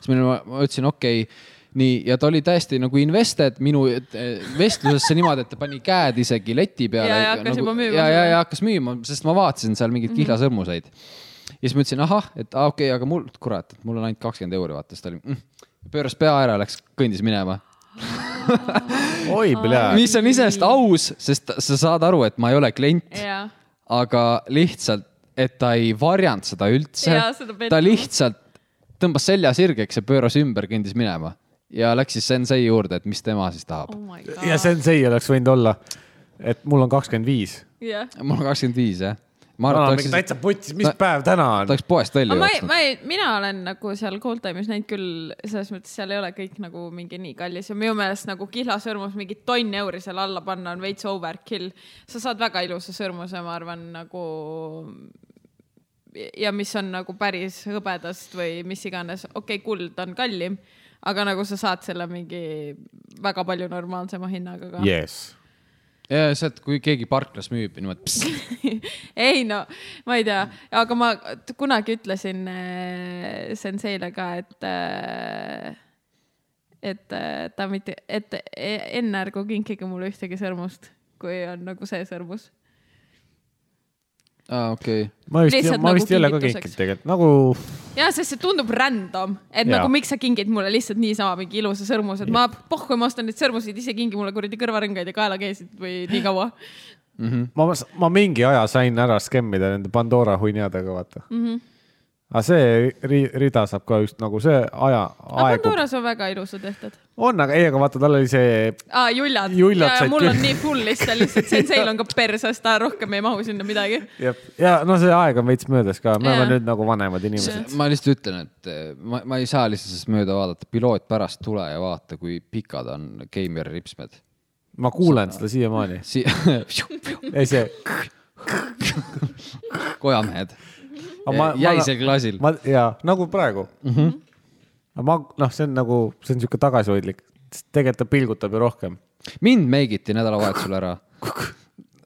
C: siis meil , ma ütlesin , okei okay, , nii , ja ta oli täiesti nagu invested minu et- vestlusesse niimoodi , et ta pani käed isegi leti peale .
A: Ja- ja hakkas
C: nagu,
A: juba müüma. Mhm.
C: ja , ja , ja hakkas müüma , sest ma vaatasin seal mingeid kihlasõrmuseid . ja siis ma ütlesin , ahah , et aa, okei okay, , aga mul , kurat , et mul on ainult kakskümmend euri , vaata , siis ta oli mm. , pööras pea ära , läks , kõndis minema .
B: oi , pljaa .
C: mis on iseenesest aus , sest ta- sa saad aru , et ma ei ole klient ,
A: jaa .
C: aga lihtsalt , et ta ei varjanud seda üldse
A: Jaa, seda .
C: ta
A: pettumust.
C: lihtsalt tõmbas selja sirgeks ja pööras ümber , kõndis minema ja läks siis sensei juurde , et mis tema siis tahab
A: oh
C: oh. .
A: my
B: ja
A: god .
B: sensei oleks võinud olla , et mul on kakskümmend viis .
A: jah .
C: mul on kakskümmend viis jah . ma
B: ma
C: arvan ,
B: olen
C: et
B: mingi
C: ta oleks ,
B: täitsa putsis , mis
C: Ta-
B: päev täna on
C: ta ? oleks poest välja
A: aga ma ei ,
C: jooksnud .
A: ma ei , mina olen nagu seal Cold Time'is näinud küll , selles mõttes seal ei ole kõik nagu mingi nii kallis ja minu meelest nagu kihlasõrmus mingi tonn euri seal alla panna on veits overkill . sa saad väga ilusa sõrmuse , ma arvan , nagu ja mis on nagu päris hõbedast või mis iganes , okei okay, , kuld on kallim , aga nagu sa saad selle mingi väga palju normaalsema hinnaga ka .
B: jess .
C: ja sealt , kui keegi parklas müüb niimoodi .
A: ei no ma ei tea , aga ma t- kunagi ütlesin äh, senseile ka , et äh, et äh, ta mitte , et e- enne ärgu kinkige mulle ühtegi sõrmust , kui on nagu see sõrmus .
C: aa okei okay. .
B: ma vist
A: Lihtsalt ,
B: ma
A: nagu
B: vist ei ole ka
A: kingituseks.
B: kinkinud tegelikult , nagu
A: ja sest see tundub random , et
B: Jaa.
A: ja. nagu miks sa kingid mulle lihtsalt niisama mingi ilusa sõrmuse , et ma pohhu , ma ostan neid sõrmuseid ise , kingi mulle kuradi kõrvarõngaid ja kaelakeesid või nii kaua .
C: Mhm.
B: ma , ma mingi aja sain ära skemmida nende Pandora hunniadega , vaata mm .
A: Mhm.
B: -hmm. aga see ri, rida saab ka just nagu see aja ,
A: aga
B: aegub .
A: Pandoras on väga ilusad tehtud .
B: on , aga ei , aga vaata , tal oli see ,
A: aa , juljad,
B: Juljad
A: ja
B: said
A: mul on
B: küll.
A: nii full lihtsalt , lihtsalt senseil on ka perses , ta rohkem ei mahu sinna midagi
B: ja no see aeg on veits möödas ka , me
A: Jaa.
B: oleme nüüd nagu vanemad inimesed .
C: ma lihtsalt ütlen , et eh, ma , ma ei saa lihtsalt sellest mööda vaadata , piloot pärast tule ja vaata , kui pikad on Keimeri ripsmed .
B: ma kuulen seda siiamaani .
C: Si- ,
B: ei see ,
C: kojamehed .
B: Aga ma-
C: jäi
B: ma-
C: see Mhm. klaasil .
B: ma ja nagu praegu mm . -hmm. ma noh , see on nagu , see on sihuke tagasihoidlik , sest tegelikult ta pilgutab ju rohkem .
C: mind meigiti nädalavahetusel ära .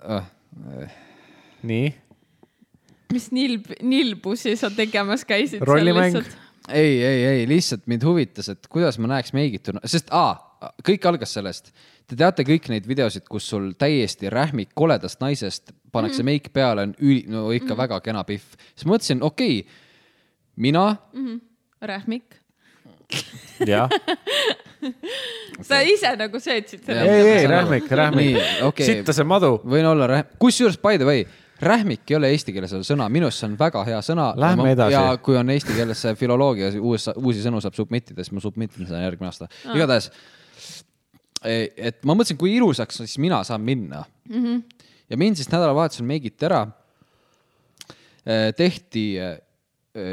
C: Ah.
B: nii ,
A: mis nilb , nilbusi sa tegemas käisid ?
B: Rollimäng.
C: ei , ei , ei lihtsalt mind huvitas , et kuidas ma näeks meigituna , sest aa , kõik algas sellest . Te teate kõik neid videosid , kus sul täiesti rähmik koledast naisest pannakse mm -hmm. meik peale , on üli , no ikka mm -hmm. väga kena pihv . siis mõtlesin , okei okay, , mina
A: rähmik .
B: jah ,
A: sa ise nagu seetsid
C: Jah.
A: selle .
B: ei , ei rähmik , rähmik
C: Nii, . okei.
B: sitta see madu .
C: võin olla rähm- , kusjuures by the way , rähmik ei ole eesti keeles veel sõna , minu arust see on väga hea sõna .
B: Lähme edasi.
C: ja kui on eesti keeles see filoloogia , uus , uusi sõnu saab submit ida , siis ma submit in seda järgmine aasta . igatahes , et ma mõtlesin , kui ilusaks siis mina saan minna mm . -hmm. ja mind siis nädalavahetusel meigiti ära . Äh, tehti eh,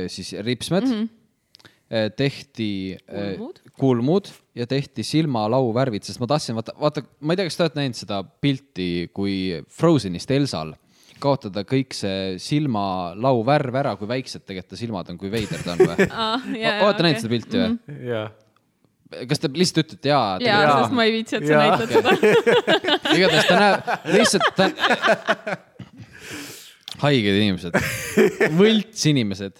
C: siis ripsmed mm . -hmm tehti eh,
A: Mhm. Kulmud.
C: kulmud ja tehti silmalauvärvid , sest ma tahtsin , vaata , vaata , ma ei tea , kas te olete näinud seda pilti , kui Frozenist Elsal kaotada kõik see silmalauvärv ära , kui väiksed tegelikult ta silmad on , kui veider ta on või ? olete näinud seda pilti või ?
B: jah .
C: kas te lihtsalt ütlete jaa ?
A: Mhm. jaa ,
B: Jaa.
A: sest ma ei viitsi , et sa
B: Jaa.
A: näitad seda .
C: igatahes ta näeb , lihtsalt ta . haiged inimesed , võlts inimesed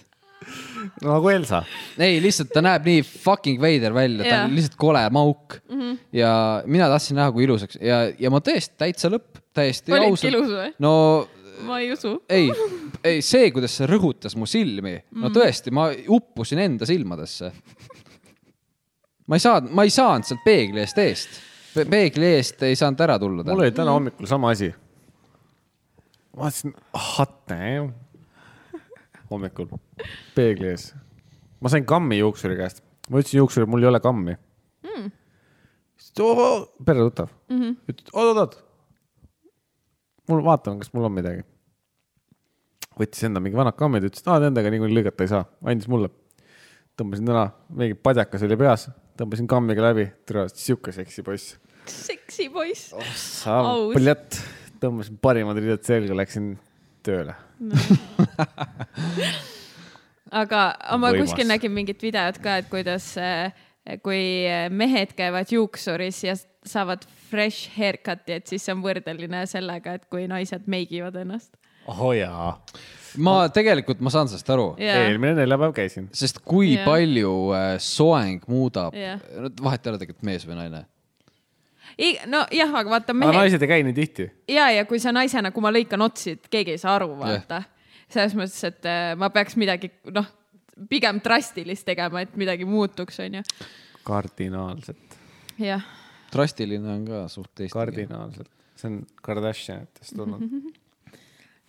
B: nagu Elsa .
C: ei , lihtsalt ta näeb nii fucking veider välja , ta on
A: Jaa.
C: lihtsalt kole mauk mm .
A: Mhm.
C: -hmm. ja mina tahtsin näha , kui ilusaks ja , ja ma tõesti täitsa lõpp , täiesti
A: Olidki
C: ausalt .
A: ilus või?
C: no
A: ma ei usu .
C: ei , ei see , kuidas see rõhutas mu silmi ,
A: Mhm.
C: no tõesti , ma uppusin enda silmadesse . ma ei saanud , ma ei saanud sealt peegli eest eest , peegli eest ei saanud ära tulla
B: mul
C: täna .
B: oli täna hommikul sama asi . vaatasin , hot damn . hommikul peegli ees . ma sain kammi juuksuri käest . ma ütlesin juuksurile , mul ei ole kammi mm. . pere tuttav mm . -hmm. ütles , oot-oot-oot . mul , vaatame , kas mul on midagi . võttis enda mingi vanad kammid , ütles , et aa , nendega niikuinii lõigata ei saa , andis mulle . tõmbasin täna , mingi padjakas oli peas , tõmbasin kammiga läbi , tere , sihuke seksi poiss
A: seksi poiss .
B: Oh.
A: Aus.
B: pljatt , tõmbasin parimad riided selga , läksin tööle .
A: aga aga ma
B: Võimas.
A: kuskil nägin mingit videot ka , et kuidas , kui mehed käivad juuksuris ja saavad fresh haircut'i , et siis see on võrdeline sellega , et kui naised meigivad ennast .
B: oh jaa .
C: ma tegelikult , ma saan sellest aru
A: jah ,
B: eelmine neljapäev käisin .
C: sest kui
A: Jah.
C: yeah. palju äh, soeng muudab
A: Jah.
C: yeah. , vahet ei ole tegelikult mees või naine .
A: nojah , aga vaata
B: aga
A: mehed
B: naised ei käi nii tihti .
A: ja , ja kui sa naisena , kui ma lõikan otsi , et keegi ei saa aru , vaata . selles mõttes , et äh, ma peaks midagi , noh , pigem drastilist tegema , et midagi muutuks , onju .
B: kardinaalselt ,
A: jah ,
C: drastiline on ka suht eesti keeles .
B: kardinaalselt . see on Kardashianitest tulnud .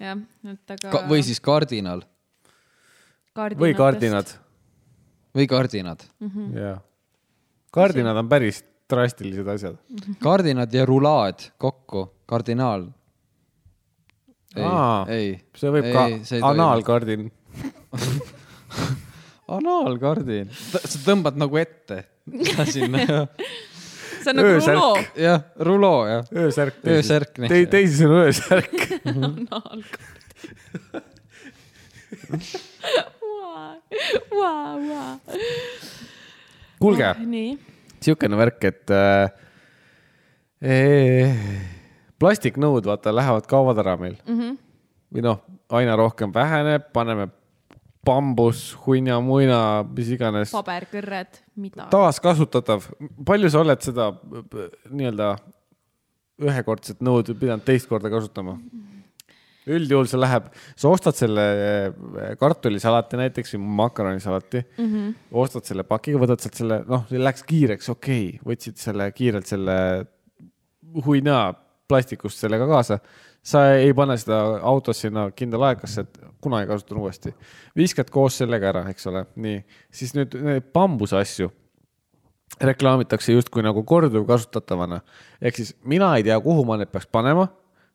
A: jah , et aga
C: Ka . või siis kardinal
B: või . kardinad .
C: või kardinad ,
B: jaa . kardinad on päris drastilised asjad .
C: kardinad ja rulaad kokku , kardinaal . ei
B: Aa, ,
C: ei .
B: see võib ka , anaalkardin .
C: anaalkardin , sa tõmbad nagu ette sinna ,
A: see on nagu
B: Öösärk.
A: ruloo .
C: jah , ruloo jah .
B: öösärk .
C: Öösärk, nii.
B: Te, teisisõnu öösärk .
A: naalkard . Vau, vau, vau.
B: kuulge ,
A: nii ,
B: sihukene värk , et äh, eh, plastiknõud , vaata , lähevad kaovad ära meil mm . -hmm. või noh , aina rohkem väheneb , paneme bambus , huina-muina , mis iganes .
A: paberkõrred , mida ?
B: taaskasutatav , palju sa oled seda p- nii-öelda ühekordset nõud pidanud teist korda kasutama ? üldjuhul see läheb , sa ostad selle eh, kartulisalati näiteks või makaronisalati mm , -hmm. ostad selle pakiga , võtad sealt selle , noh , läks kiireks , okei okay. , võtsid selle kiirelt selle huina plastikust sellega kaasa . sa ei pane seda autos sinna kindla aegasse , et kunagi kasutan uuesti . viskad koos sellega ära , eks ole , nii , siis nüüd need bambuse asju reklaamitakse justkui nagu korduvkasutatavana . ehk siis mina ei tea , kuhu ma need peaks panema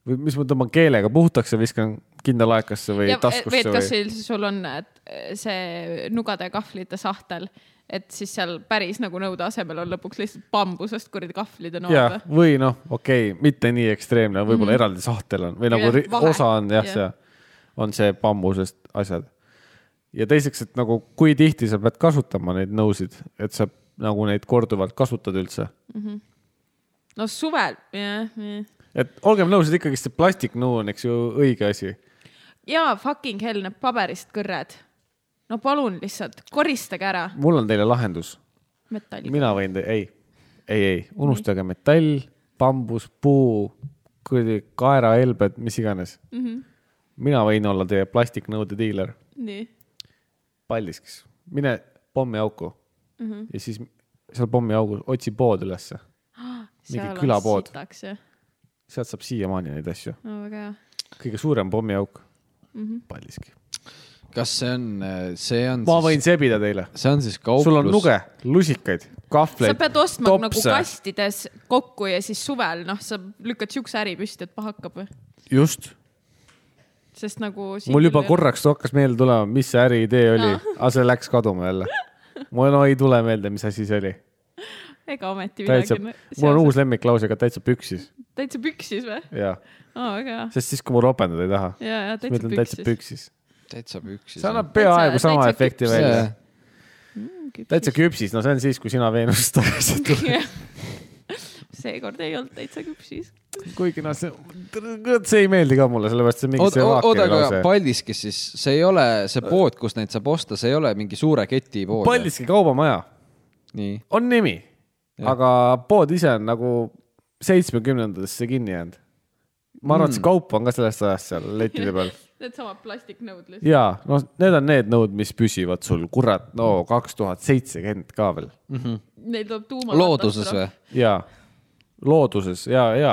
B: või mis ma tõmban keelega puhtaks ja viskan kindla aegasse või
A: ja eh, või
B: ja, ,
A: et
B: taskusse
A: kas
B: või .
A: sul- sul on et, eh, see nugade ja kahvlite sahtel , et siis seal päris nagu nõude asemel on lõpuks lihtsalt bambusest kuradi kahvlid ja noad
B: jah
A: või ?,
B: või noh , okei okay, , mitte nii ekstreemne , võib-olla mm -hmm. eraldi sahtel on või nagu
A: Jah,
B: ri-
A: vahe.
B: osa on jah ,
A: Jah.
B: see on see bambusest asjad . ja teiseks , et nagu kui tihti sa pead kasutama neid nõusid , et sa nagu neid korduvalt kasutad üldse
A: no suvel , jah , jah .
B: et olgem nõus , et ikkagist see plastiknõu on , eks ju , õige asi .
A: jaa , fucking hell , need paberist kõrred . no palun lihtsalt koristage ära
B: mul on teile lahendus .
A: metalli .
B: mina võin , ei , ei , ei , unustage metall , bambus , puu , kuradi kaerahelbed , mis iganes mm . -hmm. mina võin olla teie plastiknõude diiler ,
A: nii ,
B: Paldiskis , mine pommiauku mm
A: Mhm.
B: -hmm. ja siis seal pommiaugus otsi pood ülesse , mingi
A: seal on
B: külapood.
A: sitaks ju .
B: sealt saab siiamaani neid asju ,
A: no väga hea .
B: kõige suurem pommiauk mm
A: Mhm.
B: -hmm. Paldiski .
C: kas see on , see on
B: ma võin , sebida teile ,
C: see on siis kauplus .
B: sul on nuge , lusikaid ,
A: sa
B: kahvleid ,
A: pead ostma topse. nagu kastides kokku ja siis suvel noh , sa lükkad siukse äri püsti , et paha hakkab ,
B: just
A: sest nagu .
B: mul juba . korraks hakkas meelde tulema , mis see äriidee oli , aga see läks kaduma jälle . mul no, ei tule meelde , mis asi see oli .
A: ega ometi
B: täitsa
A: midagi ,.
B: mul on uus lemmiklause ka täitsa püksis
A: täitsa püksis või ?
B: ja ,
A: aa , väga hea .
B: sest siis , kui ma ropendada ei taha ,
A: ja , ja
B: siis
A: täitsa
B: ma ütlen täitsa
A: püksis .
B: püksis .
C: täitsa püksis .
B: see annab
A: Täitsa-
B: peaaegu sama
A: täitsa
B: efekti
A: küps.
B: välja . täitsa
A: täitsa .
B: küpsis , no see on siis , kui sina Veenust tagasi tuled .
A: seekord ei olnud täitsa küpsis .
B: kuigi noh , see , see ei meeldi ka mulle , sellepärast see on mingi
C: oota ,
B: Slovakkia
C: oota , aga
B: lause .
C: Paldiskis siis , see ei ole see pood , kus neid saab osta , see ei ole mingi suure keti pood .
B: Paldiski kaubamaja
C: nii ,
B: on nimi , aga pood ise on nagu seitsmekümnendatesse kinni jäänud . ma arvan , et see kaup on ka sellest ajast seal letide peal .
A: Needsamad plastiknõud lihtsalt .
B: ja noh , need on need nõud , mis püsivad sul , kurat , no kaks tuhat seitsekümmend ka veel
A: Neil tuleb tuuma .
C: looduses või ??
B: ja looduses ja , ja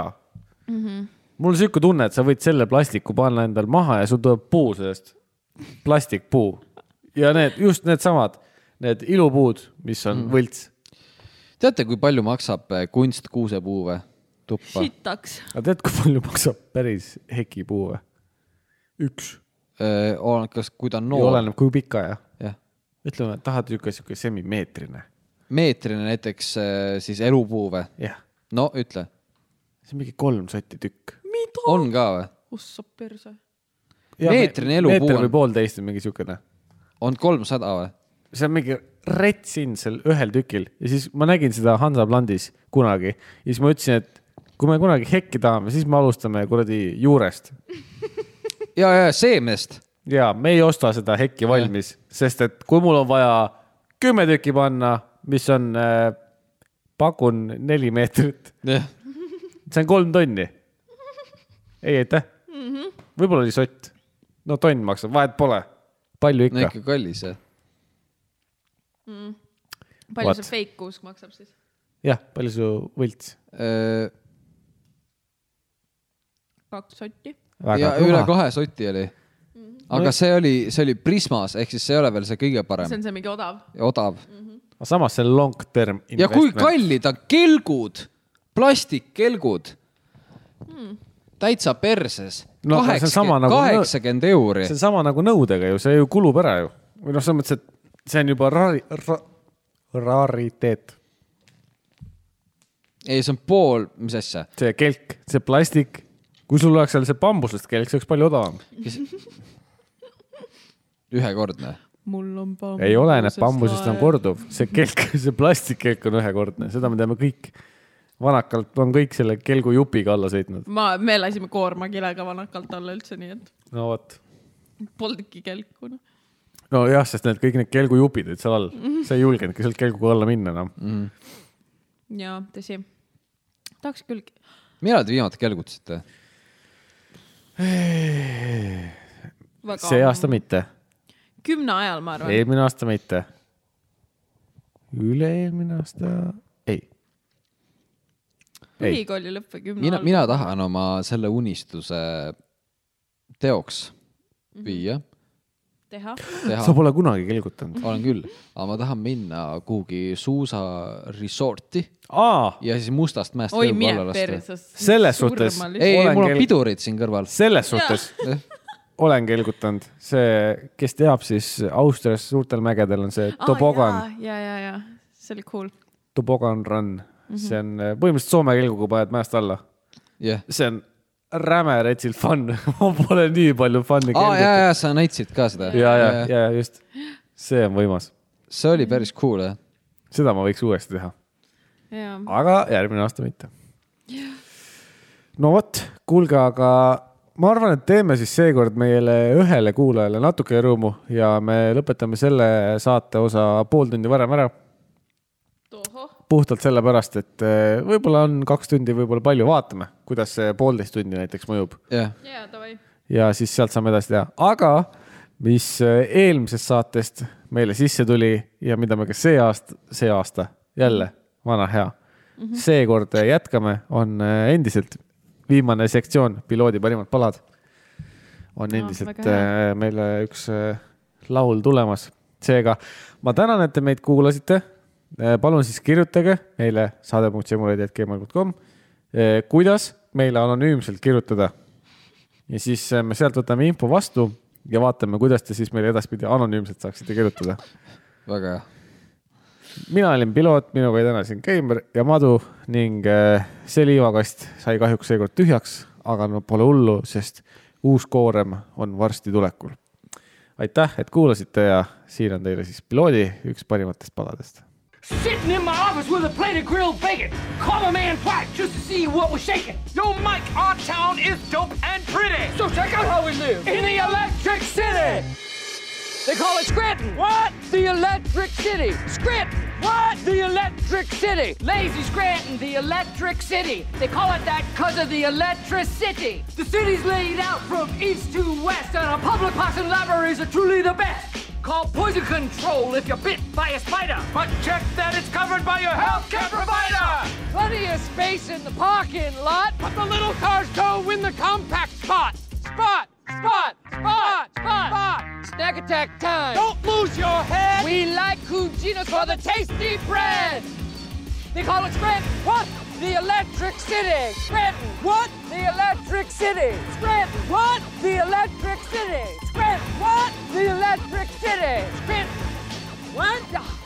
B: mm . -hmm. mul on sihuke tunne , et sa võid selle plastiku panna endal maha ja sul tuleb puu sellest , plastikpuu ja need just needsamad , need ilupuud , mis on mm -hmm. võlts .
C: teate , kui palju maksab eh, kunst kuusepuu või ? tuppa .
A: sitaks .
B: aga tead , kui palju maksab päris hekipuu või ? üks .
C: kas , kui ta Eh, on
B: no. .
C: noor ,
B: oleneb , kui pika ja
C: jah .
B: ütleme , et tahad niisugune , niisugune semimeetrine .
C: meetrine näiteks eh, siis elupuu või ?
B: jah ,
C: no ütle ,
B: see on mingi kolm sotti tükk .
A: mida ?
C: on ka või ?
A: ossa perse .
C: Meetrine elupuu
B: meeter
C: on-
B: või poolteist või mingi niisugune .
C: on kolmsada või ?
B: see on mingi rets hind seal ühel tükil ja siis ma nägin seda Hansaplandis kunagi ja siis ma ütlesin , et kui me kunagi hekki tahame , siis me alustame kuradi juurest .
C: ja , ja seemnest .
B: ja me ei osta seda hekki valmis , sest et kui mul on vaja kümme tükki panna , mis on äh, , pakun neli meetrit ,
C: jah ,
B: see on kolm tonni . ei aitäh , võib-olla oli sott , no tonn maksab , vahet pole , palju
C: no
B: ikka
C: ikka kallis jah .
B: What?
A: palju see fake kuusk maksab siis ?
B: jah , palju su võlts ?
C: Eh,
A: kaks sotti .
C: ja üle kahe soti oli .
A: Mhm.
C: aga see oli , see oli Prismas , ehk siis see ei ole veel see kõige
A: see
C: parem ,
A: on see mingi odav .
C: odav .
B: Aga samas see on long term .
C: ja kui kallid on kelgud , plastikkelgud . täitsa perses
B: No aga see on sama
C: kaheksakümmend ,
B: nagu-
C: kaheksakümmend euri
B: see . on sama nagu nõudega ju , see ju kulub ära ju . või noh , selles mõttes , et see on juba rari- , ra- , rariteet .
C: ei , see on pool , mis asja ,
B: see kelk , see plastik , kui sul oleks seal see bambusest kelk , see oleks palju odavam .
C: ühekordne .
A: mul on bambus .
B: ei ole , need bambusest on . korduv , see kelk , see plastikkelk on ühekordne , seda me teame kõik . vanakalt on kõik selle kelgu jupiga alla sõitnud .
A: ma , me lasime koormakilega vanakalt alla üldse , nii et
B: no vot .
A: polnudki kelku noh.
B: nojah , sest need kõik need kelgujupid olid seal all , sa ei julgenudki sealt kelguga alla minna noh. enam no. .
A: jaa , tõsi . tahaks küll .
C: millal te viimati kelgutasite ?
A: väga
B: see . aasta mitte
A: kümne ajal , ma arvan .
B: eelmine aasta mitte . üle-eelmine aasta , ei . ei.
A: põhikooli lõpp või kümne
C: mina ,
A: ajal .
C: mina tahan oma selle unistuse teoks viia ,
A: teha .
C: teha
B: sa . pole kunagi kelgutanud .
C: olen küll , aga ma tahan minna kuhugi suusa resort'i
B: aa ,
C: ja siis mustast mäest
A: oi ,
C: lõugu alla
A: mine
C: lasta .
A: perses .
B: Selles suhtes-
C: ei , ei
B: Olen
C: mul on
B: kell-
C: pidurid siin kõrval . Eh,
B: selles suhtes olen kelgutanud , see , kes teab , siis Austrias suurtel mägedel on see tobogan ,.
A: ja , ja , ja , see oli cool .
B: tobogan run . see on eh, põhimõtteliselt soome kelguga paned mäest alla .
C: jah ,
B: see on räme retsilt fun . ma pole nii palju fun'i
C: aa ja ,
B: kelgutanud .
C: ja sa näitasid ka seda .
B: ja , ja , ja just . see on võimas .
C: see oli päris cool jah .
B: seda ma võiks uuesti teha
A: jaa .
B: aga järgmine aasta mitte . no vot , kuulge , aga ma arvan , et teeme siis seekord meile ühele kuulajale natuke rõõmu ja me lõpetame selle saate osa pool tundi varem ära . puhtalt sellepärast , et eh, võib-olla on kaks tundi , võib-olla palju , vaatame , kuidas see poolteist tundi näiteks mõjub
C: jah ,
A: jaa , davai .
B: ja siis sealt saame edasi teha , aga mis eh, eelmisest saatest meile sisse tuli ja mida me ka see aasta , see aasta jälle , vana hea mm
A: Mhm.
B: -hmm. , seekord eh, jätkame , on eh, endiselt viimane sektsioon , piloodi parimad palad . on
A: Aa,
B: endiselt
A: väga hea.
B: eh, meile üks eh, laul tulemas , seega ma tänan , et te meid kuulasite . palun siis kirjutage meile saade.simuleid.gmail.com , Äh, kuidas meile anonüümselt kirjutada ja siis eh, me sealt võtame info vastu ja vaatame , kuidas te siis meile edaspidi anonüümselt saaksite kirjutada .
C: väga hea .
B: mina olin piloot , minuga oli täna siin Keimar ja Madu ning eh, see liivakast sai kahjuks seekord tühjaks , aga no pole hullu , sest uus koorem on varsti tulekul . aitäh , et kuulasite ja siin on teile siis piloodi üks parimatest paladest
D: Sitting in my office with a plate of grilled bacon. Call a man twice just to see what was shaking. Yo, Mike, our town is dope and pretty. So check out how we live in the Electric City. They call it Scranton. What? The Electric City. Scranton. What? The Electric City. Lazy Scranton, the Electric City. They call it that because of the electricity. The city's laid out from east to west, and our public parks and libraries are truly the best. Call poison control if you're bit by a spider. But check that it's covered by your healthcare provider. Plenty of space in the parking lot, but the little cars go in the compact spot. Spot, spot, spot, spot, spot. Snack attack time. Don't lose your head. We like Cuginos for the tasty bread. They call it Scranton. What? The Electric City. Scranton. What? The Electric City. Scranton. What? The Electric City. Scranton. What? The Electric City. Scranton. What?